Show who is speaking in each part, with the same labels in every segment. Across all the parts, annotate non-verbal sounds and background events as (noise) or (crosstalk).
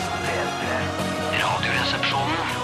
Speaker 1: P3. Radioresepsjonen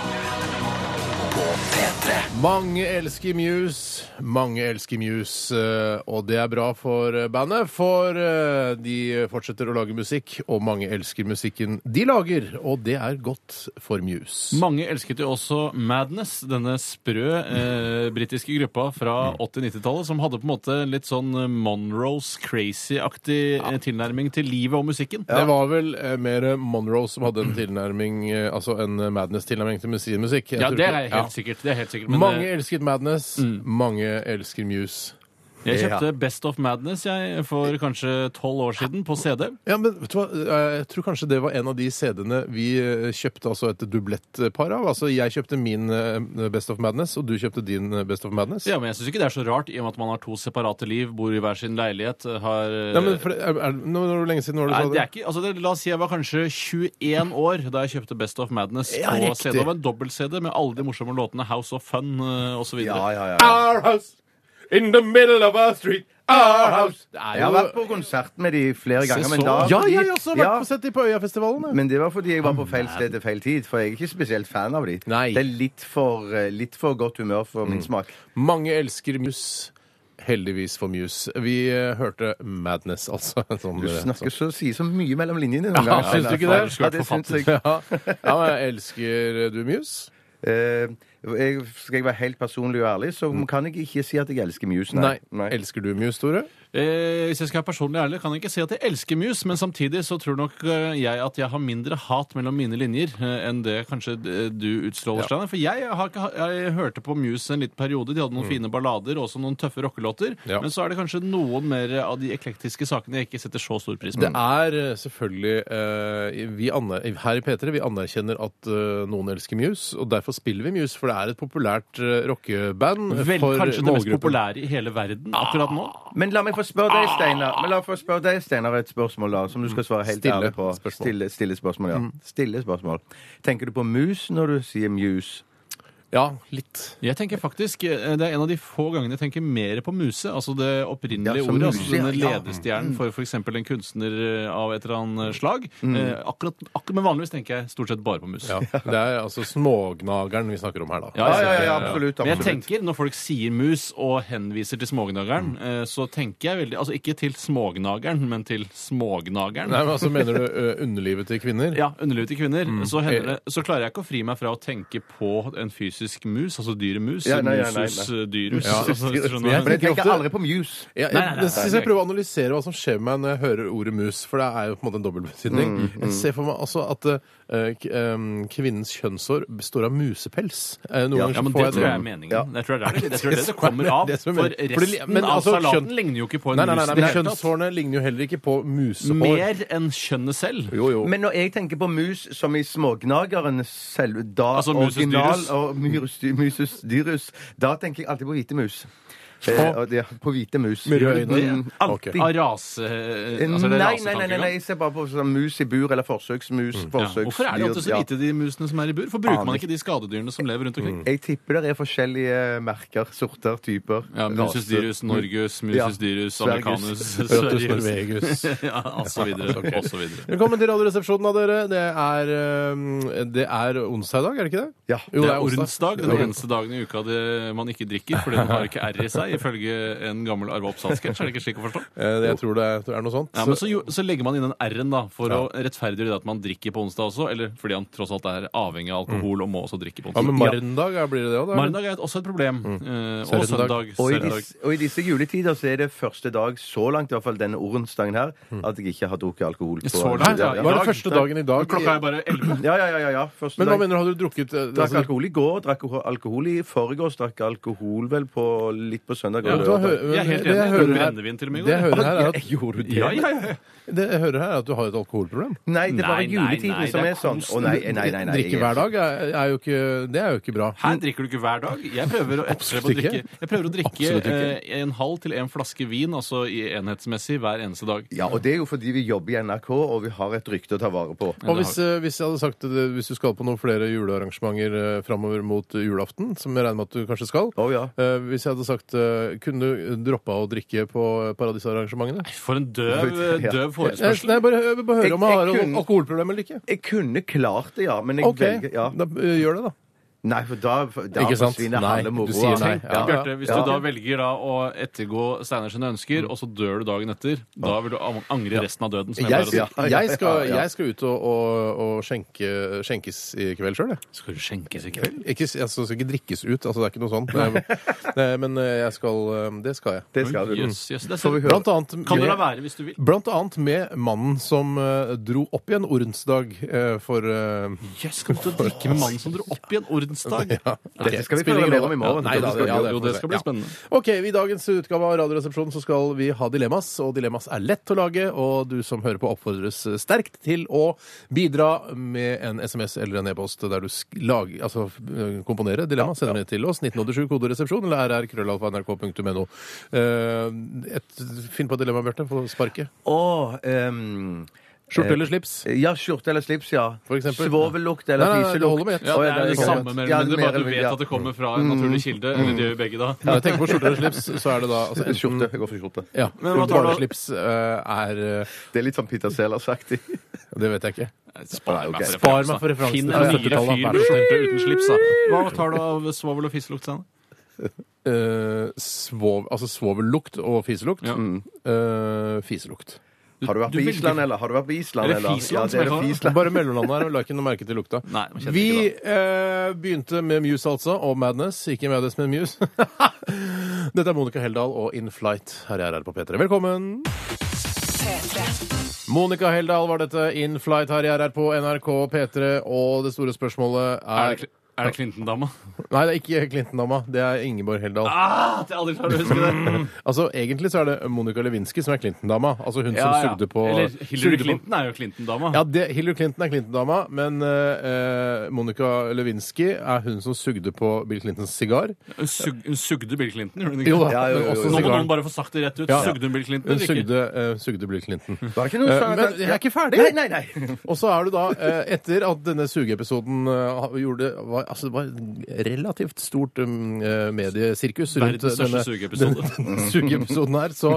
Speaker 1: på P3.
Speaker 2: Mange elsker Muse, mange elsker Muse, eh, og det er bra for eh, bandet, for eh, de fortsetter å lage musikk, og mange elsker musikken de lager, og det er godt for Muse.
Speaker 3: Mange elsket jo også Madness, denne sprø eh, britiske gruppa fra
Speaker 2: Mm.
Speaker 3: 80-90-tallet, som hadde på en måte litt sånn Monroes crazy-aktig eh, tilnærming til livet og musikken.
Speaker 2: Det var vel eh, mer Monroe som hadde en tilnærming, eh, altså en Madness-tilnærming til sin musikk. Jeg
Speaker 3: Ja,
Speaker 2: tror
Speaker 3: det er
Speaker 2: ikke-
Speaker 3: helt
Speaker 2: Ja.
Speaker 3: sikkert. Det er helt sikkert. Men
Speaker 2: Mange
Speaker 3: eh,
Speaker 2: elsket Madness, mange elsker Muse.
Speaker 3: jeg kjøpte Best of Madness jeg for kanskje tolv år siden på CD.
Speaker 2: Ja, men vet du hva? Eh, Jeg tror kanskje det var en av de CD-ene vi eh, kjøpte altså et dublettpar av. Altså, jeg kjøpte min eh, Best of Madness, og du kjøpte din eh, Best of Madness.
Speaker 3: Ja, men jeg syns ikke det er så rart, i og med at man har to separate liv, bor i hver sin leilighet, har eh,
Speaker 2: Nei, men for, det- er, er, nå er det lenge siden når du
Speaker 3: Nei,
Speaker 2: sa
Speaker 3: det
Speaker 2: det.
Speaker 3: er ikke, altså det, La oss si jeg var kanskje 21 år da jeg kjøpte Best of Madness
Speaker 2: Ja,
Speaker 3: på
Speaker 2: riktig.
Speaker 3: CD. Det var en dobbelt-CD med alle de morsomme låtene House of Fun eh, osv.
Speaker 4: Ja, ja, ja.
Speaker 2: Our house in the middle of our street. Our house. Det er
Speaker 4: Jeg har
Speaker 3: (laughs)
Speaker 2: jo
Speaker 4: vært på konsert med de flere ganger, men da
Speaker 2: Ja, jeg har også vært
Speaker 4: Ja,
Speaker 2: på sett de på Øyafestivalen. jeg.
Speaker 4: Men det var fordi jeg var på feil sted til feil tid, for jeg er ikke spesielt fan av de.
Speaker 2: Nei. Mm.
Speaker 4: Det er litt for, eh, litt for godt humør for min smak.
Speaker 2: Mange elsker Muse. Heldigvis for Muse. Vi eh, hørte Madness, altså. (laughs) Sånn,
Speaker 4: Du
Speaker 2: eh,
Speaker 4: snakker så, sier så mye mellom linjene noen
Speaker 2: Ja,
Speaker 4: ganger.
Speaker 2: syns du ikke det?
Speaker 4: Ja, det syns jeg.
Speaker 2: Ja. ja, men jeg elsker du Muse?
Speaker 4: Eh, jeg. Skal jeg være helt personlig og ærlig, så kan jeg ikke si at jeg elsker Muse.
Speaker 2: Mm. Nei. Elsker du Muse, Tore?
Speaker 3: (laughs) Eh, hvis jeg skal være personlig ærlig, kan jeg ikke si at jeg elsker Muse, men samtidig så tror nok eh, jeg at jeg har mindre hat mellom mine linjer eh, enn det kanskje eh, du utstråler, Steinar. For jeg, har ikke, ha- jeg hørte på Muse en liten periode. De hadde noen fine ballader og også noen tøffe rockelåter.
Speaker 2: Mm. Ja.
Speaker 3: Men så er det kanskje noen mer av de eklektiske sakene jeg ikke setter så stor pris
Speaker 2: Det
Speaker 3: på.
Speaker 2: er eh, selvfølgelig eh, vi aner, Her i P3 vi anerkjenner at eh, noen elsker Muse, og derfor spiller vi Muse, for det er et populært eh, rockeband eh,
Speaker 3: Vel,
Speaker 2: for
Speaker 3: kanskje det mest
Speaker 2: målgruppen.
Speaker 3: populære i hele verden akkurat nå.
Speaker 4: Men la meg få spørre
Speaker 2: Ah.
Speaker 4: deg, Steinar Men la meg få spørre deg, Steinar, et spørsmål da, som du skal svare helt
Speaker 2: Stille
Speaker 4: ærlig på.
Speaker 2: spørsmål. Mm.
Speaker 4: Stille, stille spørsmål. ja. Stille spørsmål. Tenker du på mus når du sier muse?
Speaker 2: Ja, litt.
Speaker 3: Jeg tenker faktisk, eh, Det er en av de få gangene jeg tenker mer på muse. altså Det opprinnelige
Speaker 4: Ja, som
Speaker 3: ordet.
Speaker 4: muse,
Speaker 3: altså Denne
Speaker 4: ja. Mm.
Speaker 3: ledestjernen for f.eks. en kunstner eh, av et eller annet slag. Eh, akkurat, akkurat, Men vanligvis tenker jeg stort sett bare på muse.
Speaker 2: Ja. Det er altså smågnageren vi snakker om her, da.
Speaker 3: Ja,
Speaker 4: Ja, ja, ja, absolutt.
Speaker 3: Men jeg
Speaker 4: absolutt. Mm.
Speaker 3: tenker, når folk sier mus og henviser til smågnageren, eh, så tenker jeg veldig Altså ikke til smågnageren, men til smågnageren.
Speaker 2: Nei, men altså Mener du eh, underlivet til kvinner?
Speaker 3: Ja, underlivet til kvinner. Så, hender det, så klarer jeg ikke å fri meg fra å tenke på en fysisk mus, altså dyret mus.
Speaker 4: Ja, nei, nei, nei,
Speaker 3: musus
Speaker 4: nei.
Speaker 3: eh, dyrus.
Speaker 2: Ja.
Speaker 3: altså, skjønner du?
Speaker 2: Men jeg
Speaker 4: For jeg
Speaker 2: tenker
Speaker 4: tenker
Speaker 2: ofte-
Speaker 4: aldri på muse.
Speaker 2: Ja,
Speaker 3: Nei, nei, nei,
Speaker 2: jeg synes jeg prøver å analysere hva som skjer med meg når jeg hører ordet mus, for det er jo på en måte en dobbeltbetydning.
Speaker 3: Mm,
Speaker 2: Jeg ser for meg altså at eh, k- em, kvinnens kjønnshår består av musepels. Eh, Noen
Speaker 4: Ja,
Speaker 2: ganger
Speaker 3: Ja,
Speaker 2: så
Speaker 3: men
Speaker 2: får
Speaker 3: det tror jeg
Speaker 2: den-
Speaker 3: er meningen. Jeg tror det er det, jeg tror det, er det det
Speaker 2: som er-
Speaker 3: kommer av.
Speaker 2: det som er
Speaker 3: For
Speaker 2: meningen. Fordi-
Speaker 3: resten
Speaker 2: men
Speaker 3: av
Speaker 2: altså,
Speaker 3: salaten
Speaker 2: kjønn-
Speaker 3: ligner jo ikke på en
Speaker 2: Nei, nei, nei, nei,
Speaker 3: mus. i
Speaker 2: men
Speaker 3: det hele tatt.
Speaker 2: kjønnshårene ligner jo heller ikke på musehår.
Speaker 3: Mer enn kjønnet selv.
Speaker 2: Jo, jo.
Speaker 4: Eh, Men når jeg tenker på mus som i smågnageren selv, da
Speaker 3: Altså musus
Speaker 4: original
Speaker 3: dyrus.
Speaker 4: og myrus, musus dyrus, da tenker jeg alltid på hvite mus. Eh, og det- på hvite mus.
Speaker 2: Med røde øyne?
Speaker 4: Mm,
Speaker 2: Ok.
Speaker 4: Alltid.
Speaker 3: Av rase... Altså,
Speaker 4: Eh, nei,
Speaker 3: det er
Speaker 4: nei, nei, nei, nei, jeg ser bare på sånn mus i bur eller forsøksmus.
Speaker 3: Mm. Ja.
Speaker 4: forsøksdyr,
Speaker 3: Hvorfor er det alltid så
Speaker 4: ja.
Speaker 3: lite de musene som er i bur? For bruker
Speaker 4: Aner
Speaker 3: man ikke de skadedyrene som lever rundt omkring?
Speaker 4: Jeg tipper det er forskjellige merker, sorter, typer.
Speaker 3: Ja, Musus
Speaker 4: raser.
Speaker 3: dyrus, Norgus, Musus
Speaker 4: Ja.
Speaker 3: dyrus,
Speaker 4: Svergus.
Speaker 3: Americanus,
Speaker 2: Rotus
Speaker 3: Sveriges
Speaker 2: norvegus.
Speaker 3: (laughs) Ja, og så videre. Og så videre.
Speaker 2: Velkommen til Radioresepsjonen av dere. Det er, em, det er onsdag i dag, er det ikke det?
Speaker 4: Ja.
Speaker 2: Jo,
Speaker 3: Det er ordensdag, den
Speaker 2: Det er
Speaker 3: eneste dagen i uka det man ikke drikker, fordi den har ikke R i seg, ifølge en gammel Arve Oppsal-sketsj. Er det ikke slik å forstå?
Speaker 2: Eh, det- Jeg tror det er- er noe sånt.
Speaker 3: Ja, men så, jo, så legger man inn den R-en da, for å rettferdiggjøre det at man drikker på onsdag også, eller fordi han tross alt er avhengig av alkohol og må også drikke på
Speaker 2: Mm. ja, men Mm.
Speaker 3: onsdag.
Speaker 2: Marendag ja, blir det det òg, da?
Speaker 3: Marendag er et- også et problem. eh, og
Speaker 2: Sørendag.
Speaker 3: søndag.
Speaker 4: Og i,
Speaker 3: søndag.
Speaker 4: disse, og i disse juletider så er det første dag, så langt i hvert fall denne ordensdagen her, at jeg ikke har drukket alkohol. på-
Speaker 3: Så langt, ja.
Speaker 2: Det Hmm. var
Speaker 3: I dag-
Speaker 2: det første dagen i dag.
Speaker 3: Men Klokka er bare 11.
Speaker 4: Ja, ja, ja, ja, ja. Første
Speaker 2: Men hva
Speaker 4: dag.
Speaker 2: mener du, hadde du drukket eh,
Speaker 4: Drakk
Speaker 2: altså,
Speaker 4: alkohol i går, drakk alko- alkohol i forgårs, drakk alkohol vel på litt på søndag.
Speaker 2: Ja,
Speaker 4: Og
Speaker 2: men da
Speaker 4: lørdag.
Speaker 2: hø-
Speaker 3: Jeg er helt
Speaker 2: det
Speaker 3: enig.
Speaker 2: jeg hører her-
Speaker 3: Brennevin til og med i
Speaker 2: Det jeg
Speaker 3: går.
Speaker 2: hører her, er at,
Speaker 4: Gjorde du det?
Speaker 3: Ja, ja, ja.
Speaker 2: det jeg hører her er at du har et alkoholproblem.
Speaker 4: Nei, det er bare
Speaker 3: Nei, nei, nei,
Speaker 4: juletiden
Speaker 3: det
Speaker 4: som
Speaker 3: er
Speaker 4: er sånn.
Speaker 3: kos-
Speaker 4: Å nei, nei, nei, nei, nei.
Speaker 2: Drikke hver dag er, er jo ikke, det er jo ikke bra.
Speaker 3: Her drikker du ikke hver dag. Jeg prøver å, jeg prøver å
Speaker 2: ikke.
Speaker 3: drikke, jeg prøver å drikke
Speaker 2: Absolutt ikke.
Speaker 3: eh, en halv til en flaske vin, altså i enhetsmessig, hver eneste dag.
Speaker 4: Ja, og det er jo fordi vi jobber i NRK, og vi har et rykte å ta vare på.
Speaker 2: Og hvis, eh, hvis jeg hadde sagt at eh, hvis du skal på noen flere julearrangementer eh, framover mot eh, julaften, som jeg regner med at du kanskje skal
Speaker 4: Å, ja.
Speaker 2: eh, Hvis jeg hadde sagt eh, eh, kunne du droppa å drikke på eh, paradisarrangementene?
Speaker 3: For en døv,
Speaker 4: Ja.
Speaker 3: døv
Speaker 2: Eh, Nei,
Speaker 3: forespørsel.
Speaker 2: nei, bare, jeg vil bare
Speaker 4: Jeg-
Speaker 2: høre om jeg har
Speaker 4: jeg
Speaker 2: al-
Speaker 4: kunne-
Speaker 2: alkoholproblemer eller ikke.
Speaker 4: Jeg kunne klart det, ja. Men jeg
Speaker 2: OK,
Speaker 4: velger ja.
Speaker 2: da eh, gjør det, da.
Speaker 4: Nei, for da, da
Speaker 2: Ikke sant?
Speaker 4: forsvinner
Speaker 2: Nei,
Speaker 4: halve
Speaker 2: du
Speaker 4: moroa.
Speaker 2: sier nei, ja.
Speaker 4: Ja.
Speaker 3: Bjarte, hvis
Speaker 4: Ja.
Speaker 3: du da velger da å ettergå Steinar sine ønsker, og så dør du dagen etter, da vil du ang- angre resten av døden. Som jeg
Speaker 2: Jeg,
Speaker 3: pleier å si.
Speaker 4: ja, ja,
Speaker 2: jeg, skal,
Speaker 4: ja, ja.
Speaker 2: jeg skal ut og, og, og skjenke, skjenkes i kveld sjøl, jeg.
Speaker 3: Skal du skjenkes i kveld?
Speaker 2: Ikke, altså, skal ikke drikkes ut, altså det er ikke noe sånt. Men, jeg- men jeg skal eh, Det skal jeg.
Speaker 4: Det skal du.
Speaker 3: Jøss, jøss, det er
Speaker 4: Får vi
Speaker 3: så-
Speaker 4: høre.
Speaker 2: Blant annet
Speaker 3: Kan du la
Speaker 2: med,
Speaker 3: være hvis du vil?
Speaker 2: blant annet med mannen som eh, dro opp igjen ordensdag eh, for eh,
Speaker 3: Jøss, skal du til å drikke med mannen som dro opp i en ordensdag?
Speaker 4: Dette skal
Speaker 2: Spiller
Speaker 4: vi prøve
Speaker 2: ingen
Speaker 4: mer om i
Speaker 2: rolle.
Speaker 4: morgen.
Speaker 2: Ja, nei, da,
Speaker 4: Dette skal vi
Speaker 2: ja,
Speaker 4: gjøre.
Speaker 2: det
Speaker 3: Jo, det skal bli
Speaker 2: Ja.
Speaker 3: spennende.
Speaker 2: Ok, I dagens utgave av Radioresepsjonen så skal vi ha dilemmas, og dilemmas er lett å lage. Og du som hører på, oppfordres sterkt til å bidra med en SMS eller en e-post der du sk- lag, altså, øh, komponerer dilemma. Send det til oss. 1987 koderesepsjon eller rrkrøllalfa.nrk.no. Eh, et- Finn på et dilemma, Bjarte. Få sparket.
Speaker 4: Å, ehm,
Speaker 2: Skjorte eller slips?
Speaker 4: Ja, skjorte eller slips, ja.
Speaker 2: For eksempel.
Speaker 4: Svovellukt eller
Speaker 2: Nei, nei, nei, det
Speaker 4: fiselukt.
Speaker 2: holder med ett.
Speaker 3: Ja,
Speaker 4: Å,
Speaker 3: det er det
Speaker 4: kan-
Speaker 3: samme, mer
Speaker 4: Ja,
Speaker 3: eller mindre,
Speaker 4: mer
Speaker 3: bare at du
Speaker 4: eller
Speaker 3: vet
Speaker 4: mindre,
Speaker 3: at det kommer fra en naturlig kilde. Eller det gjør jo begge, da.
Speaker 2: Når jeg tenker på skjorte eller slips, så er det da
Speaker 4: (laughs)
Speaker 2: altså,
Speaker 4: ja.
Speaker 2: enten,
Speaker 4: Skjorte. Jeg går for skjorte.
Speaker 2: ja,
Speaker 3: Men hva tar du-
Speaker 2: Bare slips eh, er eh,
Speaker 4: Det er litt sånn Peter Sellers-aktig.
Speaker 2: Det vet jeg ikke.
Speaker 3: Spar meg
Speaker 2: Spar meg for referansen
Speaker 3: Finn
Speaker 2: fra
Speaker 3: en nyere
Speaker 2: 70-tallet,
Speaker 3: fyr
Speaker 2: vær
Speaker 3: du
Speaker 2: så snill.
Speaker 3: slipper uten slips, da. Hva tar du av svovel og fisselukt, Steinar?
Speaker 2: Eh, svov, altså svovellukt og fiselukt.
Speaker 3: Ja.
Speaker 2: Eh, fiselukt.
Speaker 4: Har du vært
Speaker 3: Du
Speaker 4: på
Speaker 3: velger-
Speaker 4: Island, eller? Har du vært på Island,
Speaker 3: Er det
Speaker 4: eller?
Speaker 3: Fisland som
Speaker 4: ja, det er
Speaker 3: jeg
Speaker 4: det
Speaker 3: har?
Speaker 4: Fisland.
Speaker 2: Bare mellomlandet her, og la ikke noe merke til lukta.
Speaker 3: Nei, man kjenner
Speaker 2: Vi
Speaker 3: ikke
Speaker 2: eh, begynte med Muse, altså, og Madness. Ikke Madness, men Muse. (laughs) Dette er Monica Heldal og In Flight her i RR på P3. Velkommen! Monica Heldal var dette. In Flight her i RR på NRK P3. Og det store spørsmålet
Speaker 3: Er
Speaker 2: er
Speaker 3: det, er det Clinton-dama?
Speaker 2: Nei, det er ikke Clinton-dama. Det er Ingeborg Heldal.
Speaker 3: Ah, at jeg aldri klarer å huske (laughs) det!
Speaker 2: Altså, Egentlig så er det Monica Lewinsky som er Clinton-dama. Altså hun
Speaker 3: Ja,
Speaker 2: som
Speaker 3: ja.
Speaker 2: sugde på
Speaker 3: Eller
Speaker 2: sugde
Speaker 3: Hillary
Speaker 2: på-
Speaker 3: Clinton er jo Clinton-dama.
Speaker 2: Ja, det, Hillary Clinton er Clinton-dama, men eh, Monica Lewinsky er hun som sugde på Bill Clintons sigar.
Speaker 3: Hun sug- hun sugde Bill Clinton, gjorde hun
Speaker 2: Jo da,
Speaker 3: ikke?
Speaker 4: Ja, jo,
Speaker 2: men
Speaker 4: jo, jo,
Speaker 2: også
Speaker 4: jo.
Speaker 3: Nå må
Speaker 2: sigaren.
Speaker 3: noen bare få sagt det rett ut.
Speaker 2: Ja.
Speaker 3: Sugde hun Bill Clinton?
Speaker 2: Hun
Speaker 3: eller ikke?
Speaker 2: sugde, eh, sugde Bill Clinton.
Speaker 4: Var det ikke noe
Speaker 2: Eh,
Speaker 4: sånn
Speaker 2: men jeg er ikke ferdig!
Speaker 4: Nei, nei, nei.
Speaker 2: Og så er du da, eh, etter at denne sugeepisoden eh, ha- gjorde var, Altså, det var relativt stort um, eh, mediesirkus rundt
Speaker 3: Verdens største
Speaker 2: denne
Speaker 3: sugeepisode.
Speaker 2: (laughs) denne sugeepisoden her, så,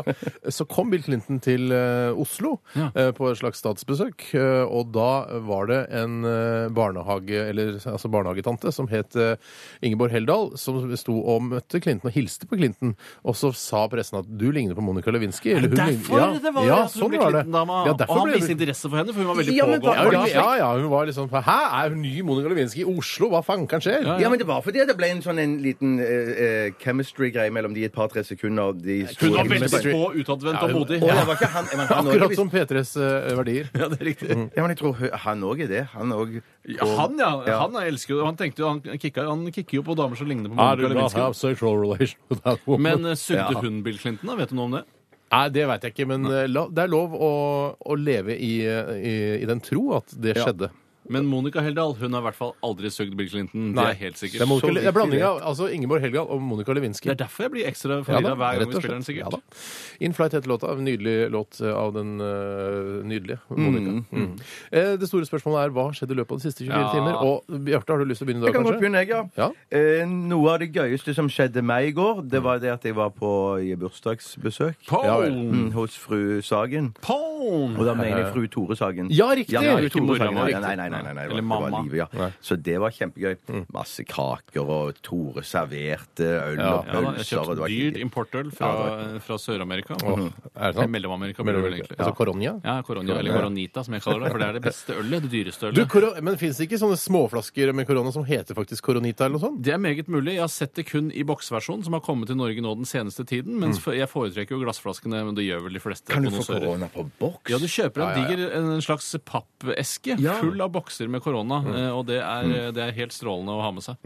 Speaker 2: så kom Bill Clinton til eh, Oslo
Speaker 3: Ja.
Speaker 2: eh, på et slags statsbesøk, eh, og da var det en eh, barnehage, eller altså barnehagetante som het eh, Ingeborg Heldal, som sto og møtte Clinton og hilste på Clinton, og så sa pressen at du ligner på Monica Lewinsky. eller hun ligner-
Speaker 3: Derfor
Speaker 2: Ja,
Speaker 3: det var
Speaker 2: ja,
Speaker 3: at hun
Speaker 2: sånn
Speaker 3: ble
Speaker 2: var det.
Speaker 3: Clinton-dama.
Speaker 2: Ja,
Speaker 3: og
Speaker 2: derfor
Speaker 3: han
Speaker 2: ble
Speaker 3: viste
Speaker 2: hun-
Speaker 3: interesse for henne, for hun var veldig
Speaker 4: Ja, men
Speaker 3: pågående.
Speaker 4: hva-
Speaker 2: ja,
Speaker 4: Var det
Speaker 2: ja,
Speaker 4: ikke
Speaker 2: ja, ja, hun var liksom Hæ, er hun ny Monica Lewinsky i Oslo? Hva faen kan skje?
Speaker 3: Ja,
Speaker 4: Ja, men det var fordi det ble en sånn en liten eh, eh, chemistry-greie mellom de et par-tre sekunder. De sto-
Speaker 3: Hun var veldig
Speaker 2: Chemistry.
Speaker 3: på, utadvendt og modig.
Speaker 4: Å,
Speaker 3: Ja,
Speaker 4: det var ikke han. Jeg, mener, han
Speaker 2: Akkurat
Speaker 4: også,
Speaker 2: som P3s eh, verdier.
Speaker 3: ja, det er riktig.
Speaker 4: ja, men jeg tror hø- han òg er det. Han òg.
Speaker 3: Ja, han, ja.
Speaker 4: Ja.
Speaker 3: Han er elsker jo Han tenkte jo, han kikka, han kikker jo på damer som ligner på Monica Lewinsky.
Speaker 2: sexual relation with that
Speaker 3: Men eh, sugde
Speaker 4: Ja.
Speaker 3: hun Bill Clinton, da? Vet du noe om det?
Speaker 2: Nei, det veit jeg ikke, men eh, la, det er lov å, å leve i, i, i den tro at det skjedde.
Speaker 3: Men Monica Heldal hun har i hvert fall aldri sugd Bill Clinton. Det
Speaker 2: Nei.
Speaker 3: er helt
Speaker 2: Det
Speaker 3: sikkert.
Speaker 2: er, Monica,
Speaker 4: Så
Speaker 2: det er
Speaker 4: riktig
Speaker 2: blanding av altså Ingeborg Helgal og Monica Lewinsky.
Speaker 3: Det er derfor jeg blir ekstra
Speaker 2: Ja
Speaker 3: forvirra
Speaker 2: da,
Speaker 3: hver
Speaker 2: rett
Speaker 3: gang vi
Speaker 2: og
Speaker 3: spiller den,
Speaker 2: slett. Ja
Speaker 3: sikkert.
Speaker 2: da. In Flight heter låta. En Nydelig låt eh, av den eh, nydelige Monica. Mm. Eh, det store spørsmålet er hva har skjedd i løpet av de siste 24
Speaker 3: Ja.
Speaker 2: timer? Og Bjarte, har du lyst til å begynne i dag,
Speaker 4: Jeg kan godt
Speaker 2: kanskje?
Speaker 4: begynne, jeg, ja.
Speaker 2: Ja.
Speaker 4: Eh, noe av det gøyeste som skjedde meg i går, det var det at jeg var på i bursdagsbesøk
Speaker 2: Ja vel.
Speaker 3: Pone!
Speaker 4: mm, hos fru Sagen. Og
Speaker 3: Pone!
Speaker 4: da mener jeg fru Tore Sagen.
Speaker 2: Ja, riktig!
Speaker 4: Ja, ja,
Speaker 3: Ikke
Speaker 4: Tore
Speaker 3: mora,
Speaker 4: Sagen,
Speaker 3: men
Speaker 4: nei,
Speaker 3: riktig.
Speaker 4: nei, nei, nei, nei, nei, det var-
Speaker 3: Eller
Speaker 4: det var
Speaker 3: mamma.
Speaker 4: livet, ja. Så det var kjempegøy. Masse kaker, og Tore serverte øl
Speaker 2: Ja.
Speaker 4: og
Speaker 3: Ja, da, jeg
Speaker 4: pølser. og det
Speaker 3: kjøpte
Speaker 4: var
Speaker 3: dyr
Speaker 4: kjempe-
Speaker 3: importøl fra, eh, fra Sør-Amerika.
Speaker 2: Åh, er det
Speaker 3: Nei,
Speaker 2: sant?
Speaker 3: Mellom-Amerika. blir det vel
Speaker 2: Mellom-
Speaker 3: egentlig.
Speaker 2: Altså Coronia?
Speaker 3: Ja, Coronia, eller Coronita, som jeg kaller det. For det er det beste ølet. Det dyreste
Speaker 2: Du,
Speaker 3: ølet.
Speaker 2: koro men fins det ikke sånne småflasker med korona som heter faktisk koronita eller noe sånt?
Speaker 3: Det er meget mulig. Jeg har sett det kun i boksversjon, som har kommet til Norge nå den seneste tiden. Mens for- jeg foretrekker jo glassflaskene, men det gjør vel de fleste.
Speaker 4: Kan du få
Speaker 3: konnoisseurer.
Speaker 4: korona på boks?
Speaker 3: Ja, du kjøper en
Speaker 2: Ja, ja, ja.
Speaker 3: diger en slags pappeske
Speaker 4: Ja.
Speaker 3: full av bokser med korona, eh, og det er, det er helt strålende å ha med seg.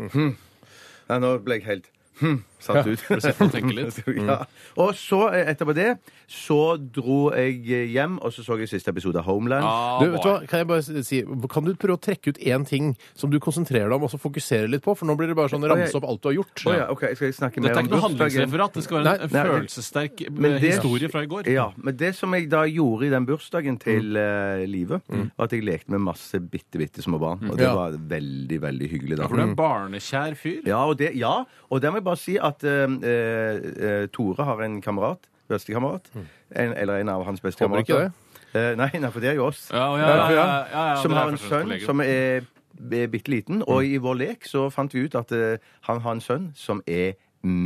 Speaker 4: Nei, nå ble jeg helt hm, satt ut.
Speaker 3: sitte og tenke litt.
Speaker 4: (laughs)
Speaker 3: Mm.
Speaker 4: ja. Og så, eh, etterpå det, så dro jeg hjem, og så så jeg siste episode av Homeland.
Speaker 3: Ah,
Speaker 2: Du, vet du hva?
Speaker 3: boy.
Speaker 2: Kan jeg bare si, kan du prøve å trekke ut én ting som du konsentrerer deg om, og så fokusere litt på? For nå blir det bare sånn ramse opp alt du har gjort.
Speaker 4: Å ja, ok, jeg skal jeg snakke
Speaker 3: Dette
Speaker 4: mer
Speaker 3: er
Speaker 4: om
Speaker 3: ikke noe
Speaker 4: bursdagen.
Speaker 3: handlingsreferat, det skal være en
Speaker 4: Nei, nei.
Speaker 3: følelsessterk eh,
Speaker 4: Men det-
Speaker 3: historie fra i går. Mm.
Speaker 4: Ja, men det som jeg da gjorde i den bursdagen til eh, Live, var at jeg lekte med masse bitte, bitte små barn. Og det
Speaker 2: Ja.
Speaker 4: var veldig, veldig hyggelig. da.
Speaker 3: For du er en barnekjær fyr.
Speaker 4: Ja, og det, ja, og det må jeg jeg bare si at eh, eh, Tore har en kamerat. Bestekamerat.
Speaker 3: Mm.
Speaker 4: En, eller en av hans beste
Speaker 2: Håper ikke
Speaker 4: kamerater. Eh, nei, nei, for det er jo oss.
Speaker 3: Ja, ja,
Speaker 2: Ja,
Speaker 3: ja,
Speaker 2: for
Speaker 3: ja,
Speaker 2: ja.
Speaker 3: ja, ja,
Speaker 4: som
Speaker 3: det er
Speaker 4: har en
Speaker 3: første
Speaker 4: sønn
Speaker 3: kollega.
Speaker 4: som er bitte liten. Og
Speaker 3: Mm.
Speaker 4: i vår lek så fant vi ut at eh, han har en sønn som er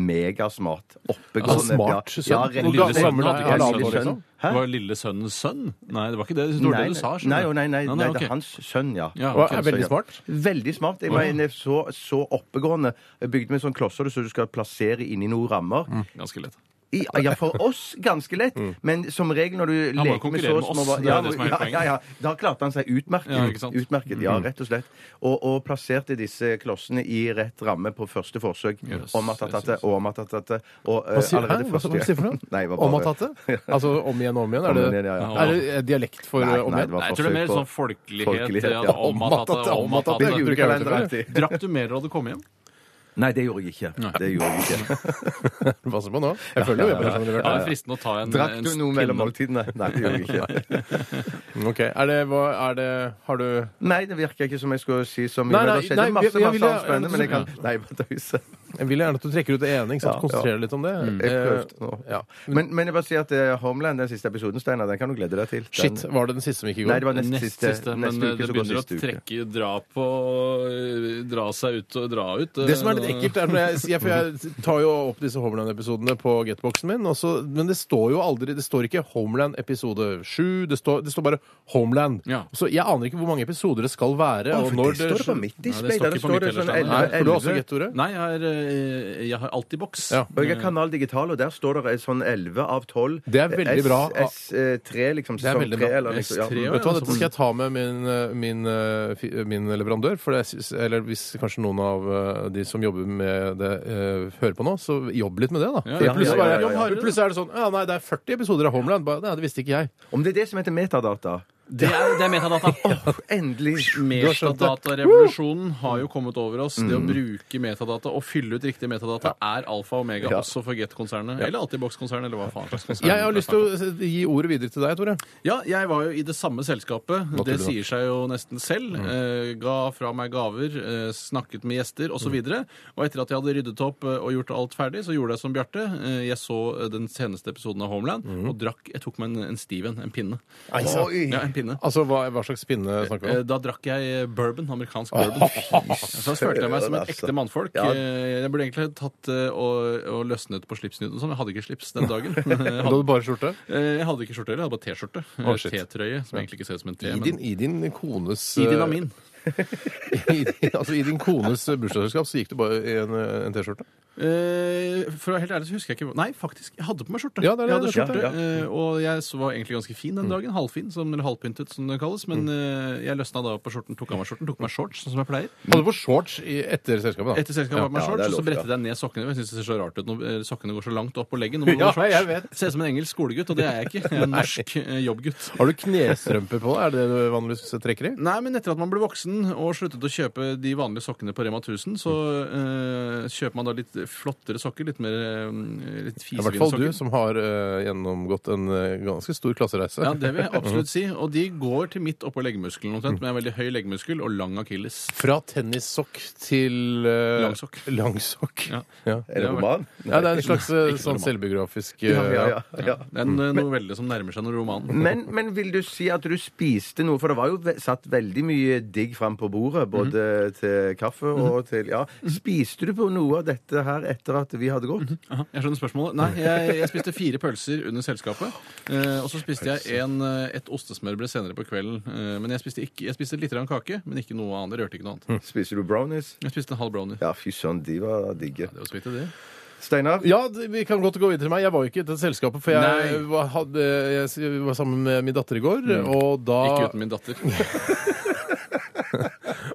Speaker 4: megasmart. Oppegående.
Speaker 2: Altså, smart
Speaker 4: ja.
Speaker 2: sønn?
Speaker 4: Ja,
Speaker 2: Hvor
Speaker 4: rett-
Speaker 3: gammel
Speaker 4: rett-
Speaker 3: gammel hadde ikke han
Speaker 4: Ja,
Speaker 3: sønn,
Speaker 4: lille sønn.
Speaker 2: liksom?
Speaker 4: Hæ?
Speaker 3: Det var lille sønnens sønn? Nei, det var ikke det. Det var det du sa. skjønner
Speaker 4: nei,
Speaker 3: jeg.
Speaker 4: nei, nei, nei,
Speaker 3: ok.
Speaker 4: det er hans sønn, ja.
Speaker 3: Ja,
Speaker 2: Og
Speaker 3: ok.
Speaker 2: er veldig smart.
Speaker 4: Veldig smart. Jeg mener, så, så oppegående. Jeg Bygde med sånn klosser så du skal plassere inni noen rammer.
Speaker 3: Ganske lett.
Speaker 4: I, ja, for oss ganske lett,
Speaker 2: Mm.
Speaker 4: men som regel når du
Speaker 3: må jo
Speaker 4: leker med
Speaker 3: konkurrere
Speaker 4: så
Speaker 3: med
Speaker 4: små
Speaker 3: oss,
Speaker 4: barn-
Speaker 3: det er det som er
Speaker 4: ja,
Speaker 3: poenget.
Speaker 4: ja, ja, Da klarte han seg utmerket.
Speaker 3: Ja, ikke sant? Mm.
Speaker 4: utmerket, ja rett og slett. Og, og plasserte disse klossene i rett ramme på første forsøk.
Speaker 3: Yes,
Speaker 4: Omatatete,
Speaker 3: yes, yes.
Speaker 4: omatatete og eh,
Speaker 2: Hva sier, hæ?
Speaker 4: allerede
Speaker 2: Hva, hva sier du for noe?
Speaker 4: (laughs) Nei, det var bare-
Speaker 2: Omatatte? Altså om igjen og om igjen?
Speaker 4: Om
Speaker 2: Er
Speaker 4: igjen,
Speaker 2: det,
Speaker 4: ja, ja.
Speaker 2: er det dialekt for
Speaker 4: Nei,
Speaker 2: eh, om
Speaker 4: nei, det
Speaker 2: igjen?
Speaker 4: var
Speaker 3: Nei, jeg tror det er mer
Speaker 4: forsøk på-
Speaker 3: sånn folkelighet.
Speaker 4: Folkelighet,
Speaker 3: ja, Omatatte,
Speaker 4: ja.
Speaker 2: Omatatte, omatatte.
Speaker 4: Det er
Speaker 3: omatatte.
Speaker 2: tror ikke jeg har hørt det
Speaker 4: julekalenderaktig.
Speaker 3: Drakk du mer da du kom hjem?
Speaker 4: (laughs) Nei, det gjorde jeg ikke. Det gjorde jeg ikke.
Speaker 3: (laughs)
Speaker 2: Passer på nå. Jeg føler jo jeg blir
Speaker 3: Det
Speaker 2: sånn
Speaker 3: er
Speaker 2: levert.
Speaker 3: fristende å ta en
Speaker 4: Drakk
Speaker 3: en
Speaker 4: du noe
Speaker 3: pinne.
Speaker 4: mellom måltidene? Nei, det gjorde jeg
Speaker 3: (laughs)
Speaker 4: ikke.
Speaker 2: Ok, er det, hva, er det Har du
Speaker 4: Nei, det virker ikke som jeg skulle si så mye.
Speaker 2: Nei,
Speaker 4: men
Speaker 2: nei,
Speaker 4: det skjedde
Speaker 2: nei,
Speaker 4: masse,
Speaker 2: jeg- jeg
Speaker 4: masse
Speaker 2: ville-
Speaker 4: annet spennende, men jeg kan
Speaker 2: ja.
Speaker 4: Nei, (laughs) bare tøyse.
Speaker 2: Jeg vil gjerne at du trekker ut det ene. ikke sant?
Speaker 4: Ja, Mm.
Speaker 2: Konsentrerer deg litt om det.
Speaker 4: Jeg prøvde nå.
Speaker 2: Eh, ja.
Speaker 4: Men, men jeg bare sier at eh, Homeland, den siste episoden, Steinar, den kan du glede deg til. Den,
Speaker 2: Shit, var det den siste som gikk i går?
Speaker 4: Nei, det var nest
Speaker 3: Nest
Speaker 4: siste.
Speaker 3: siste, men eh,
Speaker 2: eh,
Speaker 4: neste
Speaker 3: det
Speaker 4: uke så går
Speaker 3: begynner å
Speaker 4: siste uke.
Speaker 3: trekke, dra på, eh, dra seg ut og dra ut. eh,
Speaker 2: Det som er litt ekkelt, er når jeg, jeg, for jeg tar jo opp disse Homeland-episodene på getboxen min, og så- men det står jo aldri Det står ikke Homeland episode 7, det står, det står bare Homeland.
Speaker 3: Ja.
Speaker 2: Så jeg aner ikke hvor mange episoder det skal være.
Speaker 4: Å,
Speaker 2: og
Speaker 4: for
Speaker 2: når
Speaker 4: det står det på mitt
Speaker 3: det
Speaker 4: display.
Speaker 3: står
Speaker 4: Der
Speaker 3: ikke på
Speaker 4: står
Speaker 3: mitt
Speaker 4: det sånn
Speaker 3: heller,
Speaker 2: Nei,
Speaker 3: Steinar.
Speaker 4: elleve-
Speaker 2: får du også
Speaker 4: elleve-
Speaker 2: gett ordet?
Speaker 3: Nei, jeg, er, eh, jeg har alltid boks. Eh,
Speaker 2: Ja.
Speaker 4: Og jeg har Kanal Digital, og der står det sånn 11 av Eh, 12.
Speaker 2: Det er veldig bra.
Speaker 4: S3, liksom.
Speaker 2: Det er
Speaker 4: Sesong
Speaker 2: veldig
Speaker 4: 3,
Speaker 2: bra.
Speaker 4: eller liksom.
Speaker 3: S3,
Speaker 4: Ja.
Speaker 3: ja.
Speaker 2: Vet du hva, Dette skal jeg ta med min, eh, min, eh, fi- min leverandør. For jeg synes, eller hvis kanskje noen av eh, de som jobber med det, eh, hører på nå, så jobb litt med det, da.
Speaker 3: Ja,
Speaker 2: For
Speaker 4: ja,
Speaker 2: plutselig,
Speaker 4: ja,
Speaker 2: bare,
Speaker 4: ja, ja, ja.
Speaker 2: plutselig er det sånn Ja, nei, det er 40 episoder av Homeland. Bare, nei, det visste ikke jeg.
Speaker 4: Om det er det som heter metadata?
Speaker 3: Det er, det er
Speaker 2: (laughs)
Speaker 3: metadata.
Speaker 4: Endelig!
Speaker 3: Metadatarevolusjonen har jo kommet over oss. Det å
Speaker 2: Mm.
Speaker 3: bruke metadata og fylle ut riktige metadata er alfa og omega
Speaker 4: Ja.
Speaker 3: også for Get-konsernet. Eller Altibox-konsernet, eller hva faen slags konsern.
Speaker 2: Jeg har lyst til å s- gi ordet videre til deg, Tore.
Speaker 3: Ja, jeg var jo i det samme selskapet.
Speaker 2: Naturlig
Speaker 3: Det
Speaker 2: nok.
Speaker 3: sier seg jo nesten selv.
Speaker 2: Mm.
Speaker 3: Eh, ga fra meg gaver, eh, snakket med gjester
Speaker 2: Mm.
Speaker 3: osv. videre og etter at jeg hadde ryddet opp eh, og gjort alt ferdig, så gjorde jeg som Bjarte. Eh, jeg så eh, den seneste episoden av Homeland
Speaker 2: Mm.
Speaker 3: og drakk Jeg tok meg en, en Steven, en pinne.
Speaker 4: Oi.
Speaker 3: Ja, en pinne.
Speaker 2: Altså, hva, hva slags pinne snakker vi
Speaker 3: Eh,
Speaker 2: om?
Speaker 3: Da drakk jeg bourbon, amerikansk
Speaker 2: (laughs)
Speaker 3: bourbon. Så da følte jeg meg som et
Speaker 2: altså.
Speaker 3: ekte mannfolk.
Speaker 4: Ja.
Speaker 3: Eh, Jeg burde egentlig tatt eh, og, og løsnet på slipsnuten og sånn. Jeg hadde ikke slips den
Speaker 2: (laughs)
Speaker 3: dagen. (laughs) Jeg
Speaker 2: Du
Speaker 3: hadde,
Speaker 2: hadde bare skjorte?
Speaker 3: eh, jeg hadde ikke skjorte heller, jeg hadde bare T-skjorte.
Speaker 2: Å, shit.
Speaker 3: Eh, T-trøye, som egentlig ikke ser ut som en T.
Speaker 2: I din, I din kones
Speaker 3: I din og min.
Speaker 2: (laughs) I, din- altså, I din kones bursdagsselskap så gikk du bare i en, eh, en T-skjorte?
Speaker 3: Eh, for å være helt ærlig så husker jeg ikke hva- Nei, faktisk, jeg hadde på meg skjorte.
Speaker 2: Ja, det er det,
Speaker 3: jeg hadde
Speaker 2: det er Mm.
Speaker 3: skjorte,
Speaker 4: skjorte,
Speaker 3: eh, Og jeg så var egentlig ganske fin den dagen. Halvfin, som, eller halvpyntet, som det kalles. Men eh, jeg løsna da på skjorten, tok av meg skjorten, tok på meg shorts, sånn som jeg pleier.
Speaker 2: Hadde på shorts i, etter selskapet, da?
Speaker 3: Etter selskapet var på meg
Speaker 4: Ja, det
Speaker 3: shorts,
Speaker 4: er
Speaker 3: og så
Speaker 4: lov,
Speaker 3: brettet
Speaker 4: ja.
Speaker 3: jeg ned sokkene. Jeg synes det ser så rart ut når eh, sokkene går så langt opp på leggen. Når
Speaker 2: (laughs)
Speaker 3: man
Speaker 2: Ja,
Speaker 3: går i shorts.
Speaker 2: jeg vet.
Speaker 3: Ser ut som en engelsk skolegutt, og det er jeg
Speaker 2: (laughs)
Speaker 3: ikke. Jeg er en norsk eh, jobbgutt.
Speaker 2: Har du knestrømper på deg? Er det det du vanligvis trekker i?
Speaker 3: Nei, men etter at man ble voksen og sluttet å kjøpe de vanlige sokkene på Rema 1000, så eh, kjøper man da litt flottere sokker, litt mer eh, litt
Speaker 2: I hvert
Speaker 3: fisegrine
Speaker 2: fall
Speaker 3: sokker.
Speaker 2: du som har eh, gjennomgått en eh, ganske stor klassereise.
Speaker 3: Ja, det vil jeg
Speaker 2: (laughs)
Speaker 3: absolutt si. Og de går til midt oppå leggmuskelen omtrent, men jeg har veldig høy leggmuskel og lang akilles.
Speaker 2: Fra tennissokk til eh,
Speaker 3: Langsokk.
Speaker 2: langsokk.
Speaker 3: Ja.
Speaker 2: Ja.
Speaker 4: Er det roman?
Speaker 2: Ja, det er en slags eh,
Speaker 3: Ikke
Speaker 2: sånn
Speaker 3: roman.
Speaker 2: selvbiografisk
Speaker 4: Ja,
Speaker 2: eh,
Speaker 4: ja, ja. ja.
Speaker 3: Det er en
Speaker 2: Mm.
Speaker 3: eh, novelle som nærmer seg noen roman.
Speaker 4: Men, men vil du si at du spiste noe? For det var jo ve satt veldig mye digg fram på bordet, både
Speaker 2: Mhm.
Speaker 4: til kaffe og til Ja. Spiste du på noe av dette her etter at vi hadde gått?
Speaker 2: Mhm.
Speaker 3: Aha, jeg skjønner spørsmålet. Nei, jeg, jeg spiste fire pølser under selskapet. eh, og så spiste jeg en, eh, et ostesmørbrød senere på kvelden. eh, men jeg spiste, ikke, jeg spiste litt grann kake, men ikke noe annet. Jeg rørte ikke noe annet.
Speaker 4: Spiste du brownies?
Speaker 3: Jeg spiste en halv brownie.
Speaker 4: Hm. Ja, fy søren, de var digge.
Speaker 3: Det var så vidt det.
Speaker 4: Steinar?
Speaker 2: Ja, det- vi kan godt gå videre til meg. Jeg var jo ikke i dette selskapet, for jeg
Speaker 3: Nei.
Speaker 2: var, hadde, jeg s- var sammen med min datter i går, og
Speaker 3: Ikke
Speaker 2: da,
Speaker 3: uten min datter.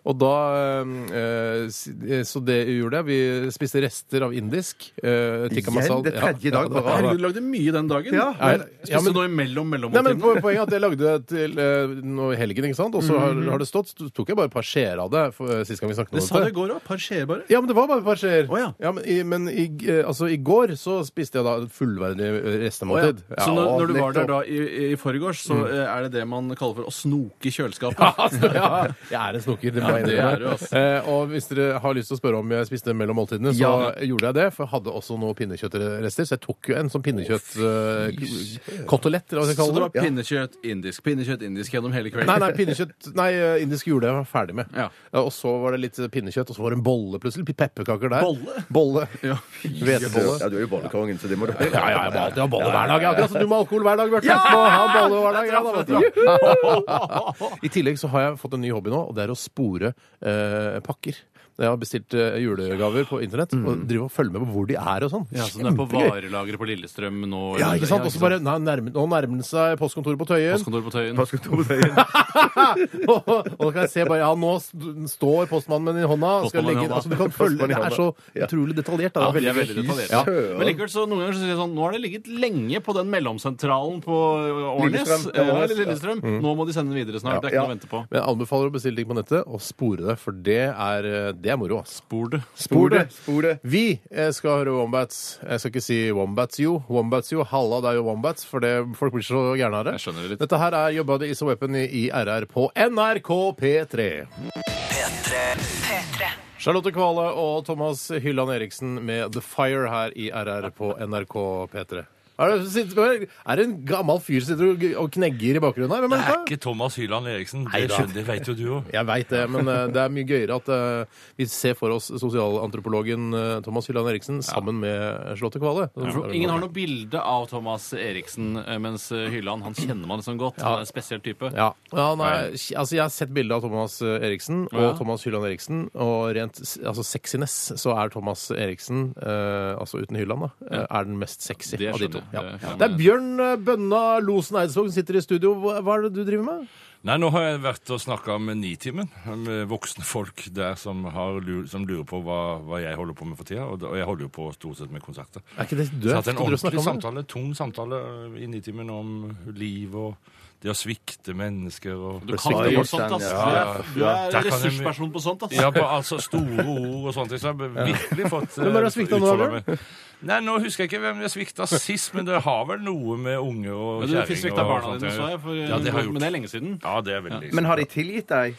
Speaker 2: og da eh, s- eh, Så det gjorde jeg. Vi spiste rester av indisk. Eh, tikka
Speaker 4: Igjen?
Speaker 2: masala.
Speaker 4: Det er tredje dag på
Speaker 2: da-
Speaker 4: rad.
Speaker 3: Herregud, du lagde mye den dagen.
Speaker 4: Ja.
Speaker 3: men,
Speaker 2: Ja,
Speaker 3: spiste
Speaker 2: men-
Speaker 3: du noe imellom
Speaker 2: Nei, men
Speaker 3: mellommåltidene?
Speaker 2: på- Poenget er at jeg lagde det til eh, nå i helgen, ikke sant? og så har, har det stått. Så tok jeg bare et par skjeer av det for, eh, sist gang vi snakket om
Speaker 3: Mm. Det sa du i går òg. Par skjeer bare.
Speaker 2: Ja, men det var bare et par skjeer.
Speaker 3: Å, ja.
Speaker 2: men, i, men i, eh, altså, i går så spiste jeg da et fullverdig eh, restemåltid.
Speaker 3: Å ja. Så når, når du var der
Speaker 2: nettopp.
Speaker 3: da i, i forgårs, så eh, er det det man kaller for å snoke i kjøleskapet?
Speaker 2: Ja, altså, ja. Jeg er en snoker. Det må
Speaker 4: var inne
Speaker 2: Det
Speaker 4: på
Speaker 3: er
Speaker 4: det.
Speaker 3: du, altså.
Speaker 2: Eh, og hvis dere har lyst til å spørre om jeg spiste mellom måltidene, så
Speaker 4: Ja.
Speaker 2: gjorde jeg det. For jeg hadde også noen pinnekjøttrester, så jeg tok jo en sånn pinnekjøttkotelett, eller hva skal jeg
Speaker 3: Så det
Speaker 2: kalle
Speaker 3: var
Speaker 2: det.
Speaker 3: pinnekjøtt indisk, pinnekjøtt indisk gjennom hele kvelden?
Speaker 2: Nei, nei, pinnekjøtt Nei, eh, indisk jule jeg var ferdig med.
Speaker 3: Ja.
Speaker 2: Eh, Og så var det litt pinnekjøtt, og så var det en bolle plutselig. litt Pepperkaker der.
Speaker 3: Bolle?
Speaker 2: Bolle.
Speaker 3: Ja.
Speaker 2: Hvetebolle.
Speaker 4: Ja, du er jo bollekongen, så det må du
Speaker 2: Ja, ja,
Speaker 4: (laughs)
Speaker 2: jeg må alltid ha bolle hver dag. jeg. Akkurat som du må ha alkohol hver dag, Bjarte. Må ha bolle hver dag. Ja, da, vet du. I tillegg så har jeg fått en ny hobby nå, og det er å spore eh, pakker. Jeg har bestilt eh, julegaver på internett og driver og følger med på hvor de er og sånn.
Speaker 3: Ja, så den er på
Speaker 2: Kjempegøy.
Speaker 3: varelageret på Lillestrøm nå?
Speaker 2: Ja,
Speaker 3: eller-
Speaker 2: ikke sant? Og så bare, nei, nærme, nå nærmer den seg postkontoret på Tøyen.
Speaker 3: Postkontoret på Tøyen.
Speaker 4: Postkontoret.
Speaker 2: (laughs) og da kan jeg se bare, ja, nå st- står postmannen min i hånda. Skal
Speaker 3: Postmannen i
Speaker 2: legge,
Speaker 3: hånda.
Speaker 2: altså, du kan følge,
Speaker 4: Postmannen
Speaker 2: det
Speaker 4: i
Speaker 2: er så
Speaker 4: hånda. Ja.
Speaker 2: utrolig detaljert. Da.
Speaker 3: Ja,
Speaker 2: Det er
Speaker 3: de er
Speaker 2: veldig
Speaker 3: veldig detaljerte.
Speaker 2: Ja.
Speaker 3: Men likevel så noen ganger så sier jeg sånn Nå har det ligget lenge på den mellomsentralen på Årnes.
Speaker 4: Lillestrøm.
Speaker 3: eh,
Speaker 4: Årnes,
Speaker 3: Eller Lillestrøm. Nå må de sende den videre snart. Det er ikke noe å vente på.
Speaker 2: Men jeg anbefaler å bestille ting på nettet og spore det, for det er, eh, det er moro. ass.
Speaker 3: Bor det?
Speaker 2: Spor det.
Speaker 4: Spor det.
Speaker 2: Vi eh, skal høre Wombats. Jeg skal ikke si Wombats jo. Wombats jo. Halla, det er jo Wombats, for det, folk blir så gærne av det.
Speaker 3: Jeg skjønner det litt.
Speaker 2: Dette her er Your Body Is A Weapon i i RR på NRK P3.
Speaker 1: P3.
Speaker 5: P3.
Speaker 2: Charlotte Kvale og Thomas Hylland Eriksen med The Fire her i RR på NRK P3. Er det, sitter- er det en gammel fyr som sitter og- og knegger i bakgrunnen her? Hvem
Speaker 6: Det
Speaker 2: er
Speaker 6: er
Speaker 2: det?
Speaker 6: ikke Thomas Hyland Eriksen. Det
Speaker 2: Neida.
Speaker 6: skjønner, det vet jo du òg.
Speaker 2: Jeg veit det, men eh, det er mye gøyere at eh, vi ser for oss sosialantropologen eh, Thomas Hylland Eriksen sammen med Charlotte Kvale.
Speaker 3: Ingen har noe bilde av Thomas Eriksen, eh, mens eh, Hylland han kjenner man liksom godt. Han er en spesiell type.
Speaker 2: Ja. ja nei, altså jeg har sett bilde av Thomas eh, Eriksen og
Speaker 3: Ja.
Speaker 2: Thomas Hylland Eriksen, og rent s- altså sexiness så er Thomas Eriksen, eh, altså uten Hylland, da, eh, er den mest sexy
Speaker 3: Det
Speaker 2: av de
Speaker 3: skjønner
Speaker 2: to.
Speaker 3: jeg.
Speaker 2: Ja.
Speaker 3: Det kan
Speaker 2: Det er
Speaker 3: jeg-
Speaker 2: Bjørn eh, Bønna Losen Eidsvåg som sitter i studio. Hva hva er det du driver med?
Speaker 6: Nei, nå har jeg vært og snakka med Nitimen, med voksne folk der som, har, lu- som lurer på hva, hva jeg holder på med for tida. Og, da- og jeg holder jo på stort sett med konserter.
Speaker 2: Er ikke det
Speaker 6: Så jeg
Speaker 2: døvt?
Speaker 6: har hatt en
Speaker 2: Skal dere snakke
Speaker 6: ordentlig
Speaker 2: om det?
Speaker 6: samtale, tung samtale eh, i Nitimen om liv og det å svikte mennesker og
Speaker 3: Du kan gjøre sånt, ass.
Speaker 4: Ja,
Speaker 6: ja,
Speaker 3: Du er- Du
Speaker 6: Der
Speaker 3: er
Speaker 6: kan jeg-
Speaker 3: ressursperson på sånt, ass.
Speaker 6: Ja, bare, altså store ord og sånne ting. Så jeg har virkelig fått
Speaker 2: Hvem er det som svikta nå,
Speaker 6: utfolda meg. Nei, nå husker jeg ikke hvem jeg svikta sist, men det har vel noe med unge og
Speaker 3: Men
Speaker 6: kjerring
Speaker 3: Du
Speaker 6: og
Speaker 3: fikk svikta barna
Speaker 6: sånt
Speaker 3: dine,
Speaker 6: å
Speaker 3: så
Speaker 6: gjøre.
Speaker 3: jeg. For,
Speaker 6: Ja, det har jeg
Speaker 3: men det
Speaker 6: gjort.
Speaker 3: er lenge siden.
Speaker 6: Ja, det er veldig
Speaker 4: Men har de tilgitt deg?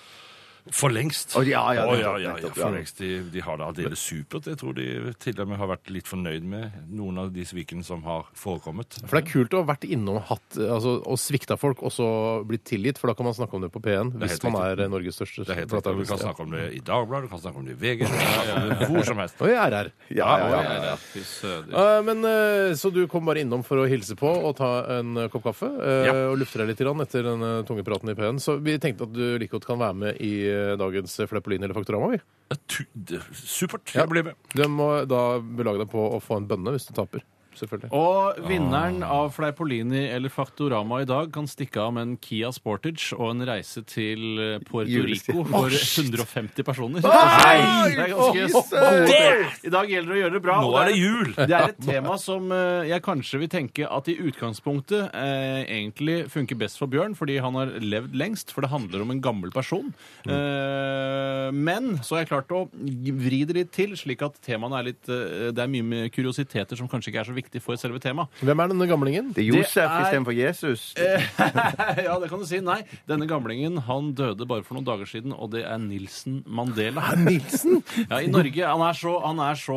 Speaker 6: For lengst.
Speaker 4: Å, ja, ja,
Speaker 6: Å, ja, ja, ja,
Speaker 4: nettopp, ja.
Speaker 6: for lengst. De, de har det aldeles supert. Jeg tror de til og med har vært litt fornøyd med noen av de svikene som har forekommet.
Speaker 2: For det er kult å ha vært innom og hatt, altså, og svikta folk, og så blitt tilgitt, for da kan man snakke om det på P1
Speaker 6: er
Speaker 2: hvis
Speaker 6: helt
Speaker 2: man
Speaker 6: riktig.
Speaker 2: er eh, Norges største
Speaker 6: Det er helt riktig. og Vi kan
Speaker 2: plateartist.
Speaker 6: snakke om det i Dagbladet, du kan snakke om det i VG, du kan snakke om det hvor som helst.
Speaker 2: Og jeg er her.
Speaker 4: Ja, ja, ja.
Speaker 3: Ja, ja, fy søder.
Speaker 2: Eh, men, eh, så du kom bare innom for å hilse på og ta en eh, kopp kaffe eh,
Speaker 6: Ja.
Speaker 2: og lufte deg litt grann etter den eh, tunge praten i P1. Så vi tenkte at du like godt kan være med i eh, dagens Fleppolin eller Faktorama. vi.
Speaker 6: Ja, tu- det- Supert.
Speaker 2: Ja.
Speaker 6: Jeg blir med.
Speaker 2: Du må da belage deg på å få en bønne hvis du taper. Selvfølgelig.
Speaker 3: Og vinneren av Fleipolini eller Faktorama i dag kan stikke av med en Kia Sportage og en reise til eh, Puerto
Speaker 4: Julestil.
Speaker 3: Rico for 150 personer. Det er
Speaker 4: Å,
Speaker 3: ganske I dag gjelder det å gjøre det bra.
Speaker 6: Nå
Speaker 3: og
Speaker 6: er det (laughs) jul!
Speaker 3: Det er et tema som eh, jeg kanskje vil tenke at i utgangspunktet eh, egentlig funker best for Bjørn, fordi han har levd lengst, for det handler om en gammel person. Eh, men så har jeg klart å vri det litt til, slik at temaene er litt eh, Det er mye med kuriositeter som kanskje ikke er så viktig for selve temaet.
Speaker 2: Hvem er denne gamlingen?
Speaker 4: Det er Josef
Speaker 3: Det er-
Speaker 4: istedenfor Jesus.
Speaker 2: (laughs)
Speaker 3: ja, det kan du si. Nei, denne gamlingen han døde bare for noen dager siden, og det er Nilsen Mandela.
Speaker 2: Nilsen!
Speaker 3: (laughs) Ja, I Norge han er, så, han er så,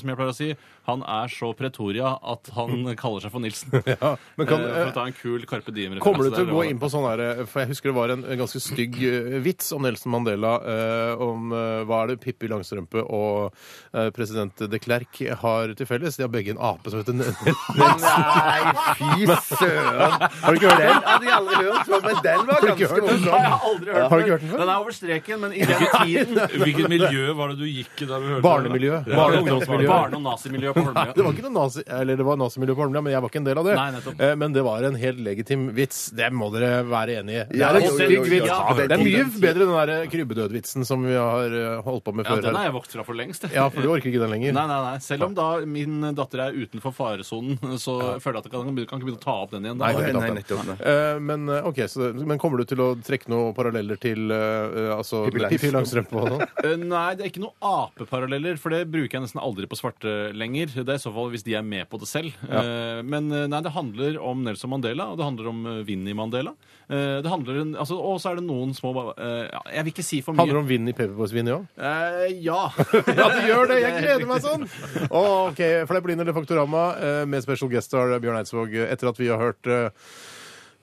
Speaker 3: som jeg pleier å si, han er så Pretoria at han kaller seg for Nilsen.
Speaker 2: Ja, men kan,
Speaker 3: Eh, for å ta en kul Carpe Diem-referanse.
Speaker 2: Kommer du til å
Speaker 3: der,
Speaker 2: gå
Speaker 3: eller
Speaker 2: inn på sånn her eh, For jeg husker det var en en ganske stygg eh, vits om Nelson Mandela. eh, Om eh, hva er det Pippi Langstrømpe og eh, president de Klerk har til felles? De har begge en ape som heter Nelson.
Speaker 4: Nei, fy søren!
Speaker 2: Har du ikke hørt
Speaker 4: Den
Speaker 2: den?
Speaker 4: hadde jeg aldri hørt før, men den var
Speaker 2: ikke
Speaker 4: ganske
Speaker 2: hørt den?
Speaker 3: hva? Nei, jeg har aldri hørt
Speaker 2: Har du ikke hørt den før?
Speaker 3: Den er over streken, men i den
Speaker 2: (laughs)
Speaker 3: tiden
Speaker 6: Hvilket miljø var det du gikk i da du hørte
Speaker 2: Barnemiljø. Barne- og ungdomsmiljø.
Speaker 3: Barne- og nazimiljø på
Speaker 2: (laughs)
Speaker 3: Holmlia.
Speaker 2: Det var ikke noe nazi, eller det var nazimiljø på Holmlia, men jeg var ikke en del av det.
Speaker 3: Nei, nettopp.
Speaker 2: Eh, Men det var en helt legitim vits. Det må dere være enig i. Det
Speaker 4: Ja,
Speaker 2: er en
Speaker 4: jo, jo,
Speaker 2: stygg
Speaker 4: jo, jo,
Speaker 2: vits.
Speaker 4: ja,
Speaker 2: Det er mye bedre enn den der krybbedød-vitsen som vi har eh, holdt på med
Speaker 3: Ja,
Speaker 2: før.
Speaker 3: den er
Speaker 2: her.
Speaker 3: jeg vokst fra for lengst. jeg.
Speaker 2: Ja, for du orker ikke den lenger.
Speaker 3: Nei, nei, nei. Selv om da min datter er utenfor faresonen, så føler jeg at jeg kan, kan ikke begynne å ta opp den igjen.
Speaker 2: Nei,
Speaker 3: Da.
Speaker 2: det er ikke
Speaker 4: Nei,
Speaker 2: sant, det.
Speaker 4: nettopp, nei.
Speaker 2: Eh, Men, eh, ok, så, men kommer du til å trekke noen paralleller til eh, altså,
Speaker 4: Pippi Langs-
Speaker 2: Pippi Langstrømpe? og sånn?
Speaker 3: Eh, Nei, det er ikke noen apeparalleller, for det bruker jeg nesten aldri på svarte lenger. Det er i så fall hvis de er med på det selv. Eh, Men eh, nei, det handler om Nelson Mandela, og det handler om eh, Vinnie Mandela. Eh, Det handler, en- altså, og så er det noen små eh, ja, Jeg vil ikke si for mye.
Speaker 2: Handler det om Vinni Pepperboys Vinni òg?
Speaker 3: Eh, ja.
Speaker 2: Ja, det gjør det! Jeg gleder meg sånn! Å, ok, Fleipolin eller Faktorama eh, med special guest star Bjørn Eidsvåg eh, etter at vi har hørt eh,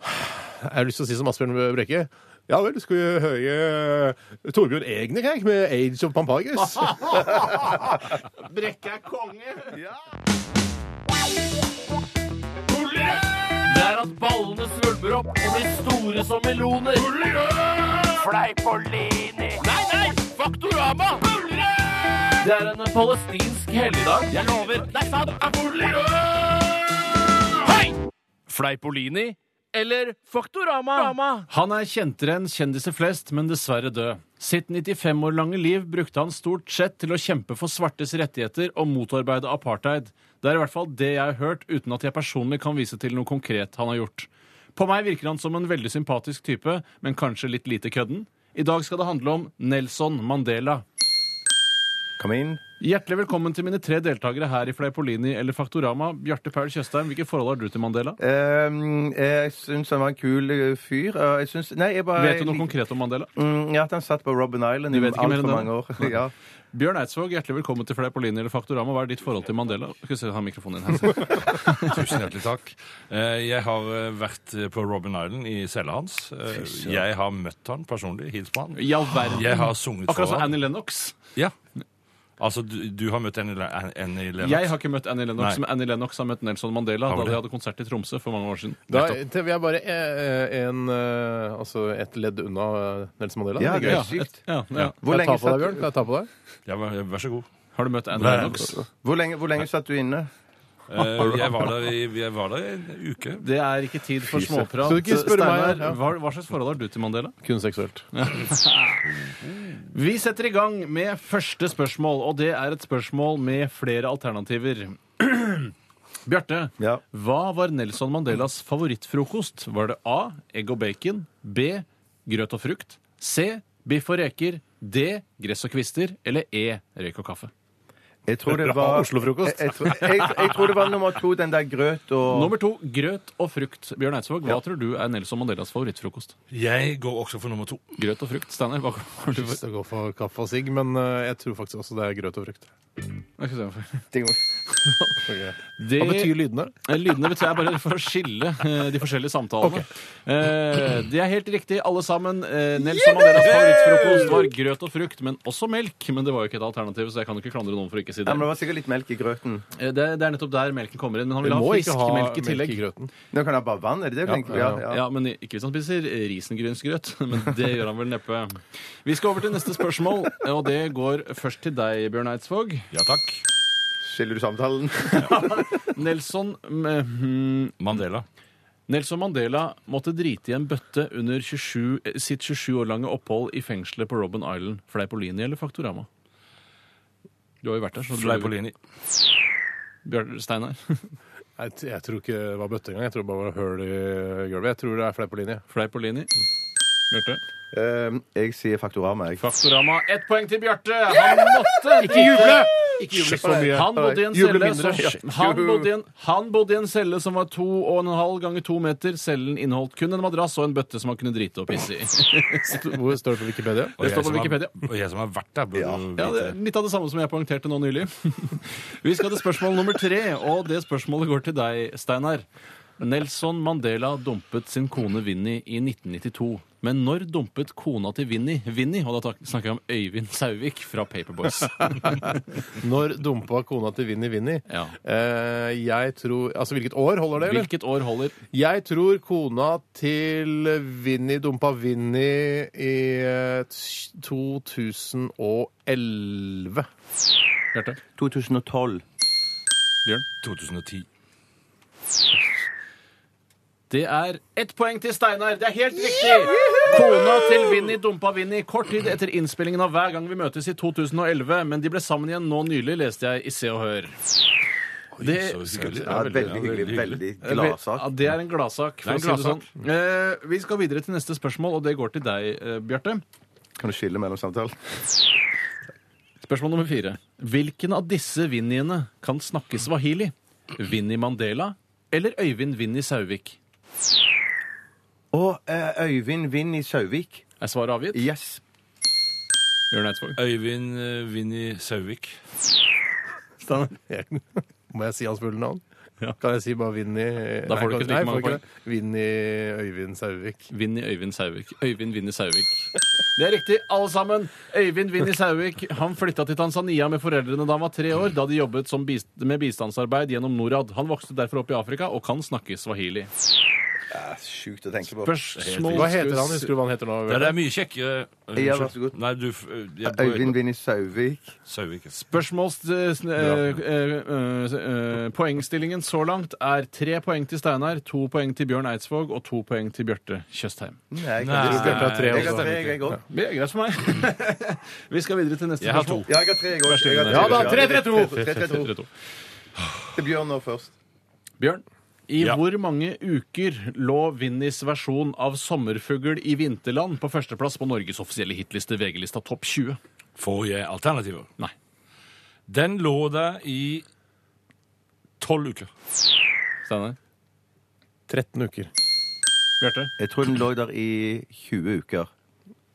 Speaker 2: Jeg har lyst til å si som Asbjørn Brekke. Ja vel, skal vi høre eh, Torbjørn Egner jeg, med 'Age of Pampagus'?
Speaker 3: Brekke er konge!
Speaker 5: Det er at ballene svulmer opp og blir store som meloner. Fleipolini. Nei, nei! Faktorama. Det er en palestinsk helligdag. Jeg lover. Nei, faen. Hei! Fleipolini eller Faktorama?
Speaker 3: Han er kjentere enn kjendiser flest, men dessverre død. Sitt 95 år lange liv brukte han stort sett til å kjempe for svartes rettigheter og motarbeide apartheid. Det er i hvert fall det jeg har hørt, uten at jeg personlig kan vise til noe konkret han har gjort. På meg virker han som en veldig sympatisk type, men kanskje litt lite kødden. I dag skal det handle om Nelson Mandela.
Speaker 4: Come in.
Speaker 3: Hjertelig velkommen til mine tre deltakere her i Fleipolini eller Faktorama. Bjarte Paul Tjøstheim, hvilke forhold har du til Mandela?
Speaker 4: Ehm, jeg syns han var en kul eh, fyr. og Jeg syns Nei, jeg bare
Speaker 3: Vet du noe konkret om Mandela?
Speaker 4: Mm, ja, at han satt på Robben Island i
Speaker 3: Du vet ikke mer
Speaker 4: altfor
Speaker 3: enn
Speaker 4: mange år. (laughs) ja.
Speaker 3: Bjørn Eidsvåg, hjertelig velkommen til Fleipolini eller Faktorama. Hva er ditt forhold til Mandela? Skal vi se, ha mikrofonen din her.
Speaker 6: Tusen hjertelig takk. Eh, Jeg har eh, vært eh, på Robin Island i cella hans. Eh, Jeg har møtt han personlig. Hils på han.
Speaker 3: I all verden.
Speaker 6: Jeg har sunget
Speaker 3: Akkurat
Speaker 6: for
Speaker 3: som
Speaker 6: han.
Speaker 3: Annie Lennox.
Speaker 6: Ja. Altså, du, du har møtt Annie Le- An- Annie Lennox?
Speaker 3: Jeg har ikke møtt Annie Lennox,
Speaker 6: Nei.
Speaker 3: men Annie Lennox har møtt Nelson Mandela
Speaker 6: Har
Speaker 3: da
Speaker 6: du
Speaker 3: de
Speaker 6: det?
Speaker 3: hadde konsert i Tromsø for mange år siden.
Speaker 2: Da til vi er bare eh, en, eh, altså et ledd unna eh, Nelson Mandela.
Speaker 4: Ja,
Speaker 2: det er
Speaker 4: det
Speaker 2: gøy.
Speaker 4: er sykt.
Speaker 3: Ja, ja.
Speaker 4: Hvor
Speaker 2: Kan jeg ta på
Speaker 4: lenge,
Speaker 2: deg,
Speaker 4: satt
Speaker 2: Bjørn? Kan
Speaker 4: du,
Speaker 2: jeg ta på deg?
Speaker 6: Ja, vær vær så god.
Speaker 3: Har du møtt Annie
Speaker 6: Nei.
Speaker 3: Lennox?
Speaker 4: hvor, lenge, hvor lenge satt du inne?
Speaker 6: Eh, Jeg var der i, jeg var der i en uke.
Speaker 3: Det er ikke tid for småprat.
Speaker 2: Skal du ikke spørre meg? Ja.
Speaker 3: hva, hva slags forhold har du til Mandela?
Speaker 2: Kun seksuelt.
Speaker 3: Vi setter i gang med første spørsmål, og det er et spørsmål med flere alternativer. (clears throat) Bjarte,
Speaker 4: Ja.
Speaker 3: hva var Nelson Mandelas favorittfrokost? Var det A. Egg og bacon. B. Grøt og frukt. C. Biff og reker. D. Gress og kvister. Eller E. Røyk og kaffe.
Speaker 4: Jeg tror det
Speaker 2: Bra
Speaker 4: var
Speaker 2: Oslo-frokost.
Speaker 4: Jeg, jeg, tror- jeg, jeg tror det var nummer to, den der grøt og
Speaker 3: Nummer to. Grøt og frukt. Bjørn Eidsvåg, hva tror du er Nelson Mandelas favorittfrokost?
Speaker 6: Jeg går også for nummer to.
Speaker 3: Grøt og frukt. Steinar, hva har du
Speaker 2: Jeg skal gå for kaffe og sigg, men eh, jeg tror faktisk også det er grøt og frukt.
Speaker 3: for?
Speaker 4: Ding-
Speaker 3: Det,
Speaker 2: Hva betyr lydene?
Speaker 3: Eh, Lydene betyr jeg bare for å skille eh, de forskjellige samtalene. Eh, Det er helt riktig, alle sammen. Eh, Nelson Mandelas favorittfrokost var grøt og frukt, men også melk. Men det var jo ikke et alternativ, så jeg kan jo ikke klandre noen for å ikke si
Speaker 4: Ja,
Speaker 3: det.
Speaker 4: men det var sikkert litt melk i grøten.
Speaker 3: Eh, Det, det er nettopp der melken kommer inn. Men han
Speaker 2: Vi
Speaker 3: vil ha
Speaker 2: må ikke
Speaker 3: frisk
Speaker 2: ha
Speaker 3: melk i tillegg.
Speaker 2: grøten.
Speaker 4: Nå kan jeg ha bare vann, er det det du tenker på?
Speaker 2: ja,
Speaker 4: Ja,
Speaker 2: ja.
Speaker 4: ja.
Speaker 3: Ja, men Ikke hvis han spiser risengrynsgrøt, (laughs) men det gjør han vel neppe. Vi skal over til neste spørsmål, og det går først til deg, Bjørn Eidsvåg.
Speaker 6: Ja takk.
Speaker 4: Skiller du samtalen?
Speaker 3: Nelson mm,
Speaker 6: Mandela.
Speaker 3: Nelson Mandela måtte drite i en bøtte under 27, eh, sitt 27 år lange opphold i fengselet på Robben Island. Fleipolini eller Faktorama? Du har jo vært der, så du
Speaker 6: Fleipolini.
Speaker 3: Bjørn Steinar. (laughs)
Speaker 2: Jeg, t- jeg tror ikke det var bøtte engang. Jeg tror det bare var høl i gulvet. Jeg tror det er fleipolini.
Speaker 3: Fleipolini.
Speaker 2: Mm.
Speaker 3: Bjarte.
Speaker 4: Ehm, jeg sier Faktorama, jeg.
Speaker 3: Faktorama. Ett poeng til Bjarte! Han måtte Ikke juble! Ikke juble
Speaker 2: Så mye.
Speaker 3: Han bodde i en
Speaker 2: Juble
Speaker 3: celle
Speaker 2: mindre.
Speaker 3: som, han bodde i en, han bodde i en celle som var to og en halv ganger to meter. Cellen inneholdt kun en madrass og en bøtte som han kunne drite og pisse i.
Speaker 2: Hvor står det på Wikipedia?
Speaker 6: Og jeg
Speaker 3: står på
Speaker 6: som har-
Speaker 3: Wikipedia.
Speaker 6: Og jeg som har vært der, burde
Speaker 3: Ja,
Speaker 6: jo
Speaker 3: det
Speaker 6: vite
Speaker 3: er
Speaker 6: det.
Speaker 3: Litt av det samme som jeg poengterte nå nylig. (laughs) Vi skal til spørsmål nummer tre, og det spørsmålet går til deg, Steinar. Nelson Mandela dumpet sin kone Vinni i 1992. Men når dumpet kona til Vinni Vinni? Og da tak- snakker jeg om Øyvind Sauvik fra
Speaker 2: (laughs)
Speaker 3: Paperboys.
Speaker 2: Når dumpa kona til Vinni Vinni?
Speaker 3: Ja.
Speaker 2: Eh, jeg tror Altså, hvilket år holder det? eller?
Speaker 3: Hvilket år holder
Speaker 2: Jeg tror kona til Vinni dumpa Vinni i eh, t- 2011.
Speaker 3: Bjarte?
Speaker 4: 2012.
Speaker 6: 2010.
Speaker 3: Det er ett poeng til Steinar. Det er helt riktig! Kona til Vinni dumpa Vinni kort tid etter innspillingen av Hver gang vi møtes i 2011, men de ble sammen igjen nå nylig, leste jeg i Se og Hør. Det,
Speaker 6: Så hyggelig.
Speaker 4: Ja, veldig hyggelig. Veldig
Speaker 3: Ja,
Speaker 4: gladsak.
Speaker 3: det er en gladsak. For
Speaker 6: Det er en
Speaker 3: å si det sånn. Eh, vi skal videre til neste spørsmål, og det går til deg, eh, Bjarte.
Speaker 4: Kan du skille mellom samtalen?
Speaker 3: Spørsmål nummer fire. Hvilken av disse Vinniene kan snakke swahili? Vinni Mandela eller Øyvind Vinni Sauvik?
Speaker 4: Og eh, Øyvind Vind i Sauvik.
Speaker 3: Er svaret avgitt?
Speaker 4: Yes.
Speaker 3: Jørn Eidsvåg.
Speaker 6: Øyvind eh, Vinni Sauvik.
Speaker 2: Må (laughs) jeg si hans fulle navn? Kan jeg si bare Vinni
Speaker 3: Da får du
Speaker 2: Nei,
Speaker 3: ikke
Speaker 2: kan-
Speaker 3: like mange
Speaker 2: nei, får jeg ikke det. Vinni Øyvind Sauvik.
Speaker 3: Vinni Øyvind Sauvik. Øyvind Vinni Sauvik. Det er riktig, alle sammen. Øyvind Vinni Sauvik han flytta til Tanzania med foreldrene da han var tre år, da de jobbet som bist med bistandsarbeid gjennom Norad. Han vokste derfor opp i Afrika og kan snakke swahili.
Speaker 4: Ja, Sjukt å tenke på.
Speaker 3: Spørsmål
Speaker 2: Hva heter han? Husker du hva han heter nå?
Speaker 6: Ja, det er mye kjekkere. Unnskyld.
Speaker 4: Ja, vær så god.
Speaker 6: Nei, du f- eh, jeg-
Speaker 4: Øyvind Vind i Sauvik.
Speaker 6: Sauvik. ja.
Speaker 3: Spørsmål eh, sn- eh, eh, eh, Poengstillingen så langt er tre poeng til Steinar, to poeng til Bjørn Eidsvåg og to poeng til Bjarte Tjøstheim.
Speaker 4: Nei, jeg
Speaker 6: Nei.
Speaker 4: kan-
Speaker 2: Bjarte har tre
Speaker 4: Jeg har
Speaker 2: også.
Speaker 4: tre, jeg òg.
Speaker 3: Det er greit for meg. Vi skal videre til neste
Speaker 6: Jeg har to.
Speaker 3: spørsmål.
Speaker 4: Ja, jeg har tre, jeg òg.
Speaker 2: Ja da, 3-3-2!
Speaker 4: 3-3-2.
Speaker 3: Dere to.
Speaker 4: Til Bjørn nå først.
Speaker 3: Bjørn, i
Speaker 6: Ja.
Speaker 3: hvor mange uker lå Vinnis versjon av 'Sommerfugl i vinterland' på førsteplass på Norges offisielle hitliste VG-lista Topp 20?
Speaker 6: Får jeg alternativer?
Speaker 3: Nei.
Speaker 6: Den lå der i tolv uker.
Speaker 3: Steinar?
Speaker 2: 13 uker.
Speaker 3: Bjarte?
Speaker 4: Jeg tror den lå der i 20 uker.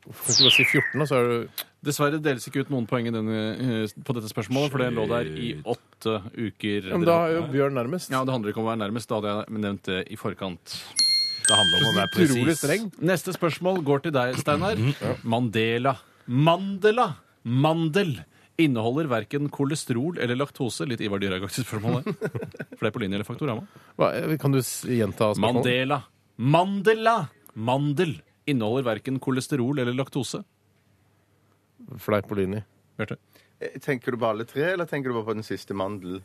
Speaker 2: Kan du bare si 14, da, så er du
Speaker 3: Dessverre deles ikke ut noen poeng i denne, eh, på dette spørsmålet, for det lå der i åtte uker.
Speaker 2: Men da eh, er jo Bjørn nærmest.
Speaker 3: Ja, Det handler ikke om å være nærmest. Da hadde jeg nevnt det i forkant.
Speaker 6: Det handler om å være
Speaker 2: Utrolig
Speaker 6: presis.
Speaker 2: streng. Mm.
Speaker 3: Neste spørsmål går til deg, Steinar. Mandela. Mandela. Mandel inneholder verken kolesterol eller laktose. Litt Ivar Dyrhaug-aktig
Speaker 2: (laughs)
Speaker 3: spørsmål der. For det er på linje eller Faktorama.
Speaker 2: Hva- eh, Kan du s- gjenta spørsmålet?
Speaker 3: Mandela. Mandela. Mandel inneholder verken kolesterol eller laktose.
Speaker 2: Fleipolini.
Speaker 3: Bjarte.
Speaker 4: Eh, Tenker du på alle tre, eller tenker du bare på den siste mandel?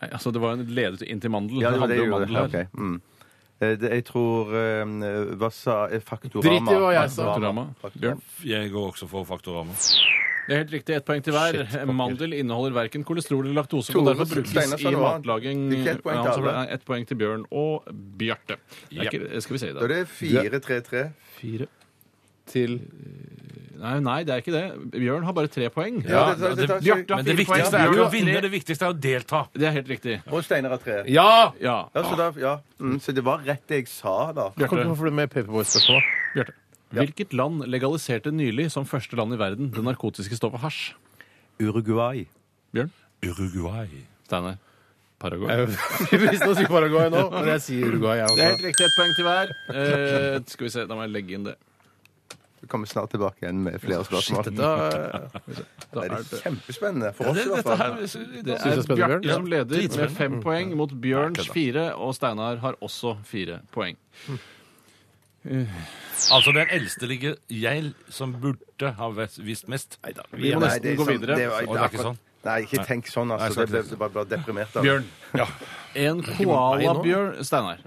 Speaker 3: Nei, altså, det var en ledet inn til mandel.
Speaker 4: Ja,
Speaker 3: det
Speaker 4: var
Speaker 3: handler
Speaker 4: jeg
Speaker 3: om
Speaker 4: gjorde.
Speaker 3: mandel her.
Speaker 4: Ok, mm. Eh, det- Jeg tror eh, Hva sa eh, Faktorama?
Speaker 2: Drit i hva jeg sa.
Speaker 3: Faktorama. Bjørn.
Speaker 6: Jeg går også for Faktorama.
Speaker 3: Det er helt riktig. Ett poeng til hver. Mandel inneholder verken kolesterol eller laktose. og
Speaker 4: Tore,
Speaker 3: derfor
Speaker 4: Steinar
Speaker 3: brukes
Speaker 4: sa
Speaker 3: i
Speaker 4: noe annet.
Speaker 3: matlaging.
Speaker 4: Det er ikke ett poeng
Speaker 3: Ja,
Speaker 4: til
Speaker 3: så ble
Speaker 4: alle.
Speaker 3: det Ett poeng til Bjørn og Bjarte. Det er
Speaker 6: Ja.
Speaker 3: ikke- Skal vi se i
Speaker 4: Da
Speaker 3: dag.
Speaker 4: er det 4-3-3.
Speaker 3: Fire Eh,
Speaker 2: Til
Speaker 3: Nei, nei, det er ikke det. Bjørn har bare tre poeng.
Speaker 4: Ja, det- det-
Speaker 6: ja,
Speaker 4: det-
Speaker 6: det-
Speaker 4: det-
Speaker 3: Bjarte har
Speaker 6: Men det
Speaker 3: fire poeng.
Speaker 6: viktigste er jo ikke
Speaker 3: Bjørn
Speaker 6: å
Speaker 3: har
Speaker 6: vinne,
Speaker 3: tre.
Speaker 6: det viktigste er å delta.
Speaker 3: Det er helt riktig.
Speaker 4: Og Steinar har tre.
Speaker 2: Ja!
Speaker 3: Ja.
Speaker 4: Ja, så, da, ja. Mm, så det var rett det jeg sa, da.
Speaker 2: Kan du få med (laughs) Paperboy-spørsmål?
Speaker 3: Bjarte. Hvilket land legaliserte nylig som første land i verden det narkotiske stoffet hasj?
Speaker 4: Uruguay.
Speaker 3: Bjørn?
Speaker 6: Uruguay.
Speaker 3: Steinar? Paraguay?
Speaker 2: Jeg visste å si Paraguay nå, men jeg sier Uruguay, jeg
Speaker 3: Det er helt
Speaker 2: også.
Speaker 3: riktig. Ett poeng til hver. Eh, skal vi se, da må jeg legge inn det.
Speaker 4: Vi kommer snart tilbake igjen med flere spørsmål.
Speaker 2: Dette er-
Speaker 3: Da er
Speaker 4: Det er
Speaker 3: det
Speaker 4: kjempespennende for oss, i hvert
Speaker 6: Dette her
Speaker 4: fall.
Speaker 3: Det
Speaker 2: Synes
Speaker 3: er
Speaker 2: jeg er spennende,
Speaker 3: Bjarte
Speaker 2: Bjørn.
Speaker 3: som leder med fem poeng mot Bjørns fire, og Steinar har også fire poeng.
Speaker 6: Altså den eldste ligger jeg som burde ha vet- visst mest.
Speaker 3: Vi må
Speaker 4: Nei,
Speaker 3: nesten
Speaker 4: det er
Speaker 3: gå
Speaker 4: sant.
Speaker 3: videre.
Speaker 4: Det var-
Speaker 6: Og det er ikke sånn.
Speaker 4: Nei, ikke tenk sånn,
Speaker 6: Nei,
Speaker 4: altså.
Speaker 6: jeg skal
Speaker 4: Det ble,
Speaker 6: ikke
Speaker 4: det ble bare deprimert altså. av.
Speaker 3: Bjørn. En koalabjørn Steinar.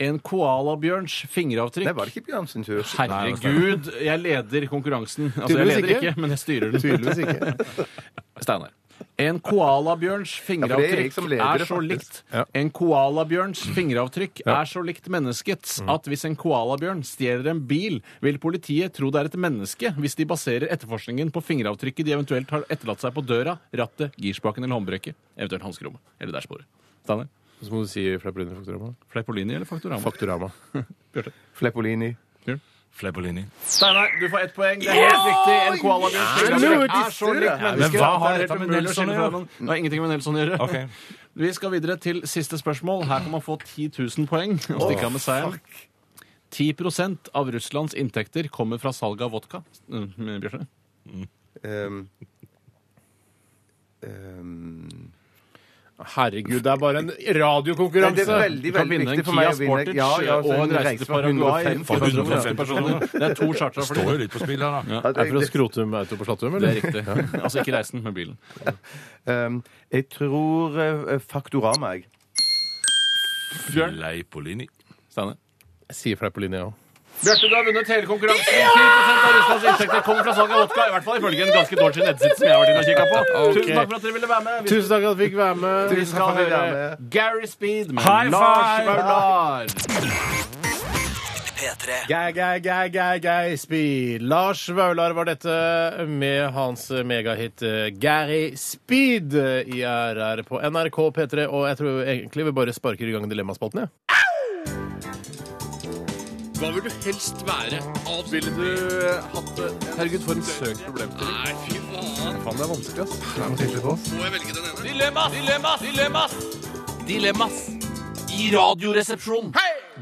Speaker 3: En koalabjørns
Speaker 4: Nei,
Speaker 3: fingeravtrykk.
Speaker 4: var det ikke Bjørn sin tur? altså.
Speaker 3: Herregud, jeg leder konkurransen. Altså, jeg
Speaker 2: Tydeligvis
Speaker 3: leder
Speaker 2: ikke.
Speaker 3: ikke, men jeg styrer den.
Speaker 2: Tydeligvis ikke.
Speaker 3: Steinar. En koalabjørns
Speaker 4: Ja, for det er
Speaker 3: fingeravtrykk
Speaker 4: jeg som
Speaker 3: er,
Speaker 4: leder det,
Speaker 3: så
Speaker 4: faktisk.
Speaker 3: likt
Speaker 2: Ja.
Speaker 3: En koalabjørns fingeravtrykk er så likt menneskets at hvis en koalabjørn stjeler en bil, vil politiet tro det er et menneske hvis de baserer etterforskningen på fingeravtrykket de eventuelt har etterlatt seg på døra, rattet, girspaken eller håndbrekket, eventuelt hanskerommet eller dashbordet. Steinar.
Speaker 2: Så må du si Fleipolini Faktorama.
Speaker 3: Fleipolini eller Faktorama?
Speaker 2: Faktorama.
Speaker 4: Fleppolini.
Speaker 6: Fleipolini.
Speaker 3: Steinar, du får ett poeng. Det er helt riktig. En koalabjørns fingeravtrykk er så likt
Speaker 6: Men
Speaker 3: mennesket
Speaker 6: hva
Speaker 3: at det er
Speaker 6: har dette
Speaker 3: helt
Speaker 6: med
Speaker 3: umulig å skille
Speaker 6: Nelson å
Speaker 3: fra
Speaker 6: gjøre?
Speaker 3: hverandre. Det har ingenting med Nelson å gjøre.
Speaker 6: Ok.
Speaker 3: Vi skal videre til siste spørsmål. Her kan man få 10 000 poeng og stikke av med seieren. 10 av Russlands inntekter kommer fra salg av vodka. Mm, Bjørte?
Speaker 4: Um, um,
Speaker 2: Herregud, det er bare en
Speaker 4: nei, det
Speaker 2: radiokonkurranse!
Speaker 4: er veldig,
Speaker 3: Du kan
Speaker 4: veldig
Speaker 3: vinne en
Speaker 4: viktig for
Speaker 3: Kia
Speaker 4: meg å vinne.
Speaker 3: Sportage
Speaker 4: Ja, ja,
Speaker 3: og en reise til Paraguay.
Speaker 6: For 150
Speaker 4: 150
Speaker 6: personer.
Speaker 3: Det er to charter for
Speaker 6: Står jo
Speaker 3: det.
Speaker 6: litt på spill her, da.
Speaker 3: Ja.
Speaker 2: Er det for å skrote med auto på Slattum,
Speaker 3: Det er
Speaker 2: eller?
Speaker 3: riktig. Altså ikke reisen, men bilen.
Speaker 4: Um, jeg tror eh, Faktorama, jeg.
Speaker 3: Bjørn?
Speaker 6: Fleipolini.
Speaker 3: Steine?
Speaker 2: Jeg sier Fleipolini, jeg òg.
Speaker 3: Bjarte, du har vunnet hele konkurransen. 10 av Russlands inntekter kommer fra salg av vodka. I hvert fall ifølge en ganske dårlig nettside som jeg har vært inne og kikka på. Tusen takk for at dere ville være med. Vi
Speaker 2: Tusen takk for at jeg fikk være med.
Speaker 3: vi skal
Speaker 4: takk for at dere
Speaker 3: høre
Speaker 4: er
Speaker 3: Gary Speed med
Speaker 6: High
Speaker 3: Lars
Speaker 6: five!
Speaker 3: Bernard.
Speaker 1: P3.
Speaker 2: Gei, gei, gei, gei, gei, speed. Lars Vaular var dette med hans megahit eh, Gary Speed eh, i RR på NRK P3. Og jeg tror egentlig vi bare sparker i gang Dilemmaspalten, jeg.
Speaker 5: Dilemmas! Dilemmas! Dilemmas! Dilemmas i Radioresepsjonen.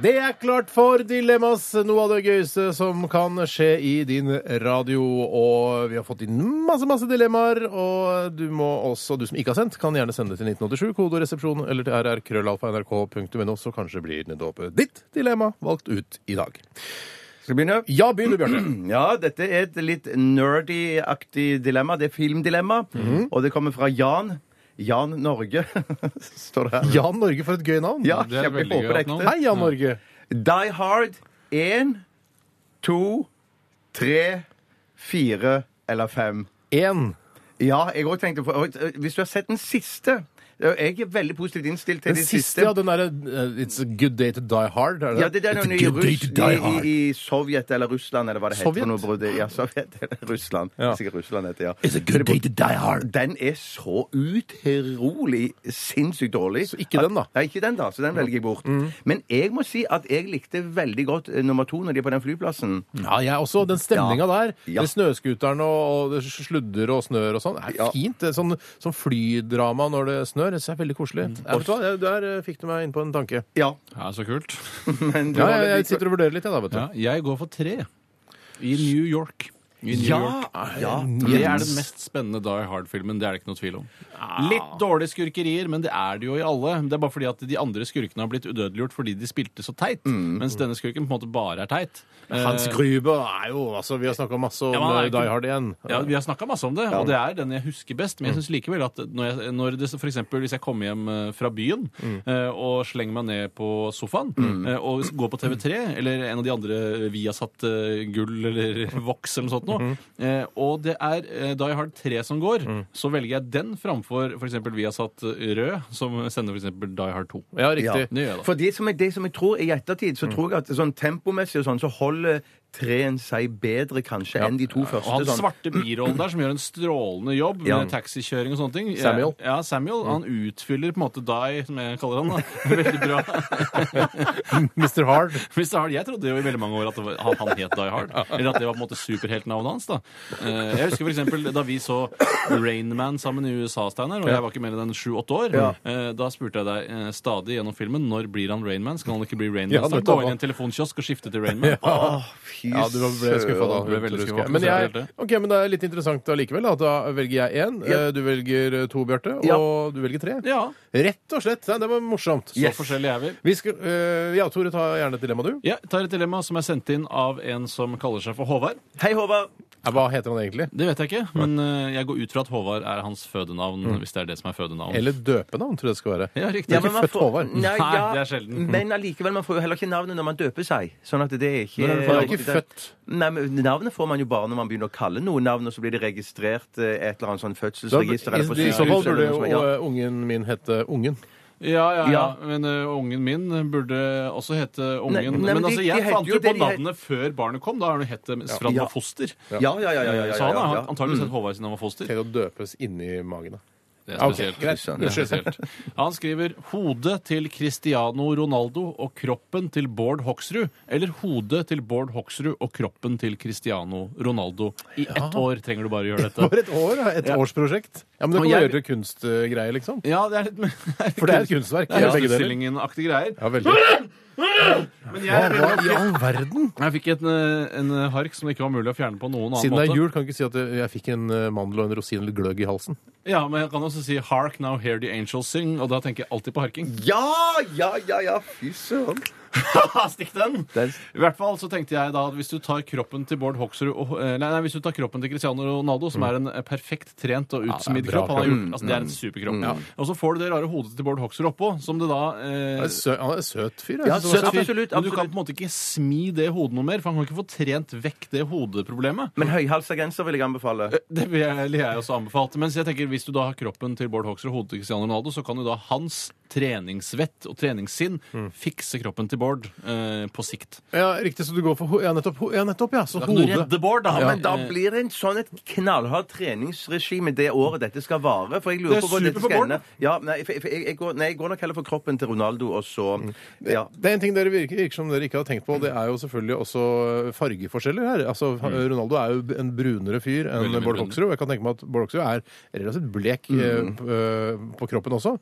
Speaker 2: Det er klart for Dilemmas, noe av det gøyeste som kan skje i din radio. Og vi har fått inn masse, masse dilemmaer, og du må også, du som ikke har sendt, kan gjerne sende det til 1987, kodoresepsjon eller til rrkrøllalfa.nrk.no, så kanskje blir nettopp ditt dilemma valgt ut i dag.
Speaker 4: Skal vi begynne?
Speaker 2: Ja, begynn du, Bjarte.
Speaker 4: Ja, dette er et litt nerdy-aktig dilemma. Det er filmdilemma, og det kommer fra Jan. Jan Norge, (laughs) står det her.
Speaker 2: Jan Norge, for et gøy navn.
Speaker 4: Ja,
Speaker 3: det er
Speaker 4: kjempe-
Speaker 3: veldig gøy
Speaker 4: håper
Speaker 3: at
Speaker 4: det er
Speaker 3: noen-
Speaker 4: ekte.
Speaker 2: Hei, Jan Norge.
Speaker 4: Die Hard 1, 2, 3, 4 eller 5.
Speaker 2: Én.
Speaker 4: Ja, jeg også tenkte på og, eh, Hvis du har sett den siste Jeg er veldig positivt innstilt til
Speaker 2: Den
Speaker 4: de
Speaker 2: siste, ja. Den derre eh, It's a good day to die hard. Er det?
Speaker 4: Ja, det der er noe
Speaker 2: It's
Speaker 4: i,
Speaker 2: a good day
Speaker 4: Russ,
Speaker 2: to die hard.
Speaker 4: i, i, i Sovjet eller Russland, eller hva det heter.
Speaker 2: Sovjet?
Speaker 4: for noe, bror. Ja, Sovjet (laughs) eller Russland. Sikkert Russland heter ja.
Speaker 2: It's a good day to die hard.
Speaker 4: Den er så utrolig sinnssykt dårlig.
Speaker 2: Så ikke den, da. Mm.
Speaker 4: Nei, ikke den, da. Så den velger jeg bort. Men jeg må si at jeg likte veldig godt eh, nummer to når de er på den flyplassen.
Speaker 2: Ja, jeg også. Den stemninga
Speaker 4: Ja.
Speaker 2: der,
Speaker 4: Ja.
Speaker 2: med snøscooteren og, og det sludder og snør og sånn, det er
Speaker 4: Ja.
Speaker 2: fint. Det er sånn, sånn flydrama når det snør. Det er veldig koselig.
Speaker 4: Mm.
Speaker 2: Ja, vet du hva? Jeg- Der eh, fikk du meg inn på en tanke.
Speaker 4: Ja,
Speaker 3: Ja, så kult.
Speaker 4: (laughs) men du
Speaker 2: Ja,
Speaker 4: har
Speaker 2: jeg,
Speaker 4: det
Speaker 2: jeg
Speaker 4: litt-
Speaker 2: sitter og vurderer litt, jeg, da, vet du.
Speaker 3: Ja, jeg går for tre. I New York. I New York.
Speaker 4: ja, ja.
Speaker 3: Det er den mest spennende Die Hard-filmen. Det er det ikke noe tvil om. Litt dårlige skurkerier, men det er det jo i alle. Det er bare fordi at de andre skurkene har blitt udødeliggjort fordi de spilte så teit,
Speaker 2: Mm.
Speaker 3: mens denne skurken på en måte bare er teit.
Speaker 2: Hans
Speaker 3: Eh,
Speaker 2: Gruber er jo altså, Vi har snakka masse om
Speaker 3: Ja, men han er
Speaker 2: eh,
Speaker 3: ikke-
Speaker 2: Die Hard igjen.
Speaker 3: ja, Vi har snakka masse om det, og det er den jeg husker best. Men jeg syns likevel at når, jeg, når det for eksempel hvis jeg kommer hjem eh, fra byen eh, og slenger meg ned på sofaen eh, og går på TV3 eller en av de andre Viasat eh, Gull eller (laughs) Vox eller noe sånt noe, eh, og det er eh, Die Hard 3 som går, så velger jeg den framfor f.eks. Viasat eh, Rød, som sender f.eks. Die Hard 2.
Speaker 2: Ja, riktig.
Speaker 3: Det gjør jeg da.
Speaker 4: For det som, jeg, det som jeg tror i ettertid, så tror jeg at sånn tempomessig og sånn, så holder treen seg bedre kanskje enn de to første.
Speaker 3: Og han
Speaker 4: sånn.
Speaker 3: svarte birollen der, som gjør en strålende jobb med
Speaker 4: Ja.
Speaker 3: taxikjøring og sånne ting.
Speaker 2: Samuel. Mm.
Speaker 3: Ja, Samuel. Han utfyller på en måte Die, som jeg kaller han. da. (laughs) Veldig bra.
Speaker 2: Mr. Hard.
Speaker 3: Mr. Hard, Jeg trodde jo i veldig mange år at det var- at han het Die Hard. Eller at det var på en måte superheltnavnet hans. da. Eh, Jeg husker for eksempel da vi så Rainman sammen i USA, Steinar, og jeg var ikke mer enn sju-åtte år. Eh, Da spurte jeg deg eh, stadig gjennom filmen når blir han Rainman. Skal han ikke bli Rainman?
Speaker 2: Ja,
Speaker 3: Ja,
Speaker 2: nettopp.
Speaker 3: Gå inn i en telefonkiosk og skifte til Rainman.
Speaker 4: Åh, fy
Speaker 2: Ja, du ble skuffa da.
Speaker 4: søren.
Speaker 3: ble
Speaker 2: husker
Speaker 3: veldig
Speaker 2: jeg.
Speaker 3: skuffet.
Speaker 2: Men, jeg,
Speaker 3: Helt
Speaker 2: ok, men det er litt interessant allikevel. Da. da velger jeg én,
Speaker 4: Ja.
Speaker 2: eh, du velger to, Bjarte,
Speaker 4: Ja.
Speaker 2: og du velger tre.
Speaker 3: Ja,
Speaker 2: Rett og slett. Nei, det var morsomt.
Speaker 3: så forskjellig er vi.
Speaker 2: Vi skal, eh, ja, Tore, ta gjerne et dilemma, du.
Speaker 3: Ja, jeg tar et dilemma som er sendt inn av en som kaller seg for Håvard.
Speaker 4: Hei, Håvard.
Speaker 2: Hva heter han egentlig?
Speaker 3: Det vet jeg ikke, men eh, jeg går ut fra at Håvard er hans fødenavn. hvis det er det som er fødenavn.
Speaker 2: Mm. Eller døpenavn, tror jeg det skal være.
Speaker 3: Ja, riktig.
Speaker 4: Ja,
Speaker 2: ikke
Speaker 4: men man
Speaker 2: født
Speaker 4: får-
Speaker 2: Håvard.
Speaker 4: Nei,
Speaker 3: Nei,
Speaker 4: ja,
Speaker 3: det er sjelden.
Speaker 4: (laughs) Men allikevel, man får jo heller ikke navnet når man døper seg. Sånn at det er ikke
Speaker 2: Men han er ikke født.
Speaker 4: Nei, men Navnet får man jo bare når man begynner å kalle noen navn, og så blir det registrert eh, et eller annet sånn
Speaker 2: Da, I,
Speaker 4: fødselsregister eller på
Speaker 2: I så fall
Speaker 4: sykehuset
Speaker 2: burde
Speaker 4: eller
Speaker 2: jo
Speaker 4: noe sånt. Ja.
Speaker 2: eh, ungen min hete Ungen.
Speaker 3: Ja, ja, ja.
Speaker 4: Ja.
Speaker 3: Men eh, ungen min burde også hete Ungen.
Speaker 4: Nei, nei,
Speaker 3: men,
Speaker 4: men de-
Speaker 3: altså,
Speaker 4: de
Speaker 3: jeg
Speaker 4: heter
Speaker 3: fant
Speaker 4: jo
Speaker 3: jo på
Speaker 4: det de het-
Speaker 3: navnet før barnet kom. Da har han hett det mens- fra han
Speaker 4: Ja.
Speaker 3: var foster.
Speaker 2: eh,
Speaker 4: Ja, ja, ja, ja, ja, ja,
Speaker 2: Sånn,
Speaker 3: Så han
Speaker 4: ja, Mm.
Speaker 3: har
Speaker 4: ja.
Speaker 3: antakeligvis hett Håvard siden han var foster.
Speaker 2: Til å døpes inni magen. da.
Speaker 3: Det
Speaker 2: Ja,
Speaker 3: er
Speaker 2: ok,
Speaker 3: spesielt.
Speaker 2: greit.
Speaker 3: Det er spesielt. Han skriver 'Hodet til Cristiano Ronaldo og kroppen til Bård Hoksrud' eller 'Hodet til Bård Hoksrud og kroppen til Cristiano Ronaldo'. I ett år trenger du bare gjøre dette.
Speaker 2: For et år, da. Et årsprosjekt. Ja, Men det
Speaker 3: Og
Speaker 2: kan man gjøre
Speaker 3: jeg-
Speaker 2: til kunstgreier, liksom.
Speaker 3: Ja, det er litt
Speaker 2: For det er et kunstverk.
Speaker 3: Det er
Speaker 2: begge deler.
Speaker 3: utstillingen-aktige greier.
Speaker 2: Ja, veldig.
Speaker 3: Men
Speaker 2: Hva,
Speaker 3: jeg,
Speaker 2: hva i all verden?
Speaker 3: jeg fikk en, eh, en hark som det ikke var mulig å fjerne på noen annen
Speaker 2: Siden det
Speaker 3: måte.
Speaker 2: er jul, kan du ikke si at eh, jeg fikk en eh, mandel og en rosin eller gløgg i halsen?
Speaker 3: Ja, men jeg kan også si
Speaker 4: (laughs)
Speaker 3: 'Hark now, hear the angels sing', og da tenker jeg alltid på harking.
Speaker 4: Ja, ja, ja, ja, fy søren.
Speaker 3: Haha, Stikk den!
Speaker 4: Den-
Speaker 3: I hvert fall så tenkte jeg da at hvis du tar kroppen til Bård Hoksrud og, eh, nei, nei, hvis du tar kroppen til Cristiano Ronaldo,
Speaker 4: Mm.
Speaker 3: som er en eh, perfekt trent og utsmidd
Speaker 2: bra
Speaker 3: kropp han har gjort, altså Det er en superkropp.
Speaker 4: mm.
Speaker 3: Og så får du det rare hodet til Bård Hoksrud oppå, som det da eh,
Speaker 2: Han er sø- han er en søt fyr. jeg.
Speaker 4: Ja,
Speaker 2: Jeg synes han er
Speaker 4: søt
Speaker 2: fyr.
Speaker 4: fyr. absolutt,
Speaker 3: Men du kan
Speaker 4: absolutt.
Speaker 3: på en måte ikke smi det hodet noe mer, for han kan ikke få trent vekk det hodeproblemet.
Speaker 4: Men høyhalsa genser vil jeg anbefale.
Speaker 3: Det vil jeg, ville jeg også anbefalt. Mens jeg tenker, hvis du da har kroppen til Bård Hoksrud og hodet til Cristiano Ronaldo, så kan jo da hans treningsvett og treningssinn
Speaker 2: Mm.
Speaker 3: fikse kroppen til Bård eh, på sikt.
Speaker 2: Ja, riktig, så du går for ho ja, nettopp, ho ja, nettopp, ja. Så
Speaker 3: Da kan du
Speaker 2: hodet.
Speaker 3: redde Bård, da.
Speaker 4: Ja,
Speaker 3: men,
Speaker 4: men da
Speaker 3: eh,
Speaker 4: blir det en sånn et knallhardt treningsregime det året dette skal vare. For jeg lurer
Speaker 3: Det er
Speaker 4: på hvor dette
Speaker 3: super
Speaker 4: skal
Speaker 3: for
Speaker 4: ende. Ja, nei, for- for jeg, jeg, går, nei, jeg går nok heller for kroppen til Ronaldo, og så
Speaker 3: Mm.
Speaker 4: ja.
Speaker 2: Det er en ting dere virker, virker som dere ikke har tenkt på, det er jo selvfølgelig også eh, fargeforskjeller her. Altså, Ronaldo er jo en brunere fyr enn
Speaker 3: Mm. Veldig
Speaker 2: Bård
Speaker 3: mye brunere.
Speaker 2: Hoksrud. og Jeg kan tenke meg at Bård Hoksrud er relativt blek
Speaker 3: Mm.
Speaker 2: eh, p- eh, på kroppen også.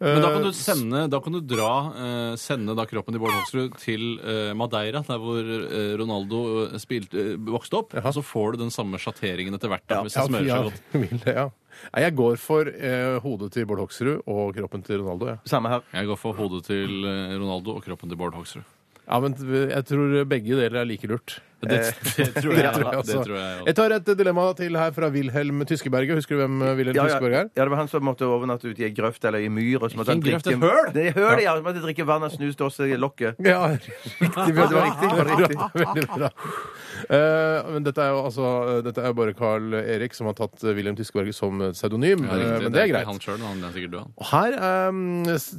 Speaker 3: men da kan
Speaker 2: Eh,
Speaker 3: du sende, da kan du dra, eh, sende da kroppen til Bård Hoksrud til eh, Madeira, der hvor eh, Ronaldo eh, spilte, eh, vokste opp. Og så får du den samme sjatteringen etter hvert. Da, hvis det
Speaker 2: Ja,
Speaker 3: smører
Speaker 2: ja,
Speaker 3: seg godt.
Speaker 2: (laughs) vil det, ja. Nei, jeg går for eh, hodet til Bård Hoksrud og kroppen til Ronaldo, ja.
Speaker 4: Samme her.
Speaker 3: Jeg går for hodet til eh, Ronaldo og kroppen til Bård Hoksrud.
Speaker 2: ja. Men jeg tror begge deler er like lurt.
Speaker 3: Det, det tror
Speaker 2: Det Eh, (laughs) tror
Speaker 3: jeg.
Speaker 2: jeg
Speaker 3: ja,
Speaker 2: også.
Speaker 3: det tror jeg også.
Speaker 2: Jeg tar altså. et dilemma til her fra Wilhelm Tyskeberget. Husker du hvem eh, Wilhelm
Speaker 4: Ja, ja,
Speaker 2: Tyskeberg er?
Speaker 4: ja, det var han som måtte overnatte ute i ei grøft eller i myr. Og så måtte han
Speaker 3: Ikke en grøft,
Speaker 4: drikke
Speaker 3: et høl!
Speaker 4: Det er høl, ja. Så måtte han drikke vann av snus til oss i lokket.
Speaker 2: (laughs) Ja, riktig.
Speaker 4: Ja, det var riktig, det var riktig.
Speaker 2: (laughs) Veldig bra. Eh, men dette er jo altså, eh, dette er jo bare Carl Erik som har tatt eh, Wilhelm Tyskeberget som eh, pseudonym.
Speaker 3: Ja, riktig.
Speaker 2: eh, men det er
Speaker 3: ikke
Speaker 2: greit.
Speaker 3: Han selv, han er sikkert du, han.
Speaker 2: Og her eh, s-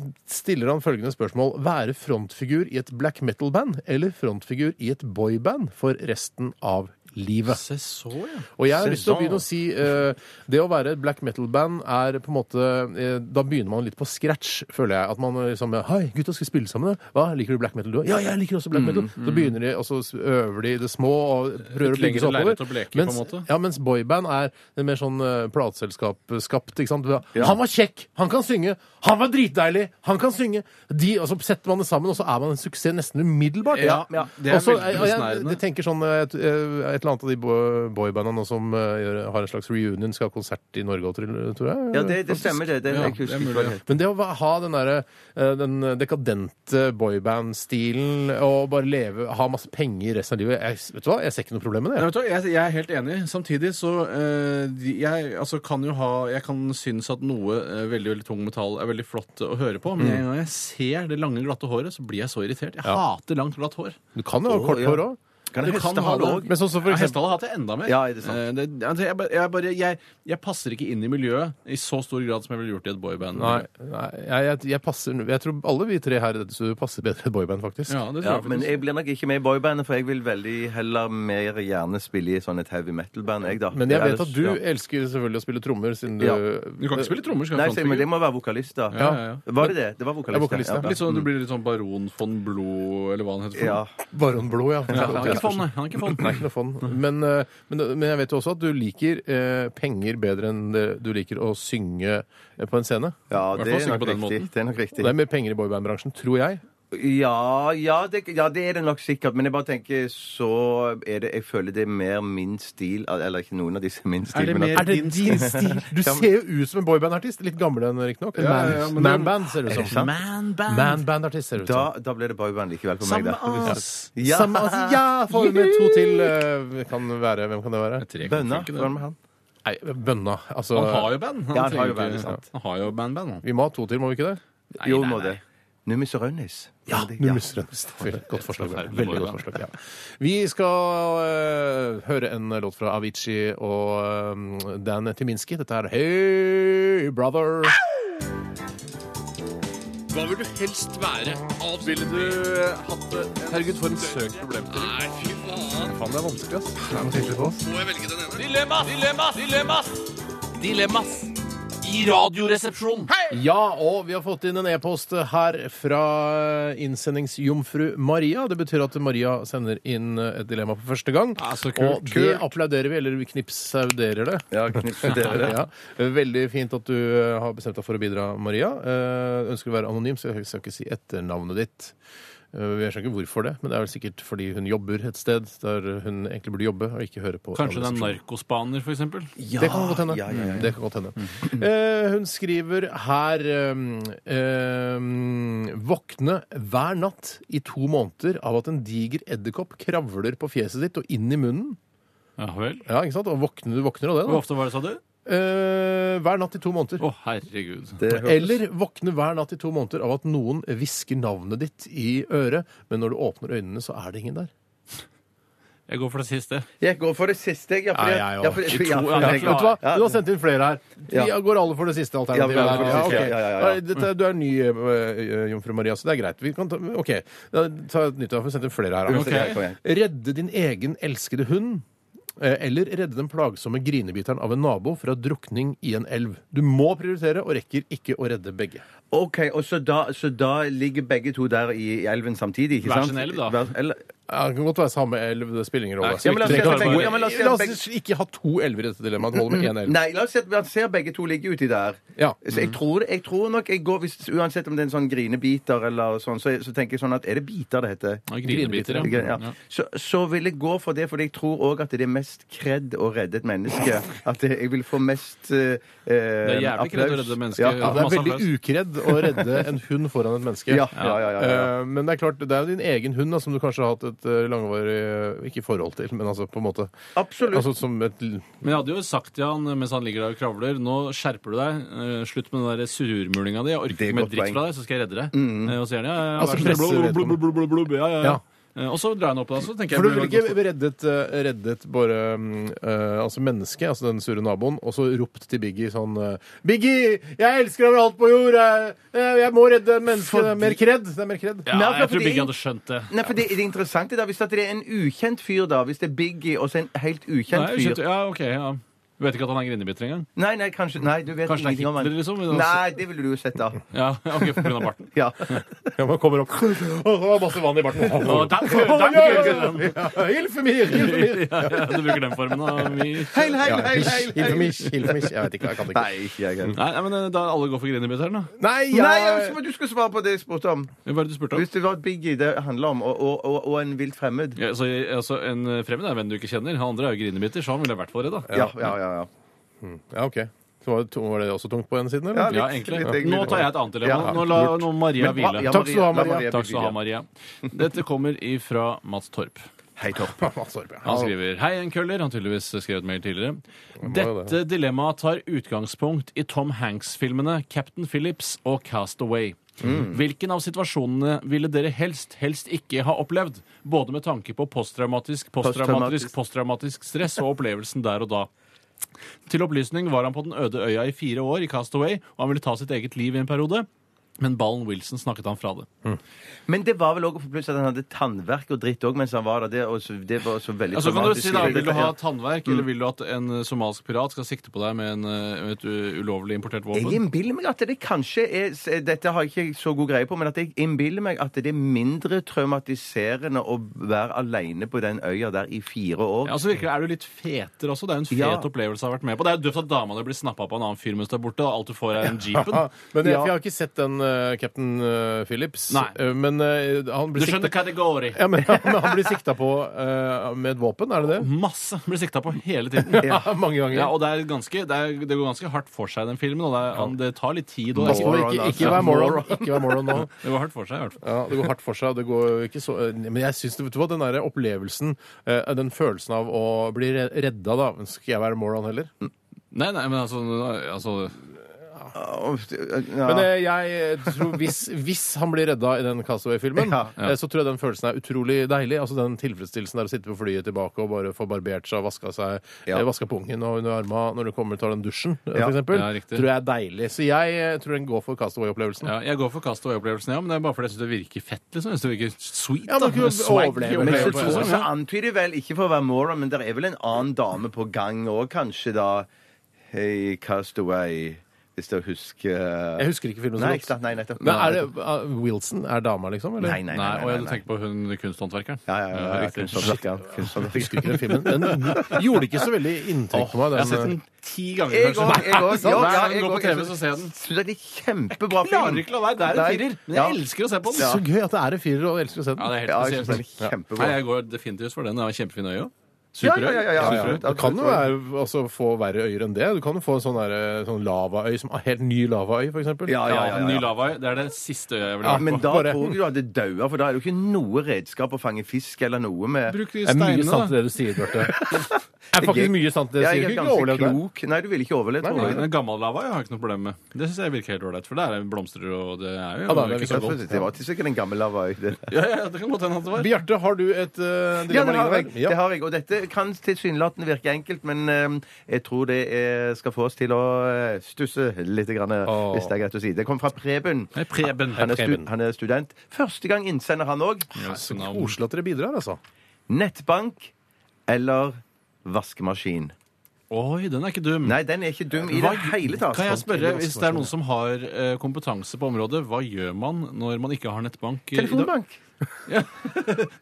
Speaker 2: stiller han følgende spørsmål. Være frontfigur i et black metal-band eller frontfigur i et boyband for resten av livet?
Speaker 3: Se så, ja.
Speaker 2: Og jeg har lyst til å
Speaker 4: Sesong.
Speaker 2: begynne å si eh, Det å være et black metal-band er på en måte eh, Da begynner man litt på scratch, føler jeg. At man eh, liksom Hei, gutta, skal vi spille sammen? da? Hva, liker du black metal, du òg? Ja, jeg liker også
Speaker 3: Mm,
Speaker 2: black metal. Så begynner de, og så s- øver de i det små og prøver å
Speaker 3: Et
Speaker 2: bygge seg
Speaker 3: lengre lerret å
Speaker 2: oppover.
Speaker 3: bleke, på en
Speaker 2: mens,
Speaker 3: måte.
Speaker 2: ja, mens boyband er det mer sånn uh, plateselskapsskapt, ikke sant. Han var kjekk! Han kan synge! Han var dritdeilig! Han kan synge! De, og så setter man det sammen, og så er man en suksess nesten umiddelbart.
Speaker 4: Ja, ja.
Speaker 3: Det er
Speaker 2: Også,
Speaker 3: veldig
Speaker 2: jeg, jeg,
Speaker 3: besnærende.
Speaker 2: jeg tenker sånn eh, et, eh, et eller annet av de bo- boybandene nå som eh, gjør, har en slags reunion, skal ha konsert i Norge òg, tror jeg.
Speaker 4: Ja, det, det stemmer, det. det,
Speaker 3: Ja,
Speaker 4: jeg
Speaker 3: det er
Speaker 4: husker ikke
Speaker 3: mulig,
Speaker 4: hva det
Speaker 3: ja.
Speaker 4: het.
Speaker 2: Men det å va- ha den derre eh, den dekadente boyband-stilen og bare leve, ha masse penger resten av livet jeg, Vet du hva, jeg ser ikke noe problem med
Speaker 3: Nei,
Speaker 2: det.
Speaker 3: vet du, hva, jeg, jeg er helt enig. Samtidig så eh, de- jeg, altså, kan jo ha, jeg kan synes at noe eh, veldig veldig tung metall er veldig flott å høre på, men
Speaker 4: Mm.
Speaker 3: en gang jeg ser det lange, glatte håret, så blir jeg så irritert. Jeg hater langt, glatt hår.
Speaker 2: Du kan jo ha kort
Speaker 4: ja.
Speaker 2: hår òg.
Speaker 4: Kan
Speaker 3: Du
Speaker 4: jeg
Speaker 3: kan
Speaker 4: heste
Speaker 3: ha
Speaker 4: ha
Speaker 3: det
Speaker 4: det
Speaker 3: også.
Speaker 4: òg?
Speaker 2: Men sånn som for
Speaker 3: Ja,
Speaker 2: eksempel
Speaker 3: Hestehale hater jeg enda mer.
Speaker 4: Ja, er det sant?
Speaker 3: Eh, det- altså, jeg, bare- jeg, bare, jeg, jeg passer ikke inn i miljøet i så stor grad som jeg ville gjort i et boyband.
Speaker 2: Nei, nei jeg, jeg, jeg passer Jeg tror alle vi tre her i dette studioet passer bedre i et boyband, faktisk.
Speaker 3: Ja, det tror
Speaker 4: Ja,
Speaker 3: jeg
Speaker 4: men
Speaker 3: faktisk.
Speaker 4: jeg blir nok ikke med i boybandet, for jeg vil veldig heller mer gjerne spille i sånn et heavy metal-band, jeg, da.
Speaker 2: Men jeg
Speaker 4: Det er
Speaker 2: vet
Speaker 4: det-
Speaker 2: at du
Speaker 4: ja.
Speaker 2: elsker selvfølgelig å spille trommer, siden du eh,
Speaker 4: Ja.
Speaker 3: Du kan ikke spille trommer. skal
Speaker 4: Nei,
Speaker 3: jeg
Speaker 4: se, men det må være vokalist, da.
Speaker 3: Ja, ja, ja.
Speaker 4: Var det det? Det var vokalist.
Speaker 2: Ja, vokalist, ja.
Speaker 3: Litt sånn, Du blir litt sånn baron von Blod, eller hva han heter. for noe.
Speaker 4: Ja.
Speaker 2: Baron Blod, ja.
Speaker 3: Ja, han er ikke fond, nei. Han er ikke fond.
Speaker 2: Nei, ikke noe fond. Men, eh, men, men jeg vet jo også at du liker eh, penger bedre enn det du liker å synge eh, på en scene.
Speaker 4: ja,
Speaker 3: Hvertfall
Speaker 4: det er
Speaker 3: synge
Speaker 4: nok
Speaker 3: på den
Speaker 4: riktig.
Speaker 3: måten.
Speaker 4: Det er nok riktig.
Speaker 2: Det er mer penger i boybandbransjen, tror jeg.
Speaker 4: Ja, ja, det, ja, det er det nok sikkert. Men jeg bare tenker så er det Jeg føler det er mer min stil Eller ikke noen av disse er min stil.
Speaker 3: det
Speaker 4: men
Speaker 3: mer-
Speaker 4: at,
Speaker 2: Er det din stil? Du ser jo ut som en boybandartist. Litt gamlere enn riktignok.
Speaker 3: Ja, ja, ja, men det-
Speaker 2: Man-band, ser du ut som.
Speaker 3: Man band.
Speaker 2: Man-bandartist, ser du ut
Speaker 4: da,
Speaker 2: som.
Speaker 4: da blir det boyband likevel på meg.
Speaker 3: Samme
Speaker 4: Da.
Speaker 3: as.
Speaker 4: Ja.
Speaker 2: Samme, altså, ja, får med to til. eh, kan være, hvem kan det være?
Speaker 3: Tre
Speaker 4: Bønna.
Speaker 3: konflikter, det.
Speaker 4: Hva med han?
Speaker 2: Nei, Bønna. Altså,
Speaker 3: Han har jo band.
Speaker 4: Ja, han har jo
Speaker 3: trenger
Speaker 4: band,
Speaker 3: ikke-
Speaker 4: sant.
Speaker 3: Han har jo band, band. han.
Speaker 2: vi må ha to til, må vi ikke det?
Speaker 4: jo,
Speaker 3: nei,
Speaker 4: må
Speaker 3: nei.
Speaker 4: det. Nummis og Raunis.
Speaker 2: Ja,
Speaker 4: det-
Speaker 2: Nummis (laughs) Rønnestad. Godt forslag.
Speaker 3: Forferdelig
Speaker 2: Veldig godt
Speaker 3: boyband.
Speaker 2: forslag. Ja. Vi skal eh, høre en låt fra Avicii og eh, Dan Timinski. Dette er Hey Brother.
Speaker 5: Hva vil du helst være? Avspiller
Speaker 3: Herregud, for en søk problemstilling.
Speaker 5: Nei, fy faen.
Speaker 2: Faen, det er vanskelig, ass. Det er noe tydelig på oss.
Speaker 5: Må jeg velge den ene? Dilemmas! Dilemmas! Dilemmas! Dilemmas i Radioresepsjonen.
Speaker 2: Ja, og vi har fått inn en e-post her fra innsendingsjomfru Maria. Det betyr at Maria sender inn et dilemma for første gang.
Speaker 3: Ja, så kult.
Speaker 2: og det applauderer vi, eller vi knipsauderer det.
Speaker 3: (laughs)
Speaker 4: Ja, knipse dere det.
Speaker 2: Ja. Veldig fint at du eh, har bestemt deg for å bidra, Maria. Eh, Ønsker å være anonym, så jeg skal ikke si etternavnet ditt. Eh, Jeg skjønner ikke hvorfor det, men det er vel sikkert fordi hun jobber et sted der hun egentlig burde jobbe, og ikke høre på
Speaker 3: Kanskje det er
Speaker 2: radioresepsjonen.
Speaker 3: narkospaner, for eksempel?
Speaker 2: det kan godt hende. Det kan godt hende. Eh, hun skriver her eh, eh, Våkne hver natt i to måneder av at en diger edderkopp kravler på fjeset ditt og inn i munnen.
Speaker 3: Ja vel.
Speaker 2: Ja, ikke sant? Og våkne, du våkner av det,
Speaker 3: Hvor
Speaker 2: da.
Speaker 3: ofte var det, sa du?
Speaker 2: Eh, hver natt i to måneder.
Speaker 3: Å, herregud.
Speaker 4: Det høres-
Speaker 2: Eller våkne hver natt i to måneder av at noen hvisker navnet ditt i øret, men når du åpner øynene, så er det ingen der.
Speaker 3: Jeg går for det siste.
Speaker 4: Jeg går for det siste, jeg. Ja, fordi-
Speaker 2: Nei, jeg
Speaker 4: ja,
Speaker 2: òg.
Speaker 4: fordi-
Speaker 3: I
Speaker 4: for- ja,
Speaker 3: to-
Speaker 4: for-
Speaker 3: ja,
Speaker 2: Vet
Speaker 4: jeg-
Speaker 2: du hva?
Speaker 4: ja,
Speaker 2: Du har sendt inn flere her. Vi
Speaker 4: Ja.
Speaker 2: går alle for det siste alternativet.
Speaker 4: Ja, vi går for det
Speaker 2: Ja,
Speaker 4: siste.
Speaker 2: ok.
Speaker 4: Ja, ja, ja, ja.
Speaker 2: Nei, Dette, du er ny, eh, jomfru Maria, så det er greit. Vi kan ta, OK. Da, ta et nytt. Da får vi sendt inn flere her. da.
Speaker 4: Kom igjen, kom igjen.
Speaker 2: Redde din egen elskede hund. eh, Eller redde den plagsomme grinebiteren av en nabo fra drukning i en elv. Du må prioritere, og rekker ikke å redde begge.
Speaker 4: OK, og så da, så da ligger begge to der i elven samtidig, ikke
Speaker 3: Hver
Speaker 4: sant?
Speaker 3: sin elv, da.
Speaker 4: Hver- eller-
Speaker 2: Ja, det kan godt være samme elv, det spiller ingen rolle.
Speaker 3: Ja, men la oss
Speaker 2: Vi
Speaker 3: si
Speaker 2: trenger
Speaker 3: at begge-
Speaker 4: ja, men la oss si
Speaker 2: ikke-
Speaker 4: at
Speaker 2: la
Speaker 4: begge- Mm.
Speaker 2: oss ikke ha to elver i dette dilemmaet. Det holder med én elv.
Speaker 4: Nei, la oss si at man ser begge to ligge uti der.
Speaker 2: Ja.
Speaker 4: Så
Speaker 3: Mhm.
Speaker 4: jeg tror, jeg tror nok jeg går, hvis, Uansett om det er en sånn grinebiter eller sånn, så, så tenker jeg sånn at Er det biter det heter?
Speaker 3: Ja, Grinebiter,
Speaker 4: Grin-
Speaker 3: ja.
Speaker 4: Ja. Så, så vil jeg gå for det, for jeg tror òg at det er mest kred å redde et menneske.
Speaker 3: (laughs)
Speaker 4: At jeg jeg vil få mest eh,
Speaker 3: Det er jævlig kredd å redde mennesker.
Speaker 4: Ja,
Speaker 2: Ja, det er
Speaker 3: Masse
Speaker 2: veldig
Speaker 3: applaus.
Speaker 2: ukredd å redde en hund foran et menneske.
Speaker 4: (laughs) Ja, ja, ja, ja, ja.
Speaker 2: Eh, Men det er klart, det er jo din egen hund da, som du kanskje har hatt et eh, langvarig eh, Ikke forhold til, men altså på en måte
Speaker 4: Absolutt.
Speaker 2: Altså som et l-
Speaker 3: Men jeg hadde jo sagt til han mens han ligger der og kravler Nå skjerper du deg. eh, Slutt med den der surmulinga di. Jeg orker
Speaker 4: Det er
Speaker 3: ikke mer
Speaker 4: godt
Speaker 3: dritt
Speaker 4: poeng. Mm.
Speaker 3: fra deg, så skal jeg redde deg. Eh, Og så gjerne, ja, ja,
Speaker 2: Altså,
Speaker 3: vær så
Speaker 2: presser
Speaker 3: snill,
Speaker 2: vedkommende.
Speaker 3: blub, blub, blub, blub, blub, ja, ja, ja.
Speaker 2: Ja.
Speaker 3: Eh, Og så drar jeg den opp, da. Så tenker jeg
Speaker 2: For du
Speaker 3: blir
Speaker 2: ville
Speaker 3: godt-
Speaker 2: ikke reddet, eh, reddet bare mm, eh, altså mennesket, altså den sure naboen, og så ropt til Biggie sånn eh, Biggie! Jeg elsker deg over alt på jord! Jeg, jeg må redde mennesket! Det er mer kredd! Det er mer kredd.
Speaker 3: ja,
Speaker 4: Nei,
Speaker 3: Jeg
Speaker 4: fordi-
Speaker 3: tror Biggie hadde skjønt det.
Speaker 4: Nei, for det, det interessante da, Hvis at det er en ukjent fyr, da Hvis det er Biggie og så en helt ukjent
Speaker 3: Nei,
Speaker 4: fyr
Speaker 3: skjønt, ja, ok, ja. Du vet ikke at han er grinebiter engang?
Speaker 4: Nei, nei, kanskje Nei, du vet
Speaker 3: Kanskje det er
Speaker 4: ingenting om han.
Speaker 3: Hitler, liksom, men altså-
Speaker 4: Nei, det ville du jo sett, da.
Speaker 3: (laughs) Ja, ok, på grunn av barten.
Speaker 4: Ja.
Speaker 2: (laughs) Ja, man
Speaker 4: (laughs)
Speaker 2: kommer opp Og så var det masse vann i barten.
Speaker 3: Å, takk, takk, takk.
Speaker 2: (laughs) Ja, Hilf mir! Hilf mir!
Speaker 3: Ja, ja, (laughs) du bruker den formen av mye.
Speaker 4: Heil, heil,
Speaker 2: Ja,
Speaker 4: heil,
Speaker 2: hilf,
Speaker 4: heil,
Speaker 2: hilf
Speaker 4: heil.
Speaker 2: mich, hilf mich. Jeg vet ikke, jeg kan ikke.
Speaker 4: Nei, ikke jeg heller.
Speaker 3: Nei, nei, men eh, da alle går for grinebiteren, da.
Speaker 2: Nei,
Speaker 4: Nei, jeg ønsker at du skulle svare på det jeg spurte om.
Speaker 3: Hva var det du spurte om?
Speaker 4: Hvis det var Biggie det handler om, og, og, og, og en vilt fremmed.
Speaker 3: Ja, så, altså, en eh, fremmed er en venn du ikke kjenner. Han andre er jo grinebiter, så han ville jeg vært for redd, da.
Speaker 4: Ja, ja, ja. ja.
Speaker 2: Ja, ok. Så var, det, to- var det også tungt på ene siden, eller?
Speaker 4: Ja, litt-
Speaker 3: Ja, egentlig.
Speaker 4: litt egentlig.
Speaker 3: Nå tar jeg et annet dilemma.
Speaker 4: Ja,
Speaker 3: Nå la nå Maria
Speaker 4: Men hva-
Speaker 3: hvile.
Speaker 4: ja,
Speaker 2: Takk skal du ha,
Speaker 4: la
Speaker 2: Maria.
Speaker 3: Takk skal du ha,
Speaker 4: bli
Speaker 3: Maria. Dette kommer ifra Mats Torp.
Speaker 4: Hei, Torp.
Speaker 2: Mats Orp, ja.
Speaker 3: Han skriver Hei, en køller. Han tydeligvis skrevet mail tidligere.
Speaker 2: jo det.
Speaker 3: Dette dilemmaet tar utgangspunkt i Tom Hanks-filmene Captain Phillips og Castaway.
Speaker 2: Mm.
Speaker 3: Hvilken av situasjonene ville dere helst, helst ikke ha opplevd? Både med tanke på posttraumatisk, posttraumatisk,
Speaker 4: Posttraumatisk.
Speaker 3: posttraumatisk stress og opplevelsen der og da. Til opplysning var han på den øde øya i fire år i Castaway, og han ville ta sitt eget liv i en periode. Men ballen Wilson snakket han fra det.
Speaker 4: (laughs) Men det var vel òg pluss at han hadde tannverk og dritt òg mens han var der. Det, og så, det var så veldig
Speaker 3: Ja, så Altså, kan du
Speaker 4: traumatisk.
Speaker 3: si da, Vil du ha
Speaker 4: Ja. Mm.
Speaker 3: tannverk, eller vil du at en eh, somalisk pirat skal sikte på deg med en, eh, med et u- ulovlig importert
Speaker 4: Jeg
Speaker 3: våpen?
Speaker 4: innbiller meg at det kanskje er Dette har jeg ikke så god greie på, men at jeg innbiller meg at det er mindre traumatiserende å være aleine på den øya der i fire år.
Speaker 3: Ja,
Speaker 2: altså-
Speaker 3: så virker det, Er du litt fetere også? Det er jo en fet
Speaker 4: Ja.
Speaker 3: opplevelse jeg har vært med på. Det er jo døvt at dama di blir snappa på en annen fyr mens du er borte. og Alt du får, er
Speaker 4: (laughs)
Speaker 3: en jeepen.
Speaker 2: Ah, men jeg,
Speaker 4: Ja.
Speaker 2: jeg har ikke sett den eh, Captain eh, Phillips.
Speaker 3: Nei.
Speaker 2: Eh, men eh, han
Speaker 3: Du
Speaker 2: blir
Speaker 3: skjønner
Speaker 2: sikta
Speaker 3: kategori.
Speaker 2: ja, men, (laughs) ja, men han blir sikta på eh, med et våpen, er det det?
Speaker 3: Masse blir sikta på hele
Speaker 4: (laughs)
Speaker 3: tiden.
Speaker 2: Ja, (laughs) mange ganger.
Speaker 3: Ja, og det, er ganske, det, er, det går ganske hardt for seg, den filmen. Og det, er, han- det tar litt tid. Og det,
Speaker 2: Pass på,
Speaker 3: er
Speaker 2: det,
Speaker 3: ikke-
Speaker 2: ikke,
Speaker 4: Moron,
Speaker 2: ikke
Speaker 4: altså.
Speaker 2: vær moron. Ikke vær
Speaker 4: Moron.
Speaker 2: moron nå.
Speaker 3: det går hardt for seg, i hvert fall.
Speaker 2: Ja, Det går hardt for seg. og Det går ikke så, men jeg syns det, vet du hva, den der opplevelsen, eh, den følelsen av å bli re- redda, da Skal jeg være moron heller?
Speaker 3: Nei, nei, men altså, altså
Speaker 4: Ja.
Speaker 2: Men eh, jeg tror hvis, (laughs) hvis han blir redda i den Castaway-filmen,
Speaker 4: Ja.
Speaker 2: eh, så tror jeg den følelsen er utrolig deilig. Altså den tilfredsstillelsen der å sitte på flyet tilbake og bare få barbert seg og vaska seg
Speaker 4: Ja.
Speaker 2: eh, vaska pungen og under arma når du kommer og tar den dusjen, eh,
Speaker 4: Ja.
Speaker 2: for eksempel,
Speaker 3: Ja, riktig.
Speaker 2: tror jeg er deilig. Så jeg eh, tror den går for Castaway-opplevelsen.
Speaker 3: Ja, jeg går for Castaway-opplevelsen, ja, men det er bare fordi jeg syns det virker fett. liksom. Jeg synes det virker sweet.
Speaker 2: Ja, man
Speaker 3: da.
Speaker 2: kunne
Speaker 3: Swag
Speaker 2: overleve
Speaker 4: Men
Speaker 2: det
Speaker 4: så,
Speaker 2: på en
Speaker 4: tror,
Speaker 2: måte.
Speaker 3: opplevelsen,
Speaker 4: så
Speaker 3: ja.
Speaker 4: antyder vel, ikke for å være moron, men det er vel en annen dame på gang òg, kanskje, da. Hey, Castaway. hvis jeg husker
Speaker 2: Jeg husker ikke filmen så
Speaker 4: Nei,
Speaker 2: godt.
Speaker 4: ikke sant? Nei, nettopp.
Speaker 2: Men er det uh, Wilson er dama, liksom? Eller?
Speaker 4: Nei, nei, nei.
Speaker 3: Nei, og
Speaker 4: nei,
Speaker 3: jeg
Speaker 4: nei.
Speaker 3: tenker på hun kunsthåndverkeren.
Speaker 4: Ja, ja, ja, ja, sånn-
Speaker 3: riktig.
Speaker 4: kunsthåndverkeren, kunsthåndverkeren.
Speaker 2: Jeg husker ikke den filmen. Den gjorde ikke så veldig inntrykk på meg.
Speaker 3: Jeg har
Speaker 2: Den,
Speaker 3: sett den ti ganger,
Speaker 4: Jeg
Speaker 3: kanskje.
Speaker 4: òg.
Speaker 3: (laughs)
Speaker 4: Jeg
Speaker 3: Nei,
Speaker 4: òg.
Speaker 3: sant? Hver gang
Speaker 4: jeg sånn-
Speaker 3: den går på
Speaker 4: også.
Speaker 3: TV, så ser jeg den.
Speaker 4: Syns det er en kjempebra film.
Speaker 3: Klarer ikke la være. Det er en
Speaker 4: Nei.
Speaker 3: firer. Men
Speaker 4: Ja.
Speaker 3: jeg elsker å se på den.
Speaker 2: eh, Så gøy at det er en firer, og jeg elsker å se den.
Speaker 3: Ja, det er
Speaker 4: Ja, jeg
Speaker 3: helt
Speaker 4: synes den
Speaker 3: spesielt.
Speaker 4: er kjempebra.
Speaker 3: Nei, jeg går definitivt for den. Det var kjempefin øye òg.
Speaker 4: Ja,
Speaker 3: Superøy.
Speaker 4: ja, ja, ja, ja,
Speaker 3: Superøy.
Speaker 4: absolutt,
Speaker 2: Du kan jo
Speaker 4: absolutt.
Speaker 2: være, altså, få verre øyer enn det. Du kan jo få en sånn, der, sånn lavaøy, som helt ny lavaøy, for eksempel.
Speaker 4: Ja, ja, ja, ja,
Speaker 3: Ny
Speaker 4: ja.
Speaker 3: lavaøy. Det er det siste øyet jeg ville
Speaker 4: Ja,
Speaker 3: vært
Speaker 4: men
Speaker 3: på.
Speaker 4: da
Speaker 2: Bare-
Speaker 4: tror jeg du hadde daua, for da er det jo ikke noe redskap å fange fisk eller noe med.
Speaker 3: Bruk de
Speaker 2: Det er mye
Speaker 3: steinene,
Speaker 2: sant i
Speaker 3: da.
Speaker 2: det du sier, Bjarte. Det er faktisk mye sant i det du
Speaker 4: Ja,
Speaker 2: sier. Du
Speaker 4: jeg er
Speaker 2: kunne ikke
Speaker 4: ganske
Speaker 2: overlevd det.
Speaker 4: klok. Nei, du ville ikke overlevd.
Speaker 2: Nei,
Speaker 4: tror jeg.
Speaker 3: Den gammel lavaøy har jeg ikke noe problem med. Det syns jeg virker helt ålreit, for der er blomster og det er jo
Speaker 2: Ja, da, det er
Speaker 3: ikke så
Speaker 4: Ja, for
Speaker 3: godt.
Speaker 4: Det liksom- var ikke sikkert en gammel lavaøy. det.
Speaker 3: Ja, ja, det kan godt hende at det var.
Speaker 2: Bjarte, har du et eh,
Speaker 4: Ja,
Speaker 2: dilemma
Speaker 4: det har, jeg.
Speaker 2: liggende der?
Speaker 4: det har jeg. Og dette kan tilsynelatende virke enkelt, men eh, jeg tror det eh, skal få oss til å eh, stusse litt, grann, eh,
Speaker 2: Åh.
Speaker 4: hvis det er greit å si. Det kom fra Preben.
Speaker 3: Nei, Preben.
Speaker 4: Han er, stu
Speaker 2: Preben.
Speaker 4: han er student. Første gang innsender han òg.
Speaker 3: Ja,
Speaker 2: Så
Speaker 3: så navn.
Speaker 2: koselig at dere bidrar, altså.
Speaker 4: Nettbank eller vaskemaskin?
Speaker 3: Oi, den er ikke dum.
Speaker 4: Nei, den er ikke dum i det hele tatt.
Speaker 3: Kan jeg spørre, hvis det er noen som har eh, kompetanse på området, hva gjør man når man ikke har nettbank? eh, i dag?
Speaker 4: Telefonbank.
Speaker 3: Nei,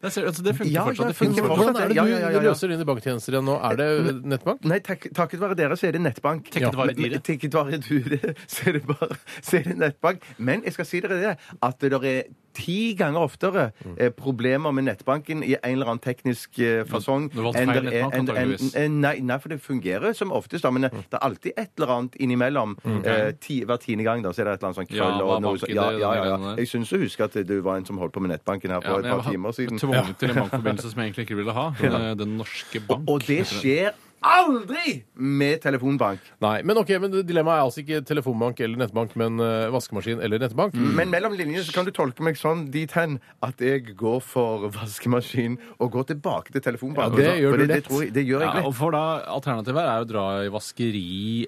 Speaker 3: ser du, altså, det funker
Speaker 4: Ja, ja,
Speaker 3: fortsatt. Det funker
Speaker 4: funker fortsatt.
Speaker 3: fortsatt.
Speaker 2: Hvordan er det
Speaker 4: Ja, ja, ja, ja.
Speaker 2: du løser dine banktjenester igjen nå? Er det nettbank?
Speaker 4: Nei, takk, takket være dere så er det nettbank.
Speaker 3: Takket være
Speaker 4: Men-
Speaker 3: dere.
Speaker 4: men Takket være dere (laughs) så er det bare så er det nettbank. Men jeg skal si dere det, at det er ti ganger oftere
Speaker 3: Mm.
Speaker 4: eh, problemer med nettbanken i en eller annen teknisk eh, fasong
Speaker 3: Du valgte
Speaker 4: enn
Speaker 3: feil
Speaker 4: det er-
Speaker 3: nettbank,
Speaker 4: enn- enn-
Speaker 3: antageligvis. Mm.
Speaker 4: eh, Nei, nei, for det fungerer som oftest, da, men eh, det er alltid et eller annet innimellom. Eh, ti, hver tiende gang da, så er det et eller annet sånn
Speaker 3: Ja,
Speaker 4: krøll
Speaker 3: hva
Speaker 4: og noe
Speaker 3: bank
Speaker 4: sånt.
Speaker 3: i
Speaker 4: Ja,
Speaker 3: det,
Speaker 4: ja,
Speaker 3: den
Speaker 4: ja,
Speaker 3: gangen der?
Speaker 4: ja. Jeg syns å huske at eh, du var en som holdt på med nettbanken
Speaker 3: Ja,
Speaker 4: her for
Speaker 3: men
Speaker 4: et par
Speaker 3: jeg
Speaker 4: timer
Speaker 3: var
Speaker 4: siden.
Speaker 3: tvunget til en bankforbindelse som jeg egentlig ikke ville ha. eh, Den norske bank.
Speaker 4: Og det skjer aldri med telefonbank.
Speaker 2: Nei, men ok, men Dilemmaet er altså ikke telefonbank eller nettbank, men eh, vaskemaskin eller nettbank.
Speaker 4: Men mellom linjene så kan du tolke meg sånn dit hen at jeg går for vaskemaskin og går tilbake til telefonbanken.
Speaker 2: Ja, det gjør
Speaker 4: For
Speaker 2: du
Speaker 4: det,
Speaker 2: lett.
Speaker 4: Det, tror jeg, det gjør
Speaker 3: Ja,
Speaker 4: jeg
Speaker 3: og
Speaker 4: lett.
Speaker 3: for da, Alternativet her er å dra i vaskeri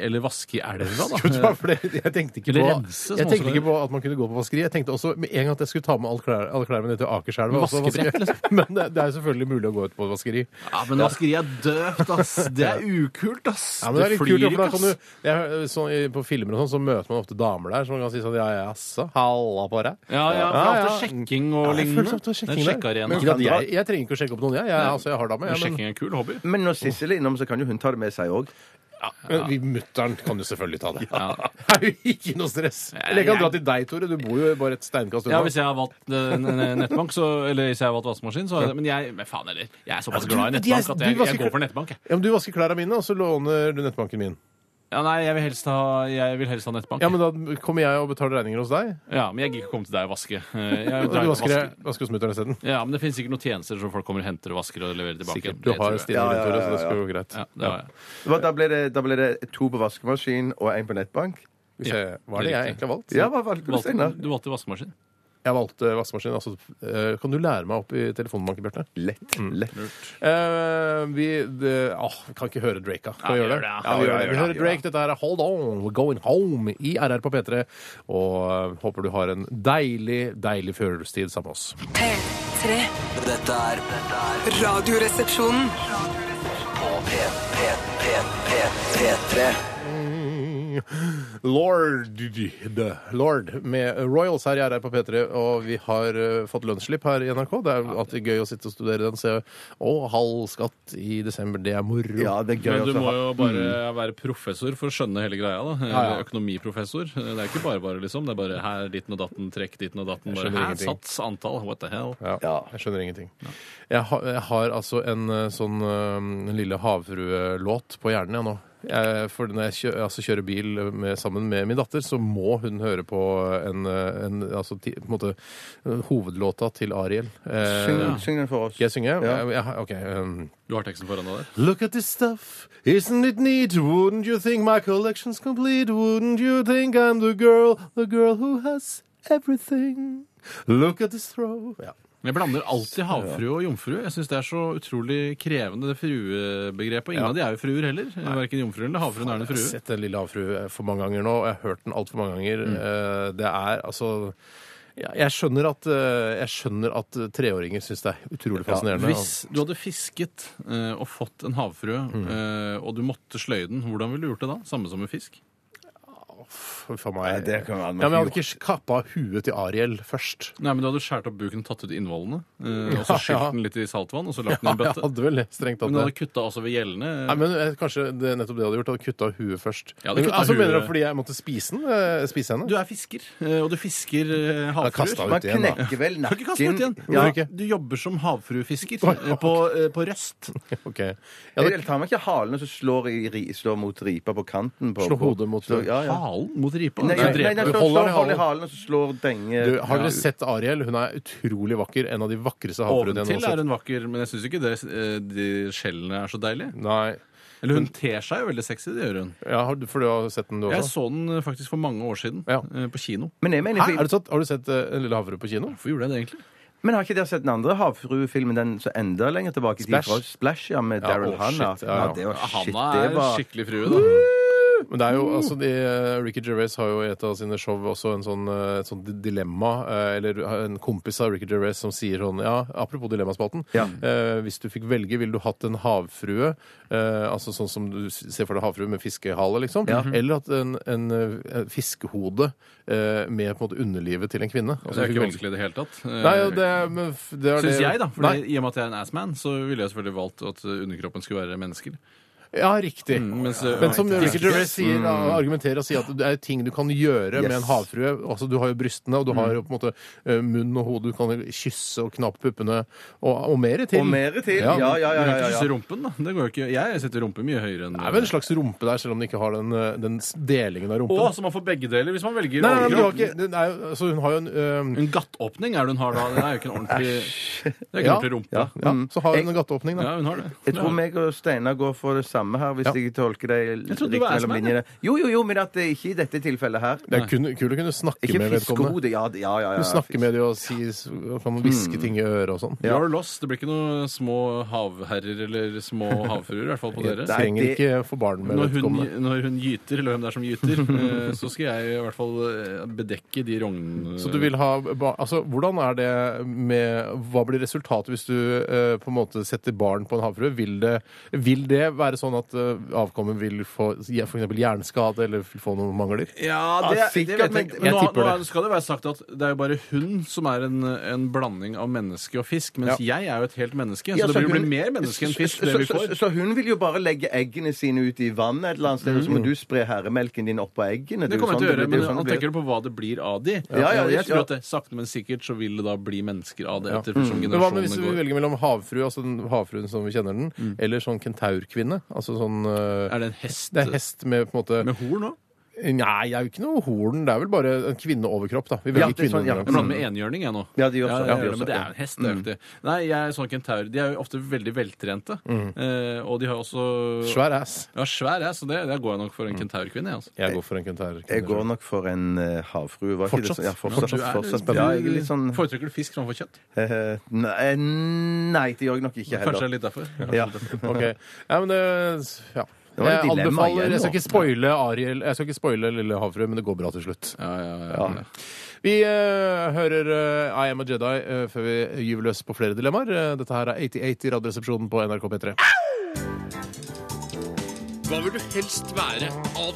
Speaker 3: eller vaske i elva,
Speaker 2: (laughs)
Speaker 3: da.
Speaker 2: Vet du hva, for det- Jeg tenkte ikke
Speaker 3: Eller
Speaker 2: på,
Speaker 3: rense, som
Speaker 2: jeg tenkte
Speaker 3: også-
Speaker 2: ikke på at man kunne gå på vaskeri. Jeg tenkte også med en gang at jeg skulle ta med alle klær- alle klærne mine til Akerselva. og så vaske.
Speaker 3: Vaskebrett,
Speaker 2: (laughs)
Speaker 3: liksom.
Speaker 2: Men det, det er jo selvfølgelig mulig å gå ut på et vaskeri.
Speaker 3: Ja, Men vaskeri er døvt, ass! Det er ukult, ass!
Speaker 2: Ja, men det er litt kult, ja, for da kan du, jeg, sånn, i- På filmer og sånn så møter man ofte damer der som kan si sånn Ja, jaså, halla på deg.
Speaker 3: Ja, ja, for det
Speaker 2: Ja,
Speaker 3: er
Speaker 2: ja.
Speaker 3: ofte sjekking og
Speaker 2: Ja, jeg føler
Speaker 3: lignende.
Speaker 2: sånn at det er sjekking
Speaker 3: Det er en
Speaker 2: der. Men
Speaker 3: sjekkearena.
Speaker 2: ikke at jeg, jeg trenger ikke å sjekke opp noen, jeg. jeg altså, jeg har dame.
Speaker 3: Men
Speaker 2: Jeg, men
Speaker 3: Sjekking er en kul hobby.
Speaker 4: Men når Sissel er innom, så kan jo hun ta det med seg òg.
Speaker 2: men vi- mutter'n kan jo selvfølgelig ta det.
Speaker 3: Ja.
Speaker 2: (laughs) Det er jo ikke noe stress. Eller jeg kan dra til deg, Tore. Du bor jo bare et steinkast
Speaker 3: Ja,
Speaker 2: unna.
Speaker 3: Hvis jeg har valgt eh, n- n- nettbank, så, eller hvis jeg har valgt vaskemaskin, så har jeg det. Men jeg, men faen heller, jeg er
Speaker 2: Ja,
Speaker 3: såpass
Speaker 2: du-
Speaker 3: glad i
Speaker 2: de er-
Speaker 3: nettbank at
Speaker 2: du
Speaker 3: jeg,
Speaker 2: vasker
Speaker 3: jeg
Speaker 2: klær-
Speaker 3: går for nettbank. Jeg.
Speaker 2: Ja, men Du vasker klærne mine, og så låner du nettbanken min.
Speaker 3: Ja, nei, jeg vil helst ha, jeg vil helst ha nettbank.
Speaker 2: Ja, men Da kommer jeg og betaler regninger hos deg.
Speaker 3: Ja, men jeg gidder ikke komme til deg og vaske. Eh, Jeg
Speaker 2: Og
Speaker 3: drar
Speaker 2: du
Speaker 3: ikke
Speaker 2: vasker,
Speaker 3: vaske.
Speaker 2: vasker hos mutter'n isteden.
Speaker 3: Ja, men det finnes sikkert noen tjenester som folk kommer og henter og vasker og leverer tilbake.
Speaker 2: Sikkert.
Speaker 3: igjen.
Speaker 2: Du
Speaker 3: Det
Speaker 2: har
Speaker 3: tror jeg.
Speaker 2: stilling i det, Tore, så det skal gå greit.
Speaker 3: Ja, det har jeg.
Speaker 4: Da ble det, da ble det to på vaskemaskin og én på nettbank.
Speaker 2: Hvis jeg, hva er det
Speaker 3: det er
Speaker 2: jeg egentlig har valgt?
Speaker 4: Ja, hva valgte du, Steinar?
Speaker 3: Valgte, du valgte vaskemaskin.
Speaker 2: Jeg valgte vaskemaskin. Altså, eh, kan du lære meg opp i telefonbanken, Bjarte?
Speaker 4: Lett.
Speaker 2: Mm.
Speaker 4: lett.
Speaker 2: Eh, vi det, åh, vi kan ikke høre Drake, da. Kan vi
Speaker 3: Ja,
Speaker 2: gjøre
Speaker 3: gjør
Speaker 2: det?
Speaker 3: det,
Speaker 2: Ja, vi gjør det. Vi hører Drake. Dette her er Hold On, We're Going Home i RR på P3. Og eh, håper du har en deilig, deilig førjulstid sammen med oss.
Speaker 7: P3.
Speaker 1: Dette er dette er
Speaker 7: Radioresepsjonen.
Speaker 1: på P, P, P, P, P3.
Speaker 2: Lord, the Lord med Royals her i RR på P3, og vi har eh, fått lønnsslipp her i NRK. Det er jo alltid gøy å sitte og studere den. Se, å, halv skatt i desember, det er moro.
Speaker 4: Ja, det er gøy
Speaker 3: Men du
Speaker 4: også å
Speaker 3: må
Speaker 4: ha-
Speaker 3: jo bare eh, være professor for å skjønne hele greia. da
Speaker 2: Mm. ja.
Speaker 3: Eller Økonomiprofessor. Eh, Det er ikke bare bare, liksom. Det er bare her, ditten og datten, trekk, ditten og datten. Bare,
Speaker 2: skjønner
Speaker 3: her,
Speaker 2: ingenting.
Speaker 3: sats, antall, what the hell.
Speaker 2: Ja, Jeg skjønner ingenting. Jeg, har, jeg har altså en eh, sånn eh, lille havfruelåt på hjernen jeg nå. Jeg, for når jeg kjø, altså kjører bil med, sammen med min datter, så må hun høre på en, eh, en, altså, ti, på en måte, eh, hovedlåta til Ariel. Eh,
Speaker 4: Syng, syng den for oss.
Speaker 2: Skal jeg synge?
Speaker 4: Ja.
Speaker 2: Jeg, jeg, har- ok. Um,
Speaker 3: Du har teksten foran deg der.
Speaker 2: Look at this stuff. Isn't it neat? Wouldn't you think my collection's complete? Wouldn't you think I'm the girl, the girl who has everything? Look at this throw. Ja.
Speaker 3: Men jeg blander alltid havfrue og jomfru. Jeg syns det er så utrolig krevende, det fruebegrepet. Ingen av de er jo fruer heller. Verken jomfruen eller havfruen er en
Speaker 2: Jeg har
Speaker 3: frue.
Speaker 2: sett Den lille havfrue for mange ganger nå, og jeg har hørt den altfor mange ganger. Eh, Det er altså ja, jeg skjønner, at, eh, jeg skjønner at treåringer syns det er utrolig fascinerende.
Speaker 3: Hvis du hadde fisket eh, og
Speaker 2: Mm.
Speaker 3: fått en havfrue, eh, og du måtte sløye den, hvordan ville du gjort det da? Samme som en fisk?
Speaker 2: Huff a meg.
Speaker 4: Ja, det kan man
Speaker 2: ja, men jeg hadde ikke kappa huet til Ariel først.
Speaker 3: Nei, men Du hadde skåret opp buken, tatt ut innvollene, eh, og så
Speaker 2: Ja,
Speaker 3: skylt
Speaker 2: ja.
Speaker 3: den litt i saltvann, og så lagt den i
Speaker 2: Ja,
Speaker 3: en
Speaker 2: jeg
Speaker 3: bøtte.
Speaker 2: hadde vel strengt tatt
Speaker 3: Men du
Speaker 2: det.
Speaker 3: hadde kutta også ved gjellene.
Speaker 2: Nei, men eh, Kanskje det, nettopp det jeg hadde gjort, hadde kutta huet først.
Speaker 3: Ja, det
Speaker 2: men,
Speaker 3: kutta
Speaker 2: altså,
Speaker 3: huet.
Speaker 2: Mener du fordi jeg måtte spise, den, eh, spise henne?
Speaker 3: Du er fisker, eh, og du fisker eh,
Speaker 2: Jeg kastet
Speaker 3: havfruer.
Speaker 2: ut
Speaker 4: Man
Speaker 2: igjen, da.
Speaker 4: knekker vel
Speaker 3: Du kan ikke kaste ut igjen.
Speaker 4: nakken
Speaker 2: Ja.
Speaker 3: Du- Du jobber som havfruefisker
Speaker 2: Oi,
Speaker 3: eh, på, eh, på Røst.
Speaker 2: Ok. Jeg hadde
Speaker 4: Jeg tar meg ikke halen og så slår, i, ri- slår mot ripa på kanten. På,
Speaker 2: Slår
Speaker 4: på-
Speaker 2: hodet mot-
Speaker 4: slår, ja, ja.
Speaker 3: Halen mot ripa?
Speaker 4: Nei,
Speaker 3: Du
Speaker 4: nei, nei,
Speaker 3: dreper-
Speaker 4: nei, slår,
Speaker 2: Holder i
Speaker 4: slår hold i
Speaker 2: halen.
Speaker 4: halen og så slår denge
Speaker 2: Du, har dere sett Ariel? Hun er utrolig vakker. En av de vakreste havfruene jeg
Speaker 3: Oventil er
Speaker 2: noensinne har sett.
Speaker 3: hun vakker, men jeg syns ikke det, eh, de skjellene er så deilige.
Speaker 2: Nei.
Speaker 3: Eller hun ter seg jo veldig sexy, det gjør hun.
Speaker 2: Ja, har, du- for du har sett den, du
Speaker 3: Jeg
Speaker 2: også?
Speaker 3: så den eh, faktisk for mange år siden,
Speaker 2: Ja.
Speaker 3: eh, på kino.
Speaker 4: Men jeg mener
Speaker 2: Hæ? Er det sant? Har du sett eh, En lille havfrue på kino?
Speaker 3: Hvorfor gjorde jeg det egentlig?
Speaker 4: Men har ikke dere sett den andre havfruefilmen, den som enda lenger tilbake? i tid
Speaker 2: Splash?
Speaker 4: fra Splash, ja, med
Speaker 2: Ja,
Speaker 4: Daryl
Speaker 2: å,
Speaker 4: Hannah.
Speaker 2: shit, ja, ja.
Speaker 4: det var shit,
Speaker 3: Hanna
Speaker 4: det
Speaker 3: er
Speaker 4: var
Speaker 3: skikkelig frue, da.
Speaker 2: Men det er jo, altså, de, eh, Ricky Gervais har jo i et av sine show også en sånn, eh, et sånt di- dilemma, eh, eller en kompis av Ricky Gervais som sier sånn, ja, apropos dilemmaspalten,
Speaker 4: Ja.
Speaker 2: eh, hvis du fikk velge, ville du hatt en havfrue, eh, altså sånn som du s- ser for deg havfrue med fiskehale, liksom, eller hatt en, en, eh, fiskehode eh, med på en måte underlivet til en kvinne. Altså,
Speaker 3: Det
Speaker 2: du
Speaker 3: er
Speaker 2: fikk velge-
Speaker 3: ikke vanskelig i det hele tatt. Eh,
Speaker 2: Nei, jo, det, er- men f- det er
Speaker 3: Syns
Speaker 2: det-
Speaker 3: jeg, da. For
Speaker 2: Nei.
Speaker 3: I og med at jeg er en assman, så ville jeg selvfølgelig valgt at eh, underkroppen skulle være mennesker.
Speaker 2: Ja, riktig.
Speaker 3: mens-
Speaker 2: Mm. Men som
Speaker 3: Ja,
Speaker 2: Ricky
Speaker 3: ikke
Speaker 2: Gervais sier,
Speaker 4: Mm.
Speaker 2: da, argumenterer og sier at det er ting du kan gjøre med en havfrue. Altså, du har jo brystene, og du
Speaker 4: Mm.
Speaker 2: har jo på en måte eh, munn og hode. Du kan jo kysse og knappe puppene, og, og mer til.
Speaker 4: Og mer til.
Speaker 2: Ja,
Speaker 4: Ja, ja, ja.
Speaker 3: Du
Speaker 4: ja,
Speaker 3: kan ikke
Speaker 4: ja,
Speaker 3: kysse rumpen, da. Det går jo ikke. Jeg setter rumpe mye høyere enn
Speaker 2: Det er vel en slags rumpe der, selv om den ikke har den, eh, den s- delingen av rumpen.
Speaker 3: Å, så man får begge deler hvis man
Speaker 2: Nei,
Speaker 3: velger
Speaker 2: nei, nei, men du har
Speaker 3: overkropp.
Speaker 2: ikke, den er jo, altså, hun har jo en eh,
Speaker 3: En gattåpning er det hun har da. Det er jo ikke en ordentlig, det er ikke en
Speaker 2: Ja.
Speaker 3: ordentlig rumpe.
Speaker 2: ja,
Speaker 3: Ja.
Speaker 2: ja,
Speaker 4: Mm.
Speaker 2: så har hun en gatteåpning, da.
Speaker 3: hun har det.
Speaker 4: Jeg tror
Speaker 3: Ja.
Speaker 4: meg og Steinar går for det samme her, hvis
Speaker 2: Ja.
Speaker 4: jeg tolker deg
Speaker 3: trodde du
Speaker 4: riktig
Speaker 3: var
Speaker 4: mellom
Speaker 3: Asman,
Speaker 4: linjene. Jo, jo, jo, men at det er ikke i dette tilfellet her.
Speaker 2: Det er kun, kult å kunne snakke
Speaker 4: Ikke
Speaker 2: med vedkommende.
Speaker 4: fiskehode. Ja, ja, ja.
Speaker 2: Du
Speaker 4: ja,
Speaker 2: snakker med dem og sier, kan hviske ting i øret og sånn.
Speaker 4: Mm. Ja.
Speaker 3: You're lost. Det blir ikke noen små havherrer eller små havfruer, i hvert fall på
Speaker 2: Jeg
Speaker 3: dere.
Speaker 4: Nei,
Speaker 2: trenger
Speaker 4: det-
Speaker 2: ikke få barn med
Speaker 3: Når hun,
Speaker 2: vedkommende.
Speaker 3: når hun gyter, eller hvem det er som gyter, eh, så skal jeg i hvert fall eh, bedekke de rognene
Speaker 2: Så du vil ha ba- Altså, hvordan er det med Hva blir resultatet hvis du eh, på en måte setter barn på en havfrue? Vil det, vil det være sånn at eh, avkommet vil få f.eks. hjerneskade eller vil få noen mangler?
Speaker 3: Ja,
Speaker 4: Ja, sikkert,
Speaker 3: men,
Speaker 4: men-
Speaker 3: men
Speaker 2: Ah, jeg
Speaker 3: nå,
Speaker 2: tipper
Speaker 3: nå
Speaker 2: det.
Speaker 3: er- skal det være sagt at det er jo bare hun som er en, en blanding av menneske og fisk, mens jeg er jo et helt menneske. Så,
Speaker 4: Ja,
Speaker 3: det blir jo
Speaker 4: hun-
Speaker 3: bli mer menneske enn fisk, det
Speaker 4: Så-
Speaker 3: vi
Speaker 4: så-
Speaker 3: får.
Speaker 4: Så hun vil jo bare legge eggene sine ut i vannet et eller annet sted, og så må du spre herremelken din oppå eggene.
Speaker 3: Mm. Det
Speaker 4: er jo
Speaker 3: kommer jeg til å
Speaker 4: sånn
Speaker 3: gjøre,
Speaker 4: blir-
Speaker 3: men
Speaker 4: det er jo sånn
Speaker 3: nå
Speaker 4: det blir.
Speaker 3: tenker du på hva det blir av de.
Speaker 4: Ja, ja,
Speaker 3: Og jeg
Speaker 4: ja.
Speaker 3: tror at det, sakte, men sikkert så vil det da bli mennesker av det, etter som
Speaker 2: Men hva med hvis
Speaker 3: generasjonene
Speaker 2: vi
Speaker 3: går.
Speaker 2: velger mellom havfrue, altså den havfruen som vi kjenner den,
Speaker 4: Mm.
Speaker 2: eller sånn kentaurkvinne? Altså sånn eh,
Speaker 3: Er det en hest
Speaker 2: Det er hest med på en måte
Speaker 3: med horn òg?
Speaker 2: Nei, det er jo ikke noe horn. Det er vel bare en kvinneoverkropp, da. Vi velger
Speaker 4: Ja, det er sånn, ja.
Speaker 2: kvinneoverkropp.
Speaker 3: Jeg blander med enhjørning, jeg nå.
Speaker 4: Ja, de gjør
Speaker 3: jeg
Speaker 4: så- ja, de
Speaker 3: gjør
Speaker 4: gjør
Speaker 3: det, men
Speaker 4: så,
Speaker 3: det
Speaker 4: ja.
Speaker 3: er en hest. Det er jo ikke det. Nei, jeg er sånn kentaur. De er jo ofte veldig veltrente. Eh, og de har også
Speaker 2: Svær ass.
Speaker 3: Ja, svær ass, så det, der går jeg nok for en kentaurkvinne. jeg, Altså.
Speaker 2: Jeg går for en kentaurkvinne.
Speaker 4: Jeg går nok for en eh, havfrue. var ikke det
Speaker 2: Fortsatt?
Speaker 4: sånn? Ja, fortsatt.
Speaker 3: Ja, du er-
Speaker 4: fortsatt. Ja, jeg er litt sånn
Speaker 3: Foretrekker du fisk framfor kjøtt?
Speaker 4: eh, Nei, nei, det gjør jeg nok ikke heller.
Speaker 3: Kanskje det er litt derfor.
Speaker 4: Ja.
Speaker 2: (laughs) Ok. Ja, men det Ja.
Speaker 4: var
Speaker 2: Jeg
Speaker 4: et dilemma
Speaker 2: anbefaler
Speaker 4: igjen
Speaker 2: Jeg skal
Speaker 4: nå.
Speaker 2: ikke spoile Ariel, jeg skal ikke spoile Lille havfrue, men det går bra til slutt.
Speaker 3: Ja, ja, ja, ja.
Speaker 2: Vi eh, hører eh, I Am a Jedi eh, før vi gyver løs på flere dilemmaer. Eh, dette her er 88 i Radioresepsjonen på NRK P3.
Speaker 5: Hva vil du helst være?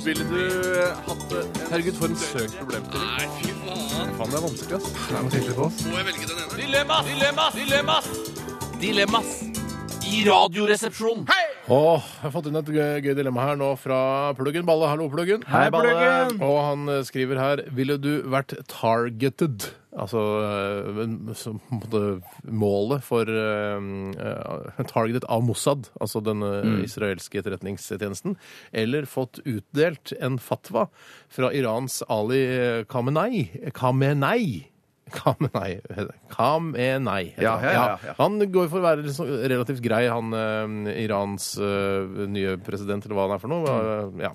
Speaker 5: Ville du eh, hatt det? Herregud, for en søk problemstilling. Nei, fy faen. Faen, det er vanskelig, ass. Det er noe hyggelig på oss. Må jeg velge den ene? Dilemmas! Dilemmas! Dilemmas! Dilemmas! I radioresepsjonen. Hei!
Speaker 2: Åh, jeg har fått inn et gøy, gøy dilemma her nå fra Pluggen Balle. Hallo, Pluggen.
Speaker 4: Hei, Balle. Pluggen.
Speaker 2: Og han eh, skriver her Ville du vært targeted? Altså eh, en- som på en måte målet for eh, eh, Targeted av Mossad, altså den eh,
Speaker 4: Mm.
Speaker 2: israelske etterretningstjenesten, eller fått utdelt en fatwa fra Irans Ali eh, Khamenei Khamenei. Khamenei. Khamenei heter
Speaker 4: Ja,
Speaker 2: han.
Speaker 4: ja, ja, ja.
Speaker 2: Han går for å være liksom relativt grei, han eh, Irans eh, nye president, eller hva han er for noe.
Speaker 4: Mm.
Speaker 2: Eh, ja.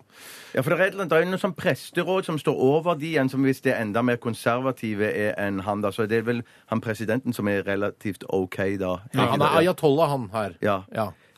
Speaker 4: Ja, for det er, et eller annet- det er jo noen sånn presteråd som står over de igjen, som hvis det er enda mer konservative er enn han, da. Så det er vel han presidenten som er relativt OK, da.
Speaker 2: Han er ayatollah, han her.
Speaker 4: Ja.